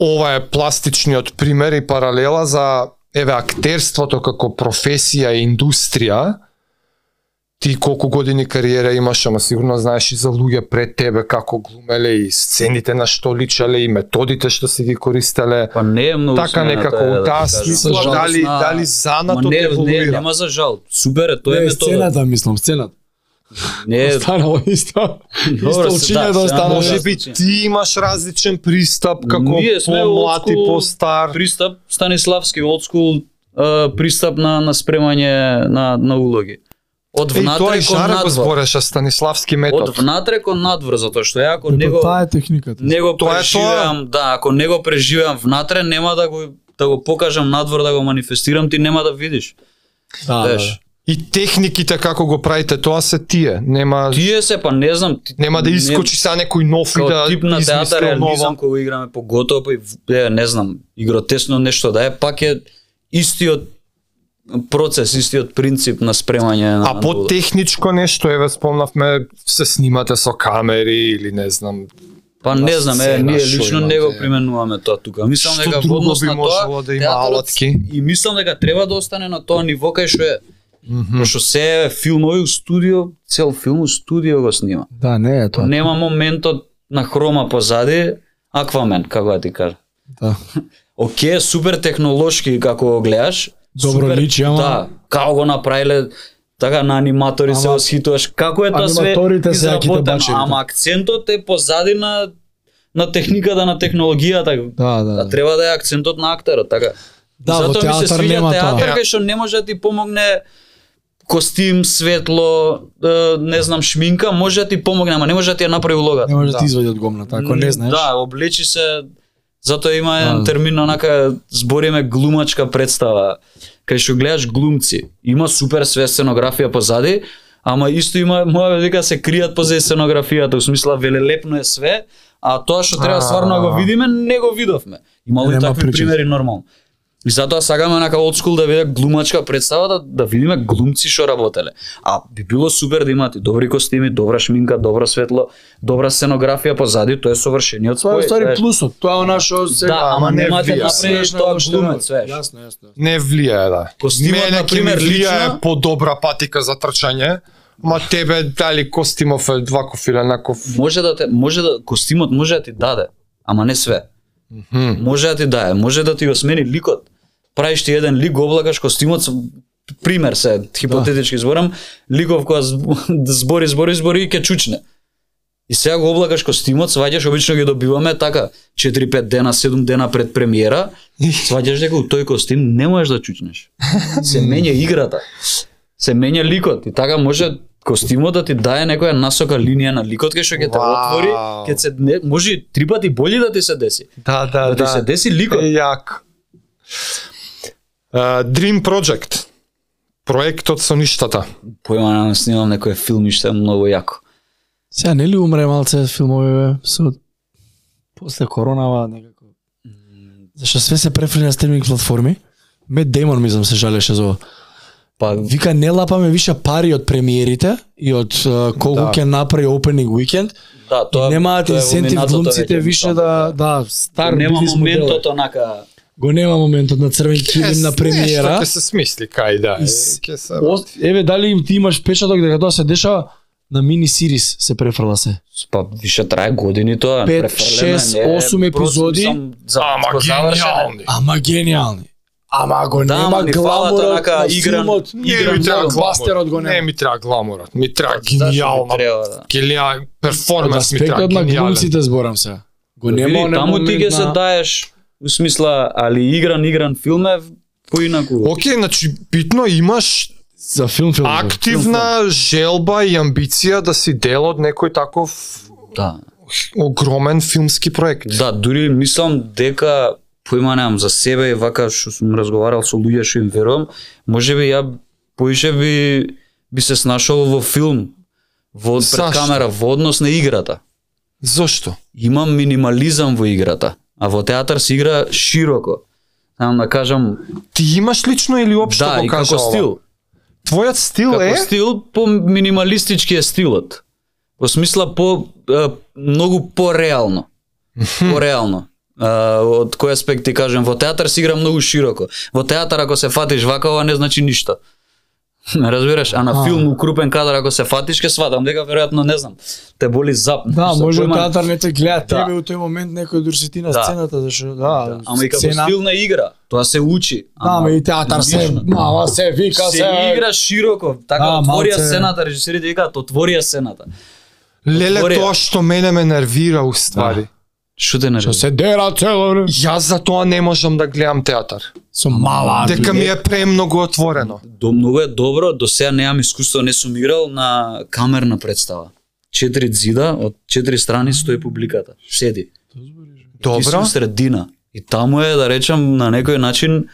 D: Ова е пластичниот пример и паралела за еве актерството како професија и индустрија. Ти колку години кариера имаш, ама сигурно знаеш и за луѓе пред тебе како глумеле и сцените на што личале и методите што се ги користеле
A: Па не е многу
D: така
A: смена
D: некако
A: таа, да
D: во
A: ти
D: таа
A: кажам.
D: смисла
A: Жал,
D: дали
A: сна-
D: дали
A: Ма
D: занатот
A: не, не, да
D: еволуира.
A: нема за жал. Супер е,
B: Не,
A: тоа е метода.
B: сцената, мислам, сцената.
A: Не, е-
B: Останало исто. Исто
A: да,
B: учињето
A: сега
B: останало.
A: може
D: Може би
A: Значи.
D: ти имаш различен пристап како
A: Ние сме
D: помлад и
A: old school
D: постар.
A: пристап Станиславски old school а, пристап на на спремање на на улоги. Од
D: Е, и тоа
A: внатре
D: и
A: кон
D: Жара го
A: надвор.
D: збореше Станиславски метод.
A: Од внатре кон надвор, затоа што ја ако
B: Па,
A: не го
B: Таа е техниката.
A: не го
D: Тоа е
A: преживеам, да, ако не го преживеам внатре, нема да го да го покажам надвор да го манифестирам, ти нема да видиш.
B: Да, да, да.
A: Знаеш,
D: И техниките како го правите тоа се тие, нема
A: тие се па не знам, ти,
D: нема да
A: не-
D: искочи са некој нов и
A: Као
D: да
A: тип на театар
D: измисли
A: реализам
D: нова.
A: кој го играме поготово па и в- е, не знам, игротесно нешто да е, пак е истиот процес, истиот принцип на спремање на
D: А по
A: на-
D: техничко нешто, еве спомнавме, се снимате со камери или не знам,
A: Па
D: на
A: не знам, е,
D: сцена,
A: ние
D: шо
A: лично
D: имате?
A: не го применуваме тоа тука. Мислам
D: Што
A: дека во
D: друго
A: однос
D: би
A: на
D: можело
A: тоа
D: да има
A: театарот-
D: алатки?
A: И мислам дека треба да остане на тоа ниво кај што е. Што се е филмови у студио, цел филм у студио го снима.
B: Да, не е
D: Така.
B: тоа.
A: Нема моментот на хрома позади, аквамен, како да ти кажам.
B: Да.
A: Оке, супер технолошки како го гледаш.
B: Добро
A: супер,
B: личи, ама-
A: Да, како го направиле така на аниматори се
B: Ама-
A: восхитуваш. Како е тоа све
B: Аниматорите се јаките
A: изработено,
B: бачери, да.
A: ама акцентот е позади на на техниката, на технологијата.
B: Да, да.
A: А
B: да.
A: треба да е акцентот на актерот, така.
B: Да, во
A: Затоа ми се
B: театар
A: свиѓа
B: нема тоа.
A: театар, кај што не може да ти помогне костим, светло, е, не знам, шминка, може да ти помогне, ама не може да ти ја направи улогата.
B: Не може да
D: Да.
B: ти извади од гомната, ако не знаеш.
A: Да, облечи се затоа има
B: Да.
A: еден термин онака збориме глумачка представа. Кај што гледаш глумци, има супер све сценографија позади, ама исто има моја велика се кријат позади сценографијата, у смисла велелепно е све, а тоа што треба стварно да го видиме, не го видовме. Имало и
B: Нема
A: такви
B: причина.
A: примери нормално. И затоа сакаме онака old school да биде глумачка представа да, да видиме глумци што работеле. А би било супер да имате добри костими, добра шминка, добро светло, добра сценографија позади, тоа е совршениот
B: Тоа е
A: спој,
B: устари
A: знаеш.
B: плюсот. Тоа е она што сега.
A: Да, ама
D: ама не
A: немате
D: вие.
A: да направиш
B: Свеш на
A: тоа
B: овој
A: глумец,
B: штемот.
A: знаеш.
B: Јасно, јасно.
D: не влијае, да.
A: Костимот,
D: Мене ќе
A: например,
D: ми влијае
A: лично-
D: по-добра патика за трчање, ма тебе дали Костимов е дваков или еднаков.
A: Може да те, може да костимот може да ти даде, ама не све.
D: Хм.
A: Може да ти дае, може да ти го смени ликот. Правиш ти еден лик, го облагаш костимот со пример се хипотетички зборам, ликов која зб- збори, збори, збори и ќе чучне. И сега го облагаш костимот, сваѓаш, обично ги добиваме така 4-5 дена, 7 дена пред премиера, сваѓаш дека у тој костим не можеш да чучнеш. Се менја играта. Се менја ликот и така може костимот да ти дае некоја насока линија на ликот кај што ќе те
D: Вау.
A: отвори, ќе се не, може и три пати боли да ти се деси.
D: Да, да,
A: Да, ти се деси ликот.
D: Е, Јак. Uh, Dream Project. Проектот со ништата.
A: Појма на снимам некој филмиште многу јако.
B: Сега нели умре малце филмови бе, со после коронава некако. Зашто све се префрли на стриминг платформи? Мед Деймон мислам се жалеше за ова.
A: Па
B: Вика не лапаме више пари од премиерите и од е, колку
D: Да.
B: ќе направи opening weekend.
A: да,
B: Тоа,
A: тоа
B: немаат
A: тоа е во
B: инсентив
A: минатото
B: глумците
A: веќе,
B: више
A: мислам,
B: да да стар
A: нема
B: бизнес модел е.
A: моментот онака
B: Го нема моментот на црвен килим на премиера.
A: така
D: Нешто ќе се смисли, кај да. е,
B: Ис-
D: Ќе се...
B: О, Еве дали им ти имаш печаток дека тоа се дешава на мини сирис се префрла се.
A: па више трае години тоа
B: Пет,
A: префрлено е,
B: шест,
A: не е,
B: осум
A: просто,
B: епизоди.
A: мислам, за
D: Ама
A: го завршено е.
D: гениални.
B: Ама гениални. Ама го
A: Да, ама
B: нема
A: ни
B: гламурот
A: фалат онака
B: на
A: игран-
B: филмот.
D: Не
B: многу.
D: ми треба гламурот.
B: Бластерот го
D: Не
B: нема.
D: ми треба гламурот. Ми треба
A: Зашто би
D: гениална
A: Значи, треба, да.
D: гениален
B: Од
D: перформанс ми треба
B: аспектот на
D: гениален.
B: глумците зборам се. Го
A: Види,
B: нема
A: таму ти ќе се да- даеш у смисла али игран игран филм е поинаку.
D: Океј, значи битно имаш
B: за филм филм.
D: активна желба и амбиција да си дел од некој таков
A: Да.
D: огромен филмски проект.
A: Да, дури мислам дека поима немам за себе и вака што сум разговарал со луѓе што им верувам, можеби ја поише би би се снашол во филм Во, пред
D: Зашто?
A: камера, во однос на играта.
D: Зошто?
A: има минимализам во играта, а во театар се игра широко. Сам да кажам,
D: Ти имаш лично или општо
A: да,
D: го
A: и како
D: кажа ова?
A: стил.
D: Твојот стил
A: Како
D: е...
A: стил по минималистички е стилот. Во смисла по е, многу пореално. Пореално. Е, од кој аспект ти кажам, во театар се игра многу широко. Во театар ако се фатиш вака, ова не значи ништо. Ме разбираш, а на филм укрупен кадар ако се фатиш, ке сватам дека веројатно не знам. Те боли зап.
B: Да,
A: за
B: може
A: појма-
B: театар не те гледа
A: Да.
B: тебе у тој момент некој друг си ти на
A: Да.
B: сцената, зашто да,
A: Ама и како
B: сцена.
A: стилна игра, тоа се учи.
B: Да, ама и театар се,
A: лично.
B: мала се, вика се.
A: се игра широко, така
B: Да,
A: отворија
B: малце.
A: сцената, режисерите викаат отворија сцената.
D: Леле,
A: Отворија.
D: тоа што мене ме нервира у ствари.
A: Да. Што те
B: Што се дера цело време.
D: Јас за тоа не можам да гледам театар.
B: Со мала.
D: Дека ми
B: е
D: е премногу отворено.
A: До многу е добро, до сега немам искуство, не сум играл на камерна представа. Четири зида, од четири страни стои публиката. Седи. Ти си
D: Добро?
A: у средина. И таму е, да речам, на некој начин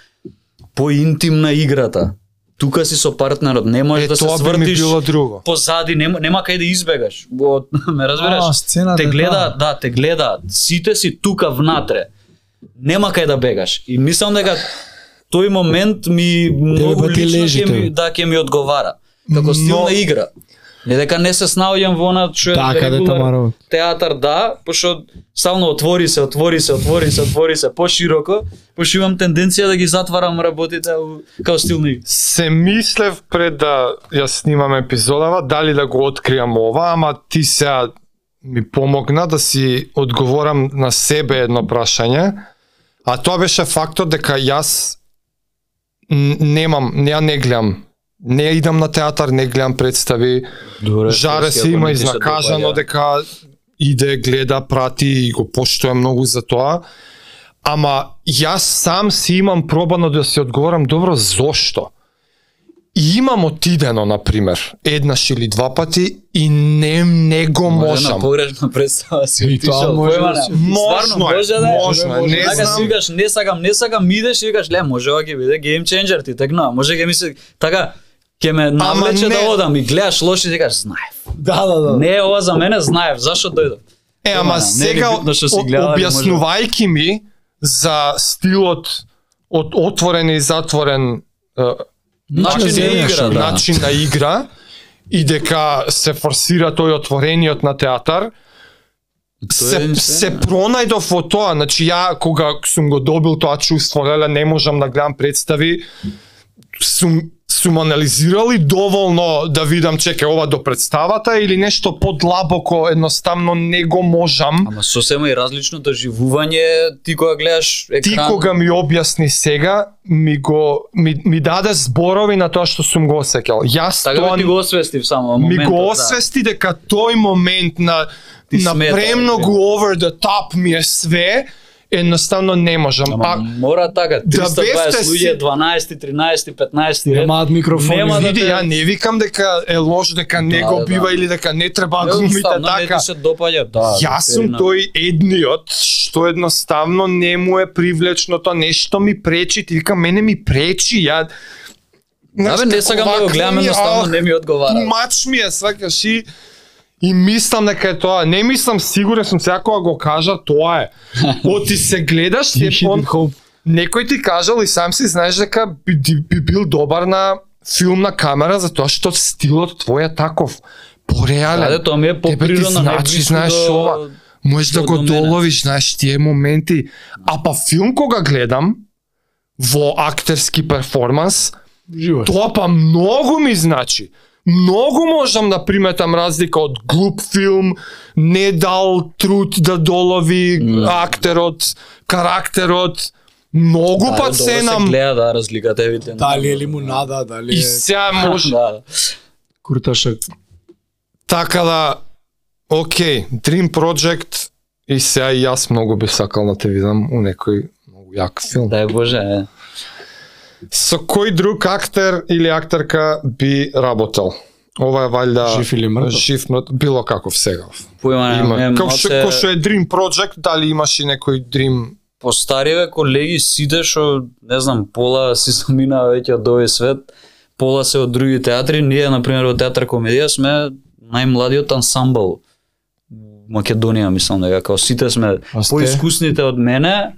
A: поинтимна играта. Тука си со партнерот, не можеш
D: Е,
A: да се
D: тоа би ми
A: свртиш
D: било друго.
A: позади, нема, нема кај да избегаш. Во- Ме разбираш?
B: сцената.
A: те
B: да.
A: гледаат, да, те гледаат. Сите си тука внатре. Нема кај да бегаш. И мислам дека тој момент ми многу
B: бе, ти
A: лично
B: лежи
A: ќе ми,
B: тој.
A: да, ќе ми одговара. Како стилна
D: Но-
A: игра. Не дека не се снаоѓам во она што е
B: Да, каде
A: регулар-
B: тамаро.
A: театар, да, пошто стално отвори се, отвори се, отвори се, отвори се пошироко, пошто имам тенденција да ги затварам работите у- као стилни игри.
D: Се мислев пред да ја снимам епизодава, дали да го откриам ова, ама ти сега ми помогна да си одговорам на себе едно прашање. А тоа беше фактот дека јас н- немам, ја не гледам. Не идам на театар, не гледам представи.
A: Добре,
D: Жаре се има изнакажано дека иде, гледа, прати и го поштоја многу за тоа. Ама јас сам си имам пробано да се одговорам добро зошто. И имам отидено, на пример, еднаш или два пати и не, не го
A: Може на
D: можам.
A: погрешна представа си
B: И тоа
A: отишел,
B: може
A: појма
B: да
A: нема.
B: се-
A: Стварно,
D: Можно е,
A: може да е.
D: можно е,
B: Може,
D: не
B: може.
A: Знака си
D: знам.
A: викаш не сакам, не сакам, ми идеш и викаш ле, може ова ќе биде гейм ченџер ти текна, може ќе ми се така ќе ме навлече
D: не.
A: да одам и гледаш лоши и ти кажеш знаев.
B: Да, да, да.
A: Не е ова за мене, знаев, зашо да дојдов.
D: Е,
A: Ема, не
D: ама
A: е ли
D: сега
A: битно што си
D: о-
A: гледала, не може да-
D: објаснувајки ми за стилот од отворен и затворен е,
A: Значи не
B: земјаш,
A: игра, да.
D: начин на игра и дека се форсира тој отворениот на театар, се,
A: Тоа е
D: се
A: сцена.
D: пронајдов во тоа, значи ја кога сум го добил тоа чувство, леле не можам да гледам представи, сум сум анализирал и доволно да видам чека ова до представата или нешто подлабоко едноставно не го можам.
A: Ама сосема и различно доживување ти кога гледаш екран.
D: Ти кога ми објасни сега, ми го ми, ми даде зборови на тоа што сум го осеќал. Јас
A: Така
D: тоа
A: бе ти го освестив само во
D: ми
A: моментот.
D: го
A: да.
D: освести дека тој момент на
A: Ти
D: на
A: смета, да.
D: премногу
A: бе.
D: over the top ми е све, едноставно не можам.
A: Ама
D: А,
A: мора така,
D: Да
A: 320
D: бевте си-
A: луѓе, 12, 13, 15 ред.
B: Немаат микрофони.
A: Нема да
D: види,
A: те-
D: ја не викам дека е лош, дека не
A: Да,
D: го
A: да,
D: бива
A: да.
D: или дека не треба да
A: Едноставно,
D: глумите
A: не
D: така.
A: ти се допаѓа, да.
D: Јас сум
A: верно.
D: тој едниот што едноставно не му е привлечно тоа нешто ми пречи, ти викам мене ми пречи, ја Значи,
A: Да, бе, не сакам да го гледам, едноставно не ми одговара.
D: Мач ми е, сваќаш и и мислам дека е тоа. Не мислам, сигурен сум сега кога го кажа, тоа е. Оти се гледаш,
B: Ти
D: е он,
B: хиден хоп.
D: некој ти кажал и сам си знаеш дека би, би, би бил добар на филмна камера затоа што стилот твој е таков.
A: Ајде,
D: Пореален.
A: Да, тоа ми е
D: Тебе ти
A: поприродно
D: значи,
A: најблиску
D: знаеш
A: до-
D: ова. Можеш да
A: до
D: го
A: до мене.
D: доловиш, знаеш, тие моменти. А па филм кога гледам, во актерски перформанс,
B: Живот.
D: тоа па многу ми значи. Многу можам да приметам разлика од глуп филм, не дал труд да долови актерот, карактерот, многу
A: Да,
D: да,
A: добро
D: пат се
A: Се
D: нам
A: гледа да разликата е видна.
B: Дали е лимунада, дали
D: и
B: е
D: сега може
A: Да.
B: курташак.
D: така да океј, Dream Project и сега и јас многу би сакал да те видам у некој многу јак филм.
A: Дај Боже. е.
D: Со кој друг актер или актерка би работел? Ова е
A: Да.
D: валјда
B: Жив или мртов?
D: Жив мртв, било каков сега.
A: Појма
D: Има.
A: не,
D: Како што како што
A: малце
D: е Dream Project, дали имаш и некој Dream
A: постариве колеги сите што не знам пола си замина веќе од овој свет, пола се од други театри, ние на пример во театар комедија сме најмладиот ансамбл во Македонија, мислам дека како сите сме
B: А сте?
A: поискусните од мене.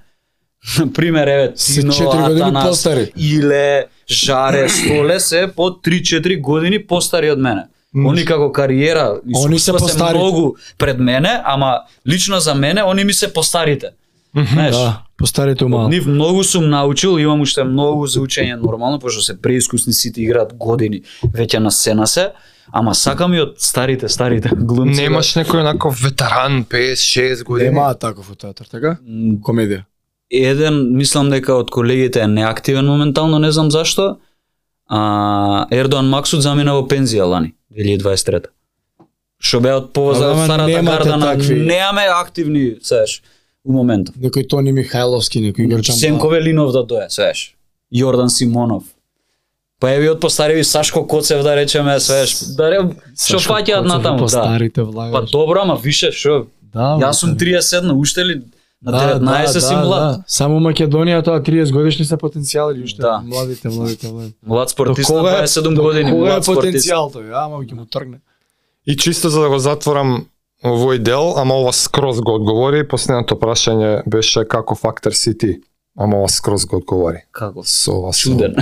A: На пример, еве
B: Се
A: Тино,
B: четири години
A: Атанас,
B: постари.
A: Иле, Жаре, Столе се по 3-4 години постари од мене.
D: Мм.
A: Они како кариера,
B: Они се
A: искуства се
B: постари.
A: многу пред мене, ама лично за мене они ми се постарите. Знаеш?
B: Да, постарите
A: Од
B: мало.
A: нив многу сум научил, имам уште многу за учење нормално, пошто се преискусни сите играат години веќе на сцена се, ама сакам и од старите, старите глумци. да-
D: Немаш некој онаков ветеран 5-6 години.
B: Нема таков во театар, така?
A: М,
B: Комедија.
A: Еден, мислам дека од колегите е неактивен моментално, не знам зашто. А, Ердоан Максут замина во пензија лани, 2023 Што беа од повоза
B: Ама,
A: од старата
B: немате
A: гарда на
B: такви.
A: немаме активни, сееш, у моментов.
B: Некој Тони Михајловски, некој Грчан.
A: Сенко Велинов да дое, свеш. Јордан Симонов. Па еви од постареви Сашко Коцев да речеме, свеш. Да ре, што
B: Сашко
A: фаќаат
B: Коцев
A: натаму,
B: по
A: да.
B: старите
A: Па
B: влагаш.
A: добро, ама више, што?
B: Да, бе,
A: Јас сум
B: стари.
A: 37, уште ли на
B: Да,
A: 19
B: да,
A: си
B: да,
A: млад.
B: да. Само Македонија тоа 30 годишни се потенцијали уште
A: Да.
B: младите, младите, младите.
A: Млад спортист на
B: До кога е-
A: 27
B: до
A: години,
B: кога е
A: млад спортист.
B: потенцијалтот, ама ќе му тргне.
D: И чисто за да го затворам овој дел, ама ова скроз го одговори, последното прашање беше како фактор си ти. Ама ова скроз го одговори.
A: Како?
D: Со ова со-
A: Чуден.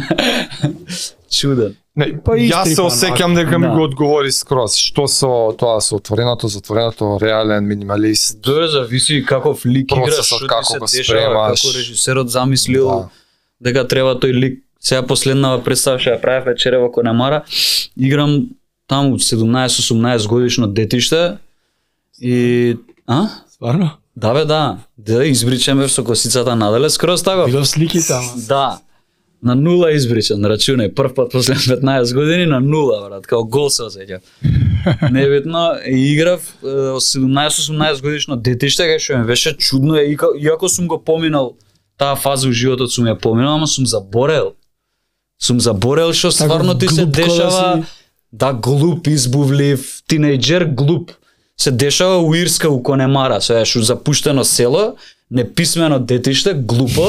A: Чуден.
D: Не,
B: Па
D: па
B: истрипан,
D: јас се осеќам дека ми
A: да.
D: го одговори скроз. Што со тоа со отвореното, затвореното, реален минималист.
A: Добре, зависи каков лик играш,
D: Процесот,
A: што
D: како
A: ти
D: го
A: се дешава,
D: спремаш.
A: како режисерот замислил
D: Да.
A: дека треба тој лик. Сега последнава представа што ја правев вечера во Конемара, играм таму 17-18 годишно детиште и а?
B: Стварно?
A: Да бе, да. Деде избричен бев со косицата наделе скроз така, тако.
B: Видов сликите, ама.
A: Да. На нула избричен, рачуне, прв пат после 15 години на нула, брат, као гол се осеќа. Небитно, и играв е, 17-18 годишно детиште, кај што ми беше чудно, е, иако, иако сум го поминал таа фаза у животот, сум ја поминал, ама сум заборел. Сум заборел што стварно ти се
B: глуп кода
A: дешава, да, глуп, избувлив, тинејџер глуп. Се дешава у Ирска, у Конемара, се еш, у запуштено село, неписмено детиште, глупо,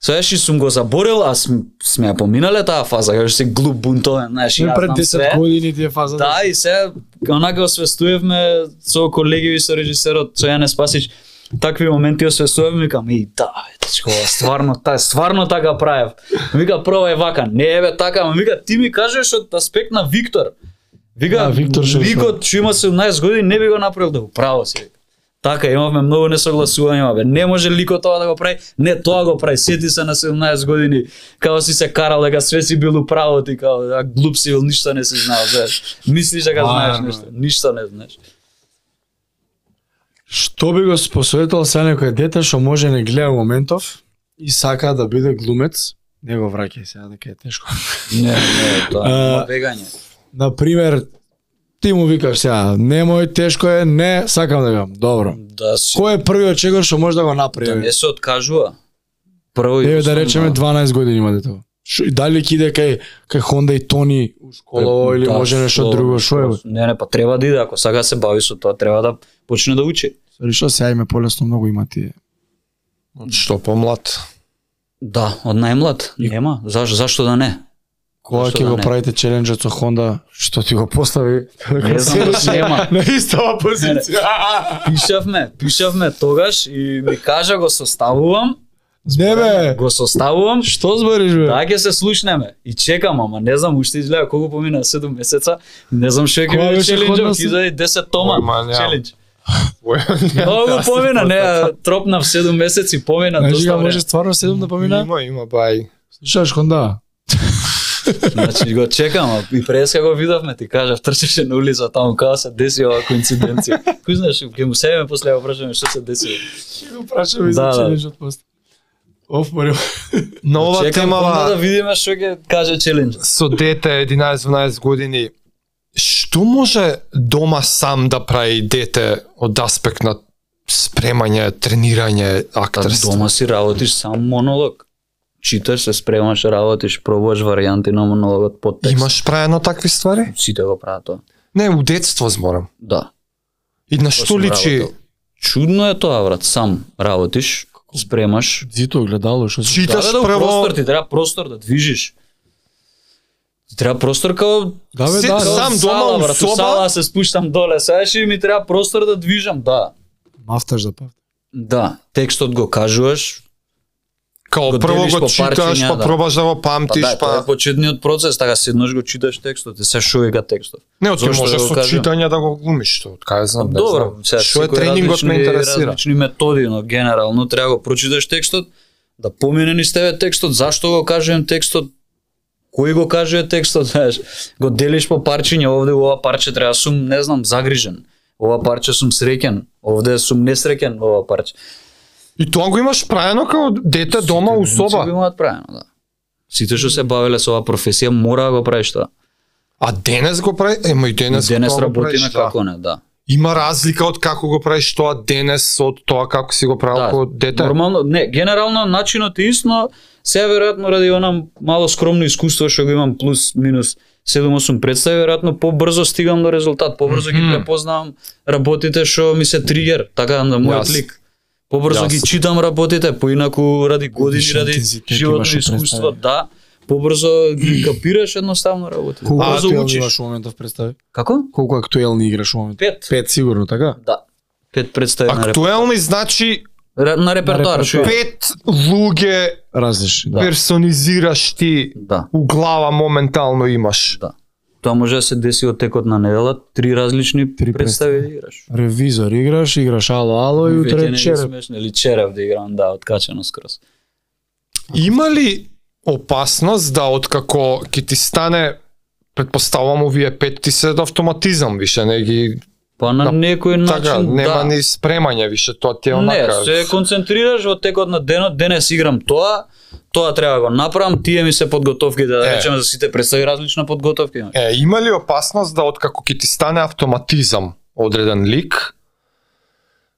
A: Свеш и сум го заборел, а см, сме ја поминале таа фаза, кај што си глуп бунтовен, знаеш, и
B: Шо
A: јас
B: пред
A: знам
B: 10
A: све.
B: години ти е фаза.
A: Да, и се, онака освестуевме со колеги и со режисерот, со Јане Спасич, такви моменти освестувам, викам, и да, бе, дечко, ова стварно, та, стварно така правев. Вика, прва е вака, не е бе така, ама вика, ти ми кажеш од аспект на Виктор. Вика,
B: Да, Виктор што-
A: Викот, што има 17 години, не би го направил да го право си. вика. Така, имавме многу несогласувања, бе. Не може ликот тоа да го прави, не тоа го прави. Сети се на 17 години, као си се карал дека све си бил управо ти, као а глуп си бил, ништо не си знал, знаеш. Мислиш дека знаеш
B: Варно е.
A: нешто, ништо не знаеш.
B: Што би го посоветувал се некој дете што може не гледа моментов и сака да биде глумец, не го враќај сега дека е тешко.
A: Не, не, тоа
B: А,
A: е вегање.
B: На пример, ти му викаш сега, немој, тешко е, не, сакам да бидам. Добро.
A: Да си,
B: Кој е првиот чегор што може да го
A: да
B: направи?
A: не се откажува. Прво и
B: Еве да
A: основно.
B: речеме 12 години има детето. Шо, и дали ќе иде кај кај Honda и Тони у школа или
A: Да,
B: може нешто
A: слободно,
B: друго, што е? бе?
A: Не, не, па треба да иде, ако сака да се бави со тоа, треба да почне да учи.
B: Сори што сега име полесно многу има тие.
D: Што помлад?
A: Да, од најмлад. Нема. Заш, зашто да не?
B: Кога
A: Зашто
B: ќе
A: да
B: го
A: не?
B: правите челенџот со Honda, што ти го постави?
A: Не знам, нема.
B: На истава
A: позиција. Пишавме, пишавме тогаш и ми кажа го составувам,
B: Не бе,
A: го составувам,
B: што збориш бе?
A: да ќе се слушнеме. И чекам, ама не знам уште изгледа колку помина 7 месеца, не знам што ќе
B: Која
A: биде
B: беше ходна
A: челенџот,
B: се?
A: ќе излезе 10 тома
D: Ојма, нема.
A: челендж.
D: да
A: Многу помина, не, тропнав 7 месеци, помина
B: Значи
A: доста
B: га
A: време.
B: може стварно седум да помина?
D: Има, има бај.
B: Слушаш Honda?
A: Значи го чекам, а и преска го видовме, ти кажав, трчеше на улица таму, као се деси ова коинциденција. Кој знаеш, ќе му седеме после го прашаме што се деси.
B: Ќе го прашаме
A: и за
B: за
A: Да, да.
B: челенџот после. Оф, морем.
D: На ова
A: Чекам
D: темава...
A: Honda да видиме што ќе каже челендж.
D: со дете 11-12 години, што може дома сам да прави дете од аспект на спремање, тренирање,
A: Та
D: актерство?
A: Па, дома си работиш сам монолог. Читаш, се спремаш, работиш, пробуваш варијанти на монологот под текст.
D: Имаш праено такви ствари?
A: Сите го прават тоа.
D: Не, у детство зборам.
A: Да.
D: И на
A: Тоа да.
D: што
A: сум
D: личи?
A: работел. Чудно е тоа, брат. Сам работиш, спремаш.
B: Зито огледало што си.
D: Читаш
A: да, да, да, у
D: прво...
A: простор ти треба простор да движиш. Ти треба простор као
B: Да, бе,
D: Си-
B: да, да.
D: сам дома
A: сала,
D: у
A: брат,
D: соба?
A: сала се спуштам доле, сега ще ми треба простор да движам, да.
B: Мафташ да пав.
A: Да, текстот го кажуваш,
D: Као
A: Го
D: прво
A: делиш
D: го
A: по
D: читаш,
A: парчиња,
D: па
A: да.
D: пробаш да го
A: па
D: памтиш,
A: да,
D: па...
A: тоа е почетниот процес, така седнаш го читаш текстот и се шуега текстот.
D: Не, од
A: Зошто
D: можеш
A: да го
D: со
A: кажам?
D: читање да го глумиш, тоа, од кај знам, не
A: Добро,
D: знам.
A: сега
D: Што значи, е
A: секој
D: тренингот ме
A: различни-
D: интересира.
A: Различни методи, но генерално треба да го прочиташ текстот, да помине низ тебе текстот, зашто го кажувам текстот, кој го кажува текстот, знаеш, го делиш по парчиња, овде ова парче треба сум, не знам, загрижен. Ова парче сум среќен, овде сум несреќен ова парче.
D: И тоа го имаш праено као дете дома у
A: Сите го
D: соба.
A: имаат правено, да. Сите што се бавеле со оваа професија мора да го правиш тоа.
D: А денес го прави, ема и
A: Денес,
D: денес,
A: денес
D: тоа го
A: работи
D: правиш,
A: на
D: да.
A: како не, да.
D: Има разлика од како го правиш тоа денес од тоа како си го правил
A: Да,
D: како дете.
A: Нормално, не, генерално начинот е ист, но сега веројатно ради онам мало скромно искуство што го имам плюс минус 7-8 представи, веројатно побрзо стигам до резултат, побрзо ги
D: Мгм.
A: препознавам работите што ми се тригер, така на мојот
D: Јас-
A: лик. Побрзо
D: јас-
A: ги читам работите, поинаку ради години,
B: Виши
A: ради
B: интензитет
A: животно
B: имаш во
A: искуство,
B: представи.
A: да, побрзо ги капираш едноставно работите.
B: Колку
A: Побрзо
B: актуелни
A: да
D: да-
A: учиш.
B: играш во моментов представи?
A: Како?
B: Колку актуелни играш во моментов?
A: Пет.
B: Пет сигурно, така?
A: Да. Пет представи на, реп...
D: Актуелни значи
A: Ре- на репертоар.
B: репертоар.
A: шо е?
D: пет луѓе
B: Различни, да.
D: персонизираш ти
A: Да.
D: у глава моментално имаш.
A: Тоа може да се деси од текот на недела, три различни
B: Три
A: представи
B: представи.
A: да играш.
B: Ревизор играш, играш ало ало и
A: Веќе не
B: утре
A: ги
B: череп.
A: смешно, или черев да играм, да, откачено скрос.
D: Има ли опасност да откако ќе ти стане предпоставувам овие пет ти се од автоматизам више не ги
A: Па на
D: Да,
A: некој начин,
D: така нема
A: да.
D: ни спремање више тоа ти е
A: Не,
D: онака
A: се концентрираш во текот на денот, денес играм тоа, тоа треба да го направам, тие ми се подготовки да,
D: Е.
A: речем за сите представи различна подготовка имаш.
D: Е, има ли опасност да откако ќе ти стане автоматизам одреден лик,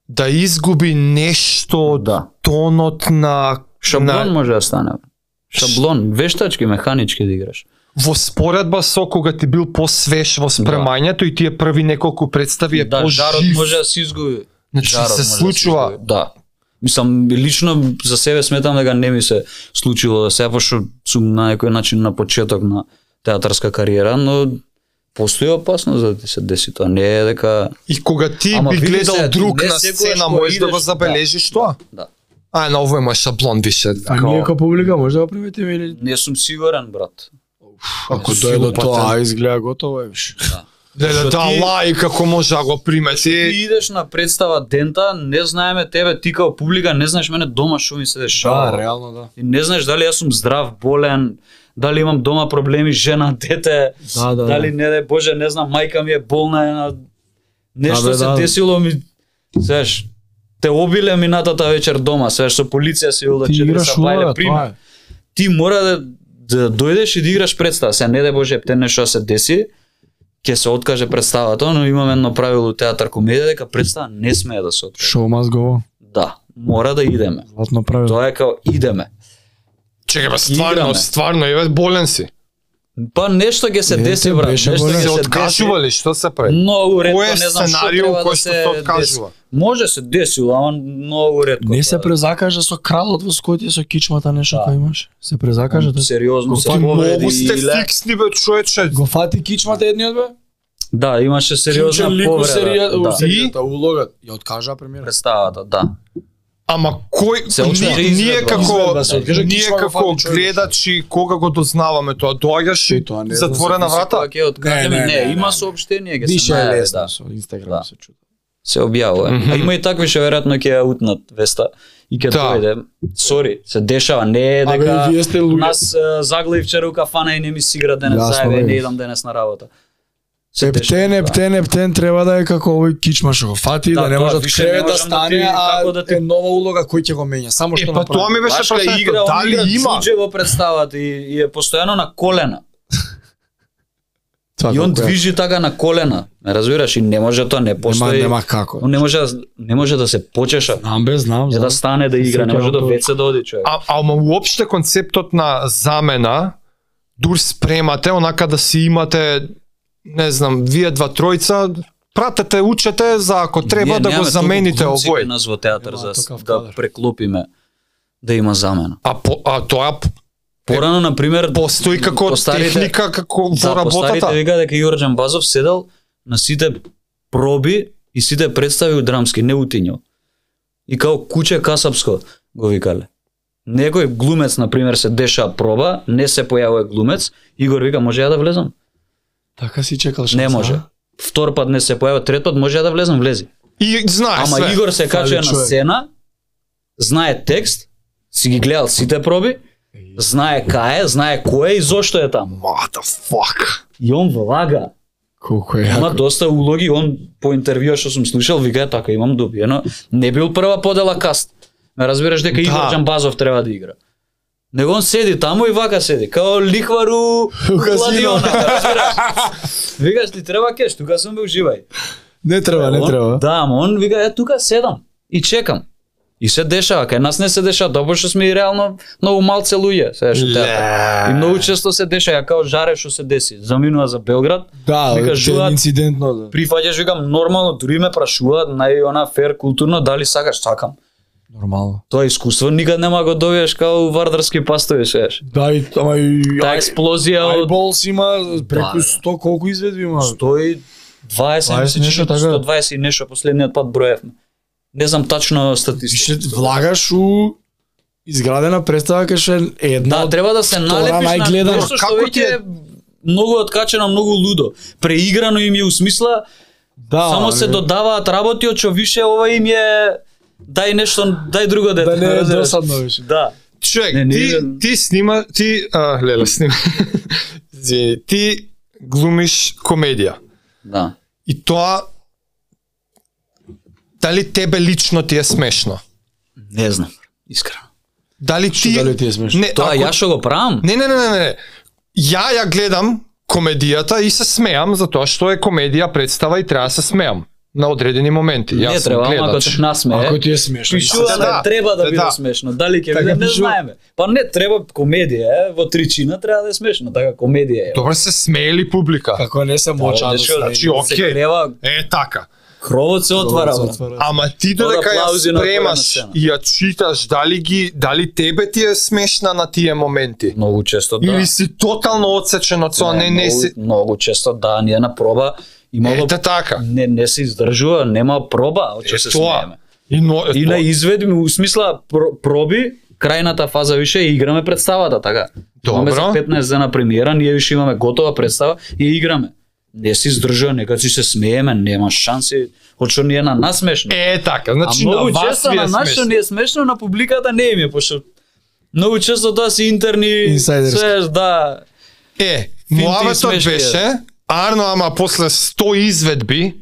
D: да изгуби нешто од
A: Да.
D: тонот на,
A: Шаблон
D: на
A: може да стане. Шаблон, вештачки, механички да играш.
D: во споредба со кога ти бил посвеш во спремањето и ти е први неколку представи е
A: Да, жарот
D: пожив.
A: може да се изгуби.
D: Значи
A: Жарот
D: се
A: може да
D: случува.
A: изгуби, Да. Мислам, лично за себе сметам дека не ми се случило да се, пошто сум на некој начин на почеток на театарска кариера, но постои опасност да ти се деси тоа. Не е дека...
D: И кога ти
A: Ама
D: би
A: види
D: гледал
A: се,
D: друг
A: не
D: на
A: секогаш
D: сцена,
A: кога
D: можеш да
A: идеш-
D: го забележиш тоа?
A: Да.
D: А, на ово има шаблон више. така.
B: А
D: као-
B: ние како публика може да го приметиме или
A: Не сум сигурен, брат.
B: ако
D: сигурно,
B: дојде
D: па,
B: тоа изгледа готово е виш.
D: Леле,
A: Што
D: да,
A: ти-
D: лај како може да го
A: Ти
D: примети.
A: идеш на представа дента, не знаеме тебе, ти као публика, не знаеш мене дома што ми се дешава.
B: Да, реално да.
A: Ти не знаеш дали јас сум здрав, болен, дали имам дома проблеми, жена, дете,
B: Да, да,
A: дали
B: да.
A: не дај боже, не знам, мајка ми е болна, една... нешто
B: Да, бе,
A: се
B: да.
A: десило ми, знаеш, те обиле минатата вечер дома, знаеш, со полиција се било да
B: Ти
A: четири
B: играш
A: са
B: лоја,
A: бајле,
B: тоа
A: пример.
B: е.
A: Ти мора да, да дојдеш и да играш представа, се не дај боже, те нешто да се деси, ќе се откаже представата, но имам едно правило у театар комедија дека представа не смее да се откаже.
B: Шоу мас го.
A: Да, мора да идеме.
B: Златно правило.
A: Тоа е као идеме.
D: Чекай, бе, стварно,
A: Играме.
D: стварно, еве болен си.
A: Па нешто ќе се
B: Е,
A: деси
B: те
A: брат,
B: беше
A: нешто
B: голем.
A: ќе
D: се
A: се деси.
D: откажува ли што се прави?
A: Многу ретко,
D: Кој е
A: не знам што
D: сценарио
A: треба да
D: кој што
A: се
D: се
A: деси.
D: откажува?
A: Може се десило, ама многу ретко.
B: Не се
A: тоа.
B: презакажа со кралот во скоти со кичмата нешто
A: Да.
B: кој имаш. Се презакажа тоа.
A: Сериозно се
D: Ти
A: повреди
D: многу сте
A: или...
D: фиксни бе човече.
B: Го фати кичмата едниот бе?
A: Да, имаше сериозна
B: Кичен лик у серија-
A: повреда.
B: у
A: Да.
B: серијата, у улогот. Ја откажа премиера.
A: Представата, да.
D: Ама кој
A: Се очна
D: ни-
A: да
D: ние
A: изгледа.
D: како
B: Изгледа се откажа,
D: ние
B: кичма го
D: како
B: фати човече.
D: гледачи кога го дознаваме тоа доаѓаш и
B: Е, тоа не знам
D: затворена
A: Мислам,
D: врата.
A: Кога ќе откажеме,
B: Не, не,
A: не,
B: не,
A: има
B: не.
A: сообщение, ќе се
B: Више е
A: најаве,
B: лесно
A: да.
B: со Инстаграм
A: Да.
B: се чува.
A: Се објавува.
D: Мгм.
A: А има и такви што веројатно ќе ја утнат веста и ќе
D: Да.
A: дојде. Сори, се дешава, не е
B: Абе,
A: дека
B: вие сте луѓе.
A: нас е, заглеј вчера у кафана и не ми сигра денес,
B: Јасно,
A: заебе,
B: бе.
A: не идам денес на работа. Се дешава,
B: Ептен,
A: да.
B: ептен, ептен треба да е како овој кичма што го фати,
A: Да,
B: да, не
A: тоа
B: може од
A: више не
B: кревет
A: можам
B: да
A: да ти-
B: стане, а
A: како да ти-
B: е нова улога кој ќе го менја, само
D: Е
B: што
D: па тоа ми беше
A: Башка игра,
D: прашањето,
A: он игра
D: дали има?
A: джудже во представата и, и е постојано на колена.
B: Тоа
A: и он
B: како е.
A: движи така на колена. Не разбираш и не може тоа, не
B: Нема,
A: постои.
B: нема како.
A: Он не може да- не може да се почеша.
B: Знам бе, знам,
A: Не да
B: знам.
A: стане да игра, не
B: Сеќавам
A: може до
B: тоа.
A: веце да оди човек.
D: А ама уопште концептот на замена дур спремате онака да си имате не знам, вие два тројца пратете, учете за ако треба
A: Ние
D: да го
A: немаме толку
D: замените
A: глумци
D: овој.
A: кај Нас во театар за
B: Нема такав
A: да
B: кадар.
A: преклопиме да има замена.
D: А, по, а тоа п-
A: Порано, на пример,
D: Постои како техника, како во
A: да, постарите
D: работата.
A: вика дека Јорџан Базов седел на сите проби и сите представи у драмски, не утињо. И као куче касапско го викале. Некој глумец, на пример, се деша проба, не се појавува глумец, Игор вика, може ја да влезам?
B: Така си чекал шанса.
A: Не може.
B: а?
A: Втор пат не се појава, трет пат може ја да влезам, влези.
D: И знае
A: Ама
D: све.
A: Игор се
B: Фали
A: качува на
B: човек.
A: сцена, знае текст, си ги гледал сите проби, знае кај е, знае кој е и зошто е таму.
D: да, Motherfuck.
A: И он влага.
B: Колку е
A: Има
B: јако.
A: доста улоги, он по интервјуа што сум слушал, вика така имам добиено. Не бил прва подела каст. Ме разбираш дека
D: Да.
A: Игор Џамбазов треба да игра. Него он седи таму и вака седи, као лихвару кладиона, разбираш? Викаш ти треба кеш, тука сум бе уживај.
B: Не треба, не
A: Он-
B: треба.
A: Да, ама он вика ја тука седам и чекам. И се дешава, кај нас не се дешава, добро што сме и реално многу малце луѓе, сега што театар. И многу често се дешава, као жаре што се деси. Заминува за Белград,
B: Да,
A: Вика,
B: да,
A: жуат-
B: инцидентно. Да.
A: прифаќаш викам нормално, дури ме прашуваат нај она фер културно дали сакаш, сакам.
B: Нормално.
A: Тоа искуство никад нема го добиеш као у вардарски пастови сееш.
B: Да, и ама и
A: Таа експлозија од
B: Айболс има
A: Да,
B: преку
A: да.
B: 100 колку изведби има.
A: 120
B: 20
A: мислам,
B: нешто така.
A: 120 и нешто последниот пат броевме. Не знам тачно
B: Више
A: статистика.
B: влагаш у изградена представа кај што е една
A: Да,
B: од
A: треба да се налепиш на
B: најгледано.
A: нешто што
D: Како ти
A: веќе е многу откачено, многу лудо. Преиграно им е усмисла,
B: да,
A: само се
B: не-
A: додаваат работи, од што више ова им е дај нешто, дај друго дете.
B: да не е
A: разбираш?
B: досадно више.
A: Да.
D: Човек,
A: Не, не,
D: ти,
A: не.
D: ти снима, ти, а, леле, снима. Извини, ти глумиш комедија.
A: Да.
D: И тоа, дали тебе лично ти е смешно?
A: Не знам, искрено.
D: Дали
B: Што
D: ти...
B: дали ти е смешно?
D: Не,
A: Тоа
D: ако-
A: ја што го правам?
D: Не, не, не, не, не. Ја ја гледам комедијата и се смеам затоа што е комедија представа и треба да се смеам на одредени моменти.
A: Не,
D: Јас сум
A: треба, ама ако
D: гледач.
A: те насмее.
B: Ако ти е смешно.
A: Пишува
D: Да,
A: да, треба да
D: да,
A: биде
D: да.
A: смешно. Дали ќе
B: Така
A: биде, не
B: пишува.
A: знаеме. Па не треба комедија, е, во тричина треба да е смешно, така комедија е.
D: Добро се смее ли публика?
B: Како не се моча да
A: Дешо,
B: се.
D: значи,
A: се
D: окей.
A: крева,
D: Е, така.
A: кровот се отвара.
B: се
A: брат.
B: отвара.
D: Ама ти
A: Од
D: додека ја
A: аплаузи на отворена
D: спремаш
A: сцена.
D: и ја читаш, дали ги, дали тебе ти е смешна на тие моменти?
A: Многу често да.
D: Или си тотално одсечен од тоа, не, не
A: многу-
D: си...
A: Многу често да, ние на проба имало
D: Ете така.
A: не не се издржува, нема проба, од што
D: Е,
A: се
D: тоа.
A: смееме.
D: И, но,
A: И на
D: тоа.
A: изведби, у смисла пр- проби, крајната фаза више и играме представата, така.
D: Добро.
A: Имаме за 15 дена премиера, ние више имаме готова представа и ја играме. Не си издржува, нека си се смееме, нема шанси, од што ни е на нас смешно.
D: Е, така. Значи,
A: а
D: на
A: многу
D: вас
A: често
D: ви
A: на
D: е
A: нас што
D: смешно.
A: ни е смешно, на публиката не им е, пошто многу често тоа си интерни,
B: Инсайдерски.
A: се, да,
D: Е,
A: Финти и
D: муаветот
A: смешки е.
D: беше, Арно, ама после 100 изведби,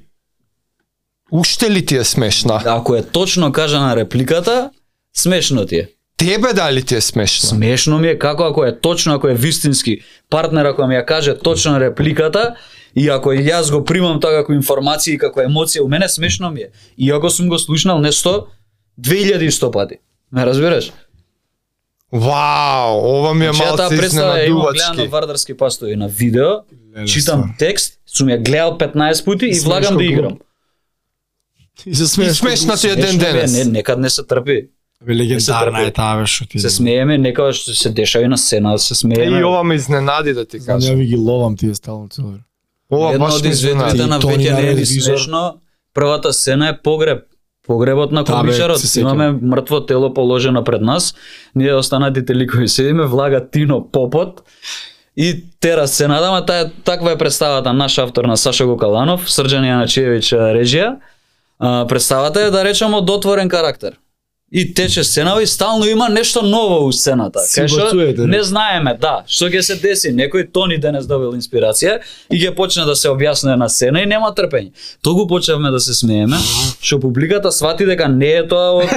D: уште ли ти е смешна?
A: Да, ако е точно кажана репликата, смешно ти е.
D: Тебе дали ти е смешно?
A: Смешно ми е како ако е точно, ако е вистински партнер, ако ми ја каже точно репликата, и ако јас го примам тоа како информација и како емоција, у мене смешно ми е. И ако сум го слушнал нешто 2100 пати. Ме разбираш?
D: Вау, ова ми е
A: Значи, ја таа
D: малце
A: представа ја имам гледана на
D: изненадувачки.
A: вардарски пастови на видео,
B: Леле,
A: читам
B: ствар.
A: текст, сум ја гледал 15 пути и
B: Смешно
A: влагам да
B: глуп.
A: играм.
B: И се
D: И
B: смееш.
D: смешна ти е ден
A: Смешно ми е,
D: денес.
A: Не, некад не се трпи.
B: Бе, легендарна е таа бе што ти. да
A: Се смееме, некоја што се дешава и на сцена, да се смееме.
D: Е, и ова ме изненади да ти
B: Ја
D: кажам.
B: ви ги ловам тие стално цело.
D: Ова
A: Една
D: баш
A: од
D: ме изненади.
A: изведбите на
B: И Тони
A: веќе не е ни
B: Ревизор.
A: смешно. Првата сцена е погреб. Погребот на
B: Да, бе,
A: Кобичарот.
B: се сеќам.
A: Имаме мртво тело положено пред нас. Ние останатите ликови седиме, влага Тино Попот. И тера сцената, ама таа таква е представата наш автор на Саша Гокаланов, Срđан Јаначиевиќ а, режија. А, представата е да речемо дотворен карактер. И тече сцена и стално има нешто ново у сцената.
B: Си
A: Кај што
B: бацуете,
A: не
B: бе.
A: знаеме, да, што ќе се деси, некој Тони денес добил инспирација и ќе почне да се објасне на сцена и нема трпење. Тогу почнавме да се смееме, што публиката свати дека не е тоа од,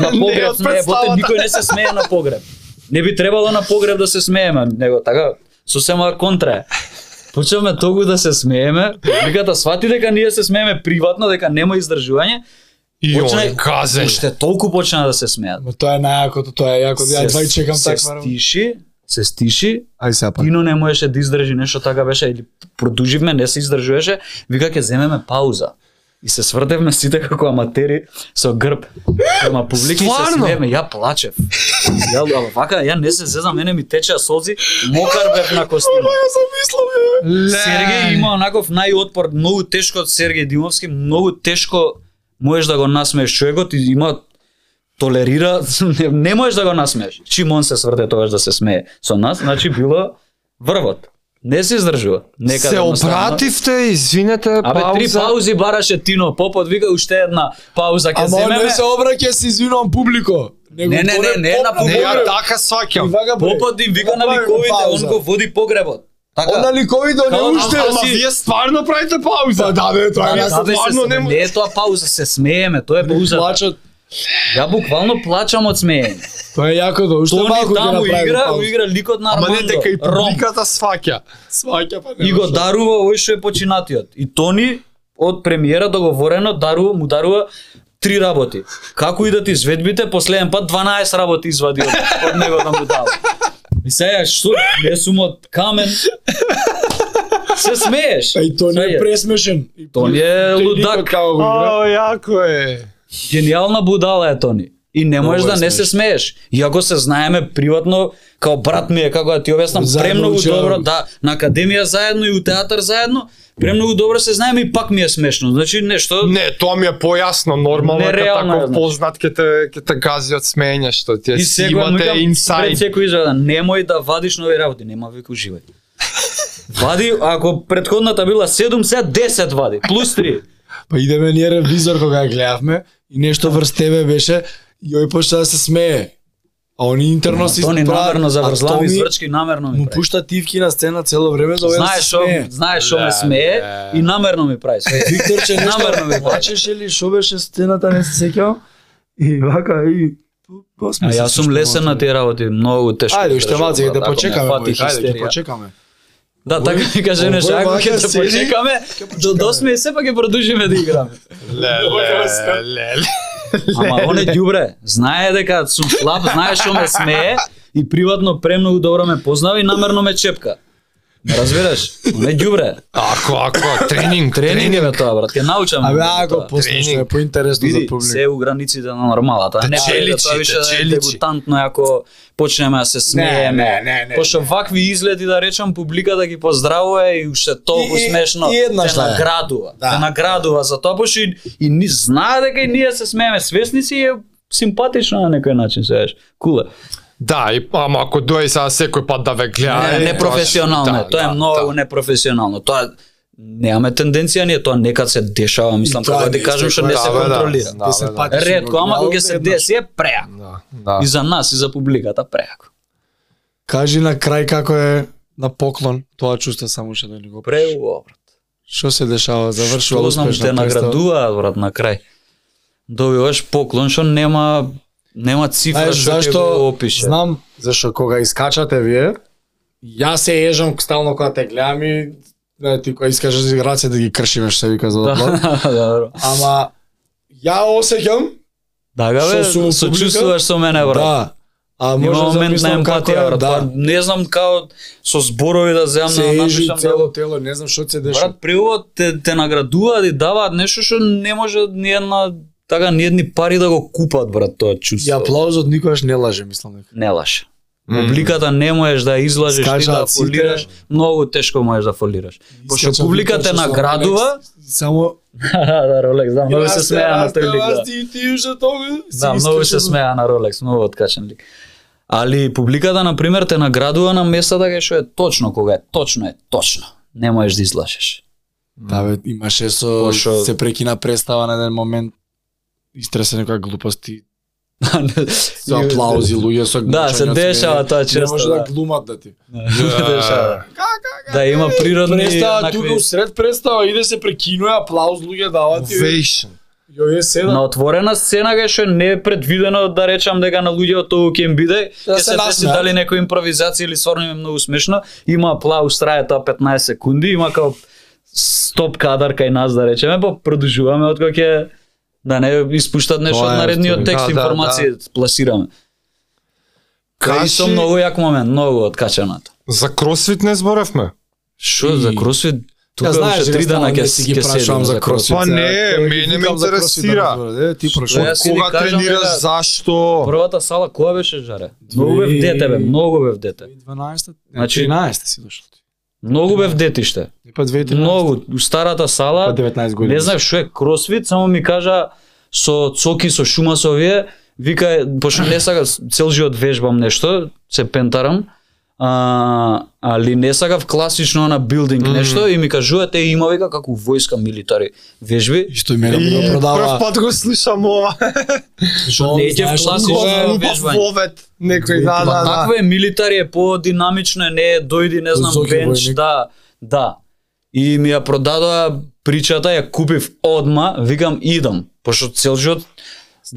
A: на
D: Не е
A: погреб,
D: од
A: не е, боте,
D: представата.
A: никој не се смее на погреб. Не би требало на погреб да се смееме, него така сосема контра е. Почнавме тогу да се смееме, публиката свати дека ние се смееме приватно, дека нема издржување,
D: И он
A: Почна-
D: е газен.
A: уште толку почна да се смеат.
B: Ма тоа е најакото, тоа е јако. Ја два чекам така
A: се
B: таква. работа.
A: стиши, се стиши,
B: Ај сега пак.
A: Тино не можеше да издржи нешто така беше или продуживме, не се издржуваше, вика ќе земеме пауза. И се сврдевме сите како аматери со грб. Према публика и се
D: Стварно?
A: смеевме, ја плачев. Ја ама вака, ја не се зезам, мене ми течеа солзи, мокар бев на костима. Сергеј има онаков најотпор, многу тешко од Сергеј Димовски, многу тешко можеш да го насмееш човекот и има толерира, не, не можеш да го насмееш. Чим он се сврде тогаш да се смее со нас, значи било врвот. Не се издржува. Нека
D: се опративте, извинете,
A: да. Абе, три паузи бараше Тино Попот, вика уште една пауза ќе
B: Ама он
A: земеме.
B: не се обраќа се извинувам публико. Него
A: Не, не,
B: горе
A: не, не,
B: поп-
A: на публика.
D: Не, ја
A: Добре.
D: така сваќам.
B: Вага, бре.
A: Попот им вика на
B: Направи
A: ликовите,
B: пауза.
A: он го води погребот. Така.
B: Она ликовите, не
A: Као-
B: уште.
A: Ама
D: Ама
A: си-
D: вие стварно правите пауза.
B: Па да, бе, тоа
D: Ама
B: е
D: јас-
A: Да, бе,
D: стварно
A: се,
D: не
A: не,
D: мо-
A: не е тоа пауза, се смееме, тоа е пауза.
B: плачат.
A: Ја буквално плачам од смеење.
B: Тоа е јако да, уште
A: Тони
B: малку ќе
A: таму
B: направи
A: игра,
B: пауза.
A: го игра ликот на
D: Ама
A: Армандо.
D: не дека и
A: Ром.
D: публиката сваќа.
B: Сваќа па не.
A: И го да-
B: може.
A: дарува овој што е починатиот. И Тони од премиера договорено дарува му дарува три работи. Како идат изведбите, последен пат 12 работи извади од, од него да му дава. И сега што не сум од камен. Се смееш.
B: Па и тоа не
A: Сега,
B: е пресмешен. И
A: Тони е
B: тој никој
A: лудак.
B: како го игра.
D: Ао, јако е.
A: Гениална будала е Тони. И не можеш
B: е
A: да не се смееш. Иако се знаеме приватно, као брат ми е, како да ти објаснам,
B: Заедно
A: премногу
B: учеа-
A: добро, да, на академија заедно и у театар заедно, премногу добро се знаеме и пак ми е смешно. Значи нешто
D: Не, тоа ми е појасно, нормално е
A: Нереално е,
D: таков
A: значи.
D: познат ке те ке те гази од смење што ти
A: и
D: си
A: секој му
D: имате
A: викам, пред
D: инсайд.
A: секој изведан, немој да вадиш нови работи, нема веќе уживај. Вади, ако предходната била 7, сега 10 вади, плюс 3.
B: Па идеме ние ревизор кога ја гледавме и нешто врз тебе беше и ој почна да се смее. А они интерно си
A: Тони
B: прават-
A: намерно
B: а
A: заврзлави
B: Томи
A: зврчки, намерно ми
B: Му
A: прави.
B: пушта тивки на сцена цело време за овој да се
A: Знаеш што,
B: смее.
A: знаеш што ме
D: Да,
A: смее
D: да.
A: и намерно ми прави. Све.
B: Виктор Значи, че
A: Намерно ми
B: нешто
A: прави.
B: плачеш или што беше сцената не се сеќавам. И вака и
A: А јас сум лесен на Така, тие работи, многу тешко.
B: Ајде, уште
A: издржувам,
B: малце ќе
A: брат,
B: те
A: ако ме
B: почекаме,
A: фати
B: мој, ајде, ќе
A: хистерија.
B: почекаме.
A: Да, така ми каже нешто,
B: овој
A: ако ќе
B: вака
A: те
B: седи,
A: почекаме, до досме сепак ќе продолжиме да играме.
D: Леле, леле.
A: Ама он е ѓубре, знае дека сум слаб, знае што ме смее и приватно премногу добро ме познава и намерно ме чепка. Ме разбираш? Он е ѓубре.
D: Ако, ако, тренинг,
A: Тренинг е
D: тренинг.
A: бе тоа, брат, ќе научам.
B: Абе,
A: бе,
B: ако
A: тоа.
B: посмешно е
D: Тренинг.
B: поинтересно за
A: Види,
B: публика.
A: се у границите на нормалата.
D: Та
A: Не, ајде,
D: челичи,
A: тоа више
D: та
A: да е
D: челичи.
A: дебутантно е ако почнеме да се смееме.
B: не, не.
A: Пошто вакви изгледи да речам публика да ги поздравува и уште толку
B: И- и-
A: смешно
B: и една
A: те
B: шта е.
A: наградува.
B: Да.
A: Те наградува за тоа пошто и, и ни знае дека и ние се смееме свесни си и е симпатично на некој начин се знаеш. Куле.
D: Да, и, ама ако дојде сега секој пат да ве гледа...
A: Не,
D: е,
A: непрофесионално е.
D: тоа
A: Тоа е
D: да,
A: многу
D: да.
A: непрофесионално. Тоа немаме тенденција ние тоа некад се дешава, мислам,
B: И тоа
A: како да
B: не
A: ти кажам
B: се
A: што не се
D: Да, бе, да.
A: контролира.
D: Да, бе, да.
A: Ретко, ама кога ќе се деси е преако.
D: Да, да.
A: И за нас и за публиката преако.
B: Кажи на крај како е на поклон тоа чувство само што да ни го преш.
A: Преубаво. брат.
B: Што се дешава, завршува
A: Што знам,
B: успешно.
A: те
B: представа.
A: наградуваат брат на крај. Добиваш поклон што нема нема цифра
B: Знаеш
A: што ќе
B: зашто
A: го опише.
B: знам, зашто кога искачате вие, јас се ежам стално кога те гледам и не, ти кога искаш да рацете да ги кршиме што се вика за
A: Да,
B: да.
A: добро.
B: Ама ја осеќам
A: Да, га, бе,
B: Што сум у публика?
A: сочувствуваш со мене, брат.
B: да. А
A: Има
B: може да
A: момент на
B: мислам како
A: емпатија,
B: е,
A: брат. Па
B: да.
A: Не знам како со зборови да земам
B: Се
A: да
B: ежи
A: напишам да
B: цело тело, не знам што се дешава.
A: Брат, преубаво те, те наградуваат и даваат нешто што не може ни една така ни едни пари да го купат брат тоа
B: И
A: чувство.
B: аплаузот никогаш не лаже, мислам дека.
A: Не лаш.
D: Мм.
A: Публиката не можеш да ја излажеш ти да ја
B: Скажаат сите.
A: фолираш, многу тешко можеш да фолираш. Пошто
B: Искачам
A: публиката те
B: Виктор со
A: наградува,
B: Rolex, Само
A: да, Ролекс, да, многу се смеа на тој лик, да.
B: Ти ти уште тоа.
A: Да, многу се смеа на Ролекс, многу откачен лик. Али публиката, на пример, те наградува на местата кај што е точно, кога е точно, е точно. Не можеш да излажеш.
B: Да, бе, имаше со
A: Пошо-
B: се прекина представа на еден момент истресе некоја глупости со аплаузи луѓе со
A: Да, се
B: гучање од
A: дешава
B: смех.
A: тоа
B: Не
A: често,
B: може да
A: да.
B: глумат да ти.
A: Да, да има природни
B: Представа тука
A: еднакви-
B: усред представа иде се прекинува аплауз луѓе дават и
D: Ovation.
B: Јо е седа.
A: на отворена сцена кај што не е предвидено да речам дека на луѓето тоа ќе им биде,
B: Да
A: ќе
B: се
A: се деси
B: насмеат.
A: дали некоја импровизација или стварно им е многу смешно, има аплауз трае тоа 15 секунди, има као стоп кадар кај нас да речеме, па продолжуваме од кога ќе да не испуштат нешто
B: Тоа е
A: од
B: историја.
A: наредниот текст
D: Да, да,
A: информација пласираме. Кај
D: Каши
A: со многу јак момент, многу откачаната.
D: за кросфит не зборевме.
A: Што за кросфит? Тука уште три дана ќе
B: си ги
A: ќе седам
B: прашувам за кросфит.
D: Па не,
B: Кој ги
D: мене ме
B: викам за кросфит, да
D: интересира.
B: разбере, Е, ти
A: Што
B: прашуваш.
A: јас си ви
D: Кога
A: кажам, да.
D: тренираш,
A: дека-
D: зашто?
A: Првата сала која беше жаре? Многу
B: Две-
A: бев дете бе, многу бев дете.
B: 2012
A: Значи-
B: значи 13 си дошол ти.
A: Многу бев детиште.
B: И па 2013.
A: Многу, у старата
B: па
A: сала,
B: 19 години.
A: не знаев што е кросфит, само ми кажа со цоки, со шума, со овие, вика, пошто не сака, цел живот вежбам нешто, се пентарам, а, али не сакав класично на билдинг нешто и ми кажувате има вика како војска милитари вежби
B: И што и мене ми го
D: И прв
B: продава.
D: пат го слушам ова.
B: Што
A: не ќе вкласи,
B: кога-
A: е,
D: Убав
A: вежбање.
D: вовет. Некој, да,
B: Ма
D: да, да.
A: Такво е милитари е подинамично е, не е дојди не знам
B: Зоги
A: бенч
B: војник.
A: да да. И ми ја продадоа причата, ја купив одма, викам идам, пошто цел живот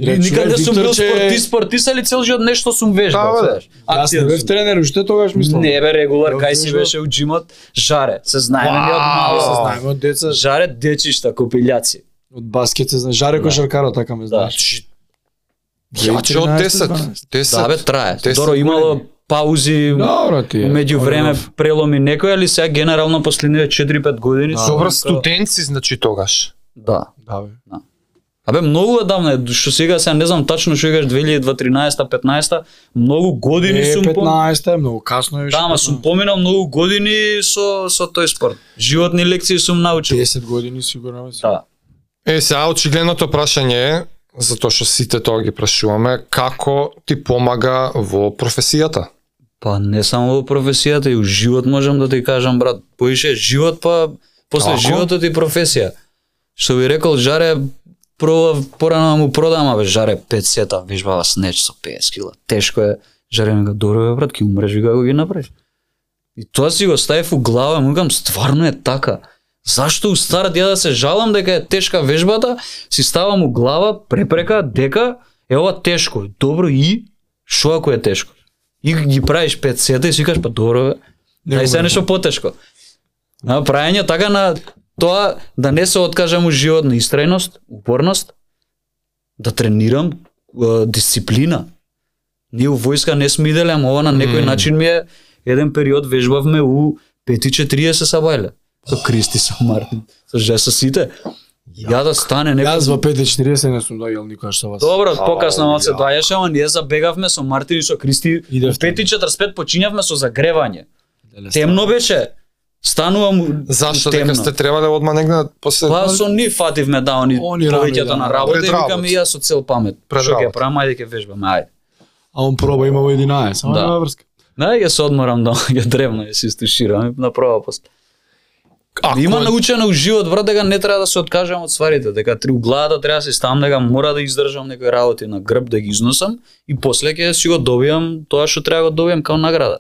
B: Рече,
A: никаде сум бил
B: Викторче,
A: спортист, спортист, али цел живот нешто сум
D: Да,
A: вежбал,
D: бе.
A: знаеш.
B: Па, Јас не
A: Активен
B: бев
A: сум.
B: тренер, уште тогаш мислам.
A: Не бе регулар,
B: Јас
A: кај
B: не
A: си
B: бев.
A: беше у джимот, жаре, се знае нели од
D: Вау.
B: Се
A: мало.
B: знаеме од деца,
A: Жаре дечишта, копилјаци.
B: од баскет се знае. Жаре кошаркаро така ме
A: Да.
B: знаеш. Значи,
D: Јаче од 10.
B: 13.
D: 10.
A: Да бе трае.
D: те се
A: Доро имало паузи,
B: Добро ти е.
A: меѓу време преломи некој, али сега генерално последниве 4-5 години сум
D: Добро
A: како-
D: студент си значи тогаш.
A: Да.
B: Да, бе.
A: Абе многу одамна е, што сега сега не знам тачно што играш 2013 15 многу години
B: Е,
A: сум пом...
B: 15 е многу касно е. више,
A: Да, ама сум
B: 15.
A: поминал многу години со со тој спорт. Животни лекции сум научил.
B: 10 години сигурно. бе, си.
A: Да.
D: Е, сега очигледното прашање е, затоа што сите тоа ги прашуваме, како ти помага во професијата?
A: Па не само во професијата и у живот можам да ти кажам брат, поише живот па после
D: Како?
A: животот и професија. Што би рекол Жаре пробав порано да му продам, абе Жаре 5 сета вежбава снеч со 50 кила. Тешко е. Жаре ми га добро бе брат, ќе умреш вика ако ги направиш. И тоа си го ставив у глава, му викам стварно е така. Зашто у стар ја да се жалам дека е тешка вежбата, си ставам у глава препрека дека е ова тешко. Добро и што ако е тешко? И ги правиш пет сета и си кажеш па добро бе.
B: Не
A: Дај
B: го
A: се
B: мрдам.
A: нешто потешко. На правење така на тоа да не се откажам у живот на истрајност, упорност, да тренирам е, дисциплина. Ние у војска не сме иделе, ама ова на некој
D: Мм.
A: начин ми е еден период вежбавме у 5:40 сабајле. Со Кристи, со Мартин, со Же, со сите. Ја да стане некој...
B: Јас во 5.40 не сум дојдел никогаш со вас.
A: Добро,
D: Ау,
A: покасно малце
D: ја.
A: доаѓаше, ама ние забегавме со Мартин и со Кристи.
B: Идевте.
A: 5:45 почињавме со загревање.
B: Деле,
A: Темно беше. Станувам
D: Зашто
A: темно.
D: дека сте требале одма негде после
A: Па со ни фативме да они
B: Они
A: повеќето
B: рани, да.
A: на работа и
D: Пред работа.
A: викам и јас со цел памет.
D: Пред
A: Што ќе
D: работа.
A: правам, ајде ќе вежбаме, ајде.
B: А он проба има во 11, ама
A: Да.
B: нема врска.
A: Да, ќе се одморам дома, ќе древна, ќе се истуширам и направо после.
D: Ако
A: Има научено у живот брат дека не треба да се откажам од сварите, дека три у главата треба да се ставам дека мора да издржам некои работи на грб да ги износам и после ќе си го добиам тоа што треба да го добиам као награда.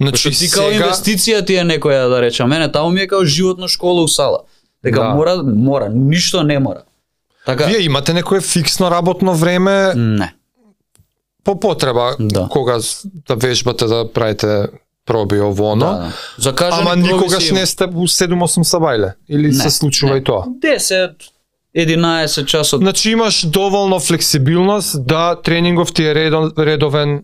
D: значи
A: Значи ти као
D: сега
A: инвестиција ти е некоја да речам, мене таму ми е као животно школа у сала. Дека
D: Да.
A: мора, мора, ништо не мора. Така.
D: вие имате некое фиксно работно време
A: Не.
D: по потреба
A: Да.
D: кога с- да вежбате да правите проби ово
A: Да,
D: оно.
A: да. За кажа
D: Ама никогаш не сте у 7-8 сабајле или
A: Не,
D: се случува
A: не.
D: и тоа?
A: 10 11 часот.
D: Значи имаш доволно флексибилност да тренингов ти е редо- редовен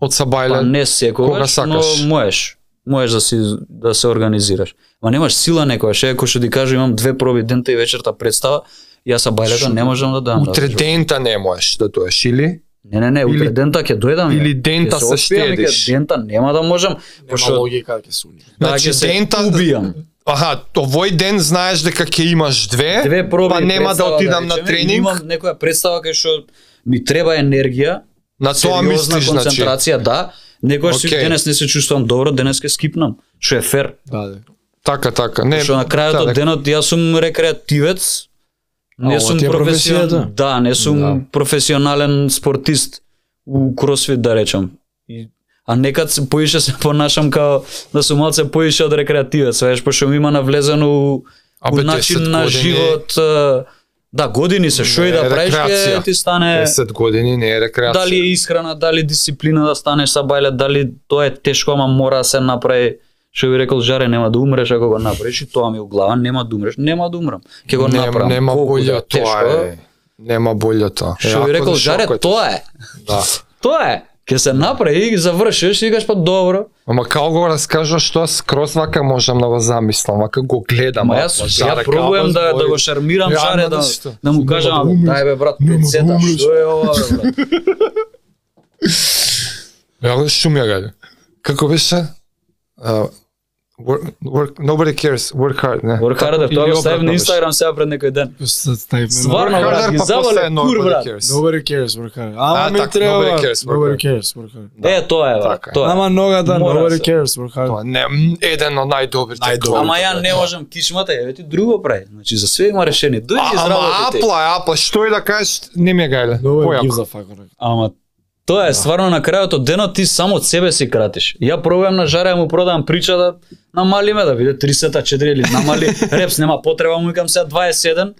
D: од
A: Па
D: сабајле.
A: не
D: кога
A: секогаш, но
D: сакаш.
A: можеш. Можеш да си да се организираш. Ма немаш сила некогаш, е, кој што ти кажа имам две проби дента и вечерта представа, јас са бајлета не можам да дам.
D: Утре
A: да,
D: дента не можеш да доеш или
A: Не, не, не, утре
D: Или-
A: дента ќе дојдам. ја.
D: или
A: Ќе
D: дента се
A: оспијам и ќе-
D: штедиш.
A: Дента нема да можам,
B: Нема
A: пошто
B: логика ќе суни.
A: да
D: Значи,
A: ќе се
D: дента-
A: убијам.
D: Аха, овој ден знаеш дека ќе имаш две,
A: две проби.
D: па нема да
A: представа,
D: отидам
A: речеме,
D: на тренинг.
A: или Имам некоја представа кај што ми треба енергија,
D: На тоа
A: сериозна
D: мислиш, значи.
A: концентрација, да. Некој okay. си
D: Океј.
A: денес не се чувствувам добро, денес ќе скипнам. Што е фер.
B: Да, да.
D: Така, така. Не,
A: Што на крајот
D: да,
A: од
D: дека-
A: денот јас сум рекреативец. Не
B: А,
A: сум
B: ова ти е
A: професионален.
B: професијата?
A: Да, не сум
B: Да.
A: професионален спортист у кросфит да речам. И А некад се поише се понашам као да сум малце поише од рекреативец, знаеш, пошто ми има навлезено у, у
D: Абе,
A: начин
D: 10
A: на
D: години-
A: живот. е, Да, години се, што и
D: Не,
A: да правиш,
D: рекреација.
A: ќе ти стане...
D: 10 години не е рекреација.
A: Дали е исхрана, дали дисциплина да станеш са бајле, дали тоа е тешко, ама мора да се направи. Што би рекол Жаре, нема да умреш ако го направиш и тоа ми е у глава, нема да умреш, нема да умрам. Ќе го
D: Нема-
A: направам.
D: Нема
A: Колку да
D: боље тоа
A: тешко,
D: е. Нема боље тоа.
A: Што би
D: Јако
A: рекол
D: за
A: Жаре,
D: шокот.
A: тоа е.
D: Да.
A: Тоа е. Ќе се направи и завршиш и кажеш па добро.
D: Ама као го раскажа што аз скроз вака можам да го замислам, вака го гледам.
A: Ама
D: а,
A: јас,
D: па,
A: ја
D: жаре,
A: пробувам
D: кава,
A: да, да
D: збори.
A: го шармирам
D: Ја,
A: жаре,
D: ама
A: да,
D: да си тоа.
A: да му
D: Нема
A: кажам,
D: да умреш.
A: дај бе брат,
D: Нема да
A: пецета,
D: умреш.
A: што е ова бе, брат?
D: Ја го шумја гајде. Како беше? А, work, work, nobody cares, work hard, не?
A: Work harder,
D: Или
A: тоа го
D: обратно
A: ставив на
D: беше.
A: Инстаграм сега пред некој ден.
B: Стварно.
A: Стварно,
D: Work
A: брат,
D: harder,
A: ги
D: па после
A: заболе,
D: е
A: кур, брат.
D: nobody cares.
B: Nobody cares, work hard.
D: А,
B: Ама ми
A: така,
D: так,
B: треба.
D: nobody
B: брат.
D: cares, work
B: Nobody
D: hard.
B: cares, work hard.
A: Е, тоа е, брат,
D: Така е.
A: тоа е.
B: Ама нога да,
A: Мора
B: nobody
A: се.
B: cares, work hard.
D: Тоа не, м, еден од најдобрите.
B: Најдобрите.
D: квоти,
A: Ама ја
D: брат.
A: не можам кичмата, еве ти друго прај. Значи за све има решение. Дојди
D: А, ама
A: изработи.
D: апла, е, апла, што и да кажеш, не ми е гајле.
B: Nobody gives
D: Појако.
B: a fuck. брат.
A: Ама тоа
D: Да.
A: е стварно на крајот од денот ти само од себе си кратиш. Ја пробувам на жаре, ја му продавам прича да намали ме да биде 30-та, 4 или намали. Репс нема потреба му викам сега 27.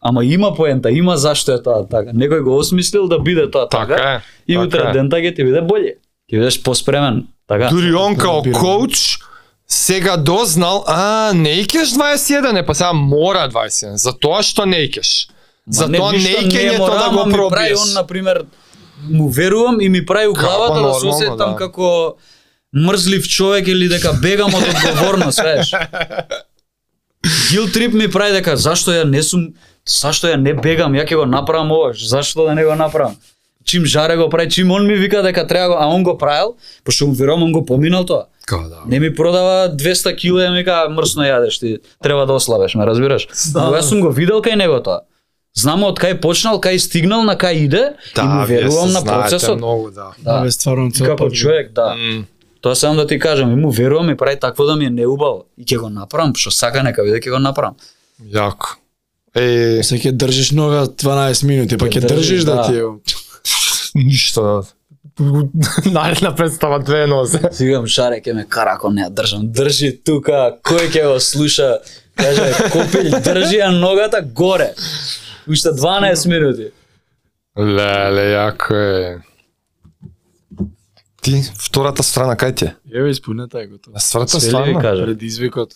A: Ама има поента, има зашто е тоа така. Некој го осмислил да биде тоа така.
D: Така е,
A: И
D: така
A: утре
D: е.
A: дента ќе ти биде боле. Ќе бидеш поспремен. Така.
D: Дури он као
B: разбирам.
D: коуч сега дознал, а не икеш 21, е па сега мора 21, затоа што не икеш.
A: Ма не,
D: Затоа
A: ништо
D: не икењето
A: мора,
D: да
A: ама
D: го
A: ми прави
D: пробиеш.
A: он на пример му верувам и ми прави у
D: Капа
A: главата да се
D: нормално,
A: усетам
D: да.
A: како мрзлив човек или дека бегам од одговорност, знаеш. Guilt trip ми прави дека зашто ја не сум, зашто ја не бегам, ја ќе го направам ова, зашто да не го направам. Чим жаре го прави, чим он ми вика дека треба го, а он го правил, пошто му верувам он го поминал тоа.
D: Као да.
A: Не ми продава 200 кило и ми кажа мрсно јадеш ти, треба да ослабеш, ме разбираш? Но јас сум го видел кај него тоа. Знамо од кај почнал, кај стигнал, на кај иде и му
D: Така, вие
A: верувам
D: се
A: на
D: знаете
A: процесот.
D: Многу, да.
A: Да.
B: Абе, стварно
A: И
B: цел
A: како
B: пат.
A: човек, да.
D: М,
A: Тоа сам да ти кажам, и му верувам и прави такво да ми е неубаво. И ќе го направам, што сака нека биде ќе го направам.
D: Јако. Е,
B: Се ќе држиш нога 12 минути, па
A: Ќе
B: ќе
A: држиш,
B: држиш да
A: да.
B: ти е.
D: ништо да. Наредна представа две нозе.
A: Си викам шаре ќе ме кара ако не ја држам. Држи тука, кој ќе го слуша? Каже копил држи ја ногата горе. Уште 12 минути.
D: Леле, јако е. Ти, втората страна, кај ти е?
B: Еве испунета е готово.
D: На втората
A: Свели ви
D: страна?
A: кажа.
B: Пред извикот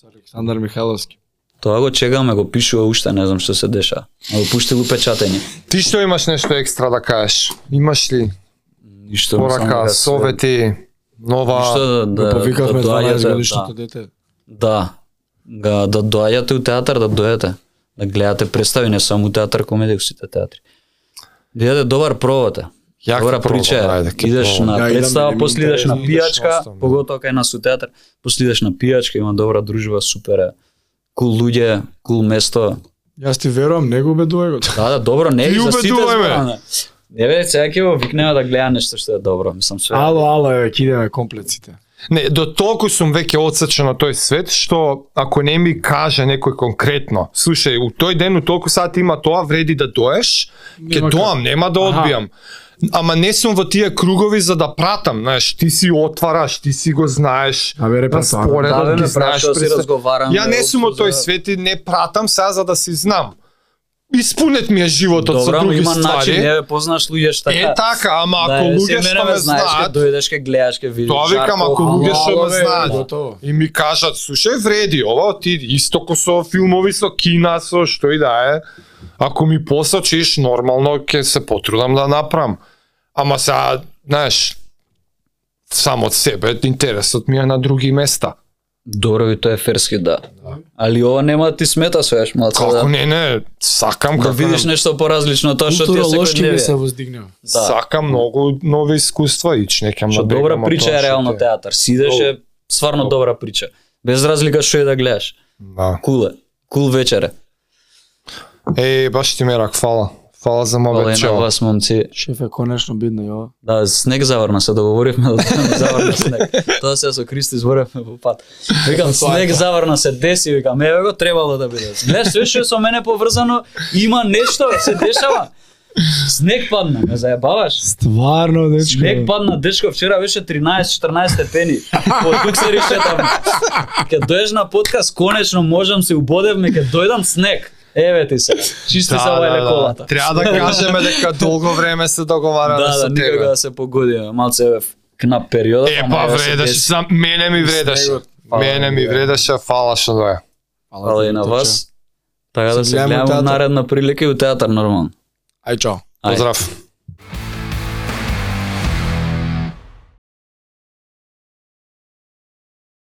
B: со Александар Михайловски.
A: Тоа го чекаме, го пишува уште, не знам што се деша. А го пушти го печатење.
D: Ти што имаш нешто екстра да кажеш? Имаш ли
A: Ништо
B: да
D: порака, совети, па, нова...
A: да Ништо да
B: Го
A: да
B: повикавме
A: да
B: 12
A: доаѓате,
B: годишното дете.
A: Да. Да, да доаѓате у театар, да дојдете. Да гледате представи, не само у театар комедија, у сите театри. Да Јаде добар провод е.
D: Јака
A: Добра
D: проба,
A: прича е.
D: ајде, ке
A: идеш
D: пробам.
A: на
B: Ја, идам да
A: представа,
B: ми
A: после
B: ми
A: идеш на
D: интересно, идеш
A: пијачка,
D: на остан, да.
A: поготоа кај нас у театар, после идеш на пијачка, има добра дружба, супер е. Кул луѓе, кул место.
B: Јас ти верувам, не го убедувај го.
A: Да, да, добро, не
D: Ти
A: и за сите
D: убедувај ме.
A: збораме. Не бе, сега ќе го викнеме да гледа нешто што е добро, мислам све.
B: Ало, ало, еве, кидеме комплексите.
D: Не, до толку сум веќе одсечен на тој свет, што ако не ми каже некој конкретно, слушај, у тој ден, у толку сати има тоа, вреди да доеш, ќе
B: Нема
D: доам, нема да одбијам. Ама не сум во тие кругови за да пратам, знаеш, ти си отвараш, ти си го знаеш.
B: Абе, репе,
D: на
B: стварно.
D: споредот
A: Да, бе,
D: ги
A: ме
D: знаеш
A: прашува, си
D: пред се.
A: разговараме,
D: Ја не сум од
A: обсуждаме.
D: тој свет и не пратам сега за да си знам. Испунет ми е животот со
A: Добра, ама
D: други
A: има начин,
D: ствари.
A: не Да, бе, познаш луѓе што
D: Е така, ама ако луѓе што ме
A: знаеш, ке
D: знаат,
A: дојдеш ке гледаш ке видиш.
D: Тоа викам,
A: жарко,
D: ако
A: ама,
D: луѓе што ме
B: бе,
D: знаат.
B: готово.
D: И ми кажат, слушај, вреди, ова ти исто ко со филмови, со кина, со што и да е. Ако ми посочиш, нормално ќе се потрудам да направам. Ама сега, знаеш, само од себе, интересот ми е на други места.
A: Добро ви тоа е ферски да. Али ова нема да ти смета свеш малку
D: Како
A: да.
D: не, не, сакам
A: Да
D: како
A: видиш нешто поразлично од тоа што ти е
B: Културолошки ми се
A: секојдневие.
B: воздигнува.
A: Да.
D: Сакам многу нови искуства и ќе некам
A: Што
D: да
A: добра
D: бегам од
A: прича
D: тоа
A: е
D: што
A: реално
D: ти е.
A: театар. Сидеш е сварно добра прича. Без разлика што и да гледаш.
D: Да.
A: Кул е. Кул вечер е.
D: Е, баш ти мерак, фала. Фала за
A: Хвала и на
D: мобетчево.
A: вас момци.
B: Шефе, конечно бидно и ова.
A: Да, снег заврна, се договоривме да бидам заврна снег. Тоа се со Кристи зборевме по пат. Викам снег заврна се деси, викам еве го требало да биде. Гледаш све што е со мене поврзано, има нешто се дешава. Снег падна, ме заебаваш.
B: Стварно, дечко.
A: Снег падна, дечко, вчера беше 13-14 степени. Од тук се решетам. Ке доеш на подкаст, конечно можам се убодевме, ке дојдам снег. Еве ти се.
D: Да,
A: Чисти се вајле колата.
D: Треба да кажеме дека долго време се договараме
A: Да,
D: со
A: да,
D: тебе.
A: никога да се погоди, а, малце е кнап периодот.
D: Е,
A: ама
D: па
A: еве се
D: вредеше,
A: деси.
D: сам мене ми вредеше.
A: Снегот, фала
D: Мене ми
A: ви,
D: вредеше, да фала што доја.
A: Фала и на вас. Така да
B: Се
A: се
B: гледаме у
A: гледаме
B: театар.
A: наредна прилика и у театар нормално.
B: Ај, чао.
A: Ајде.
D: Поздрав.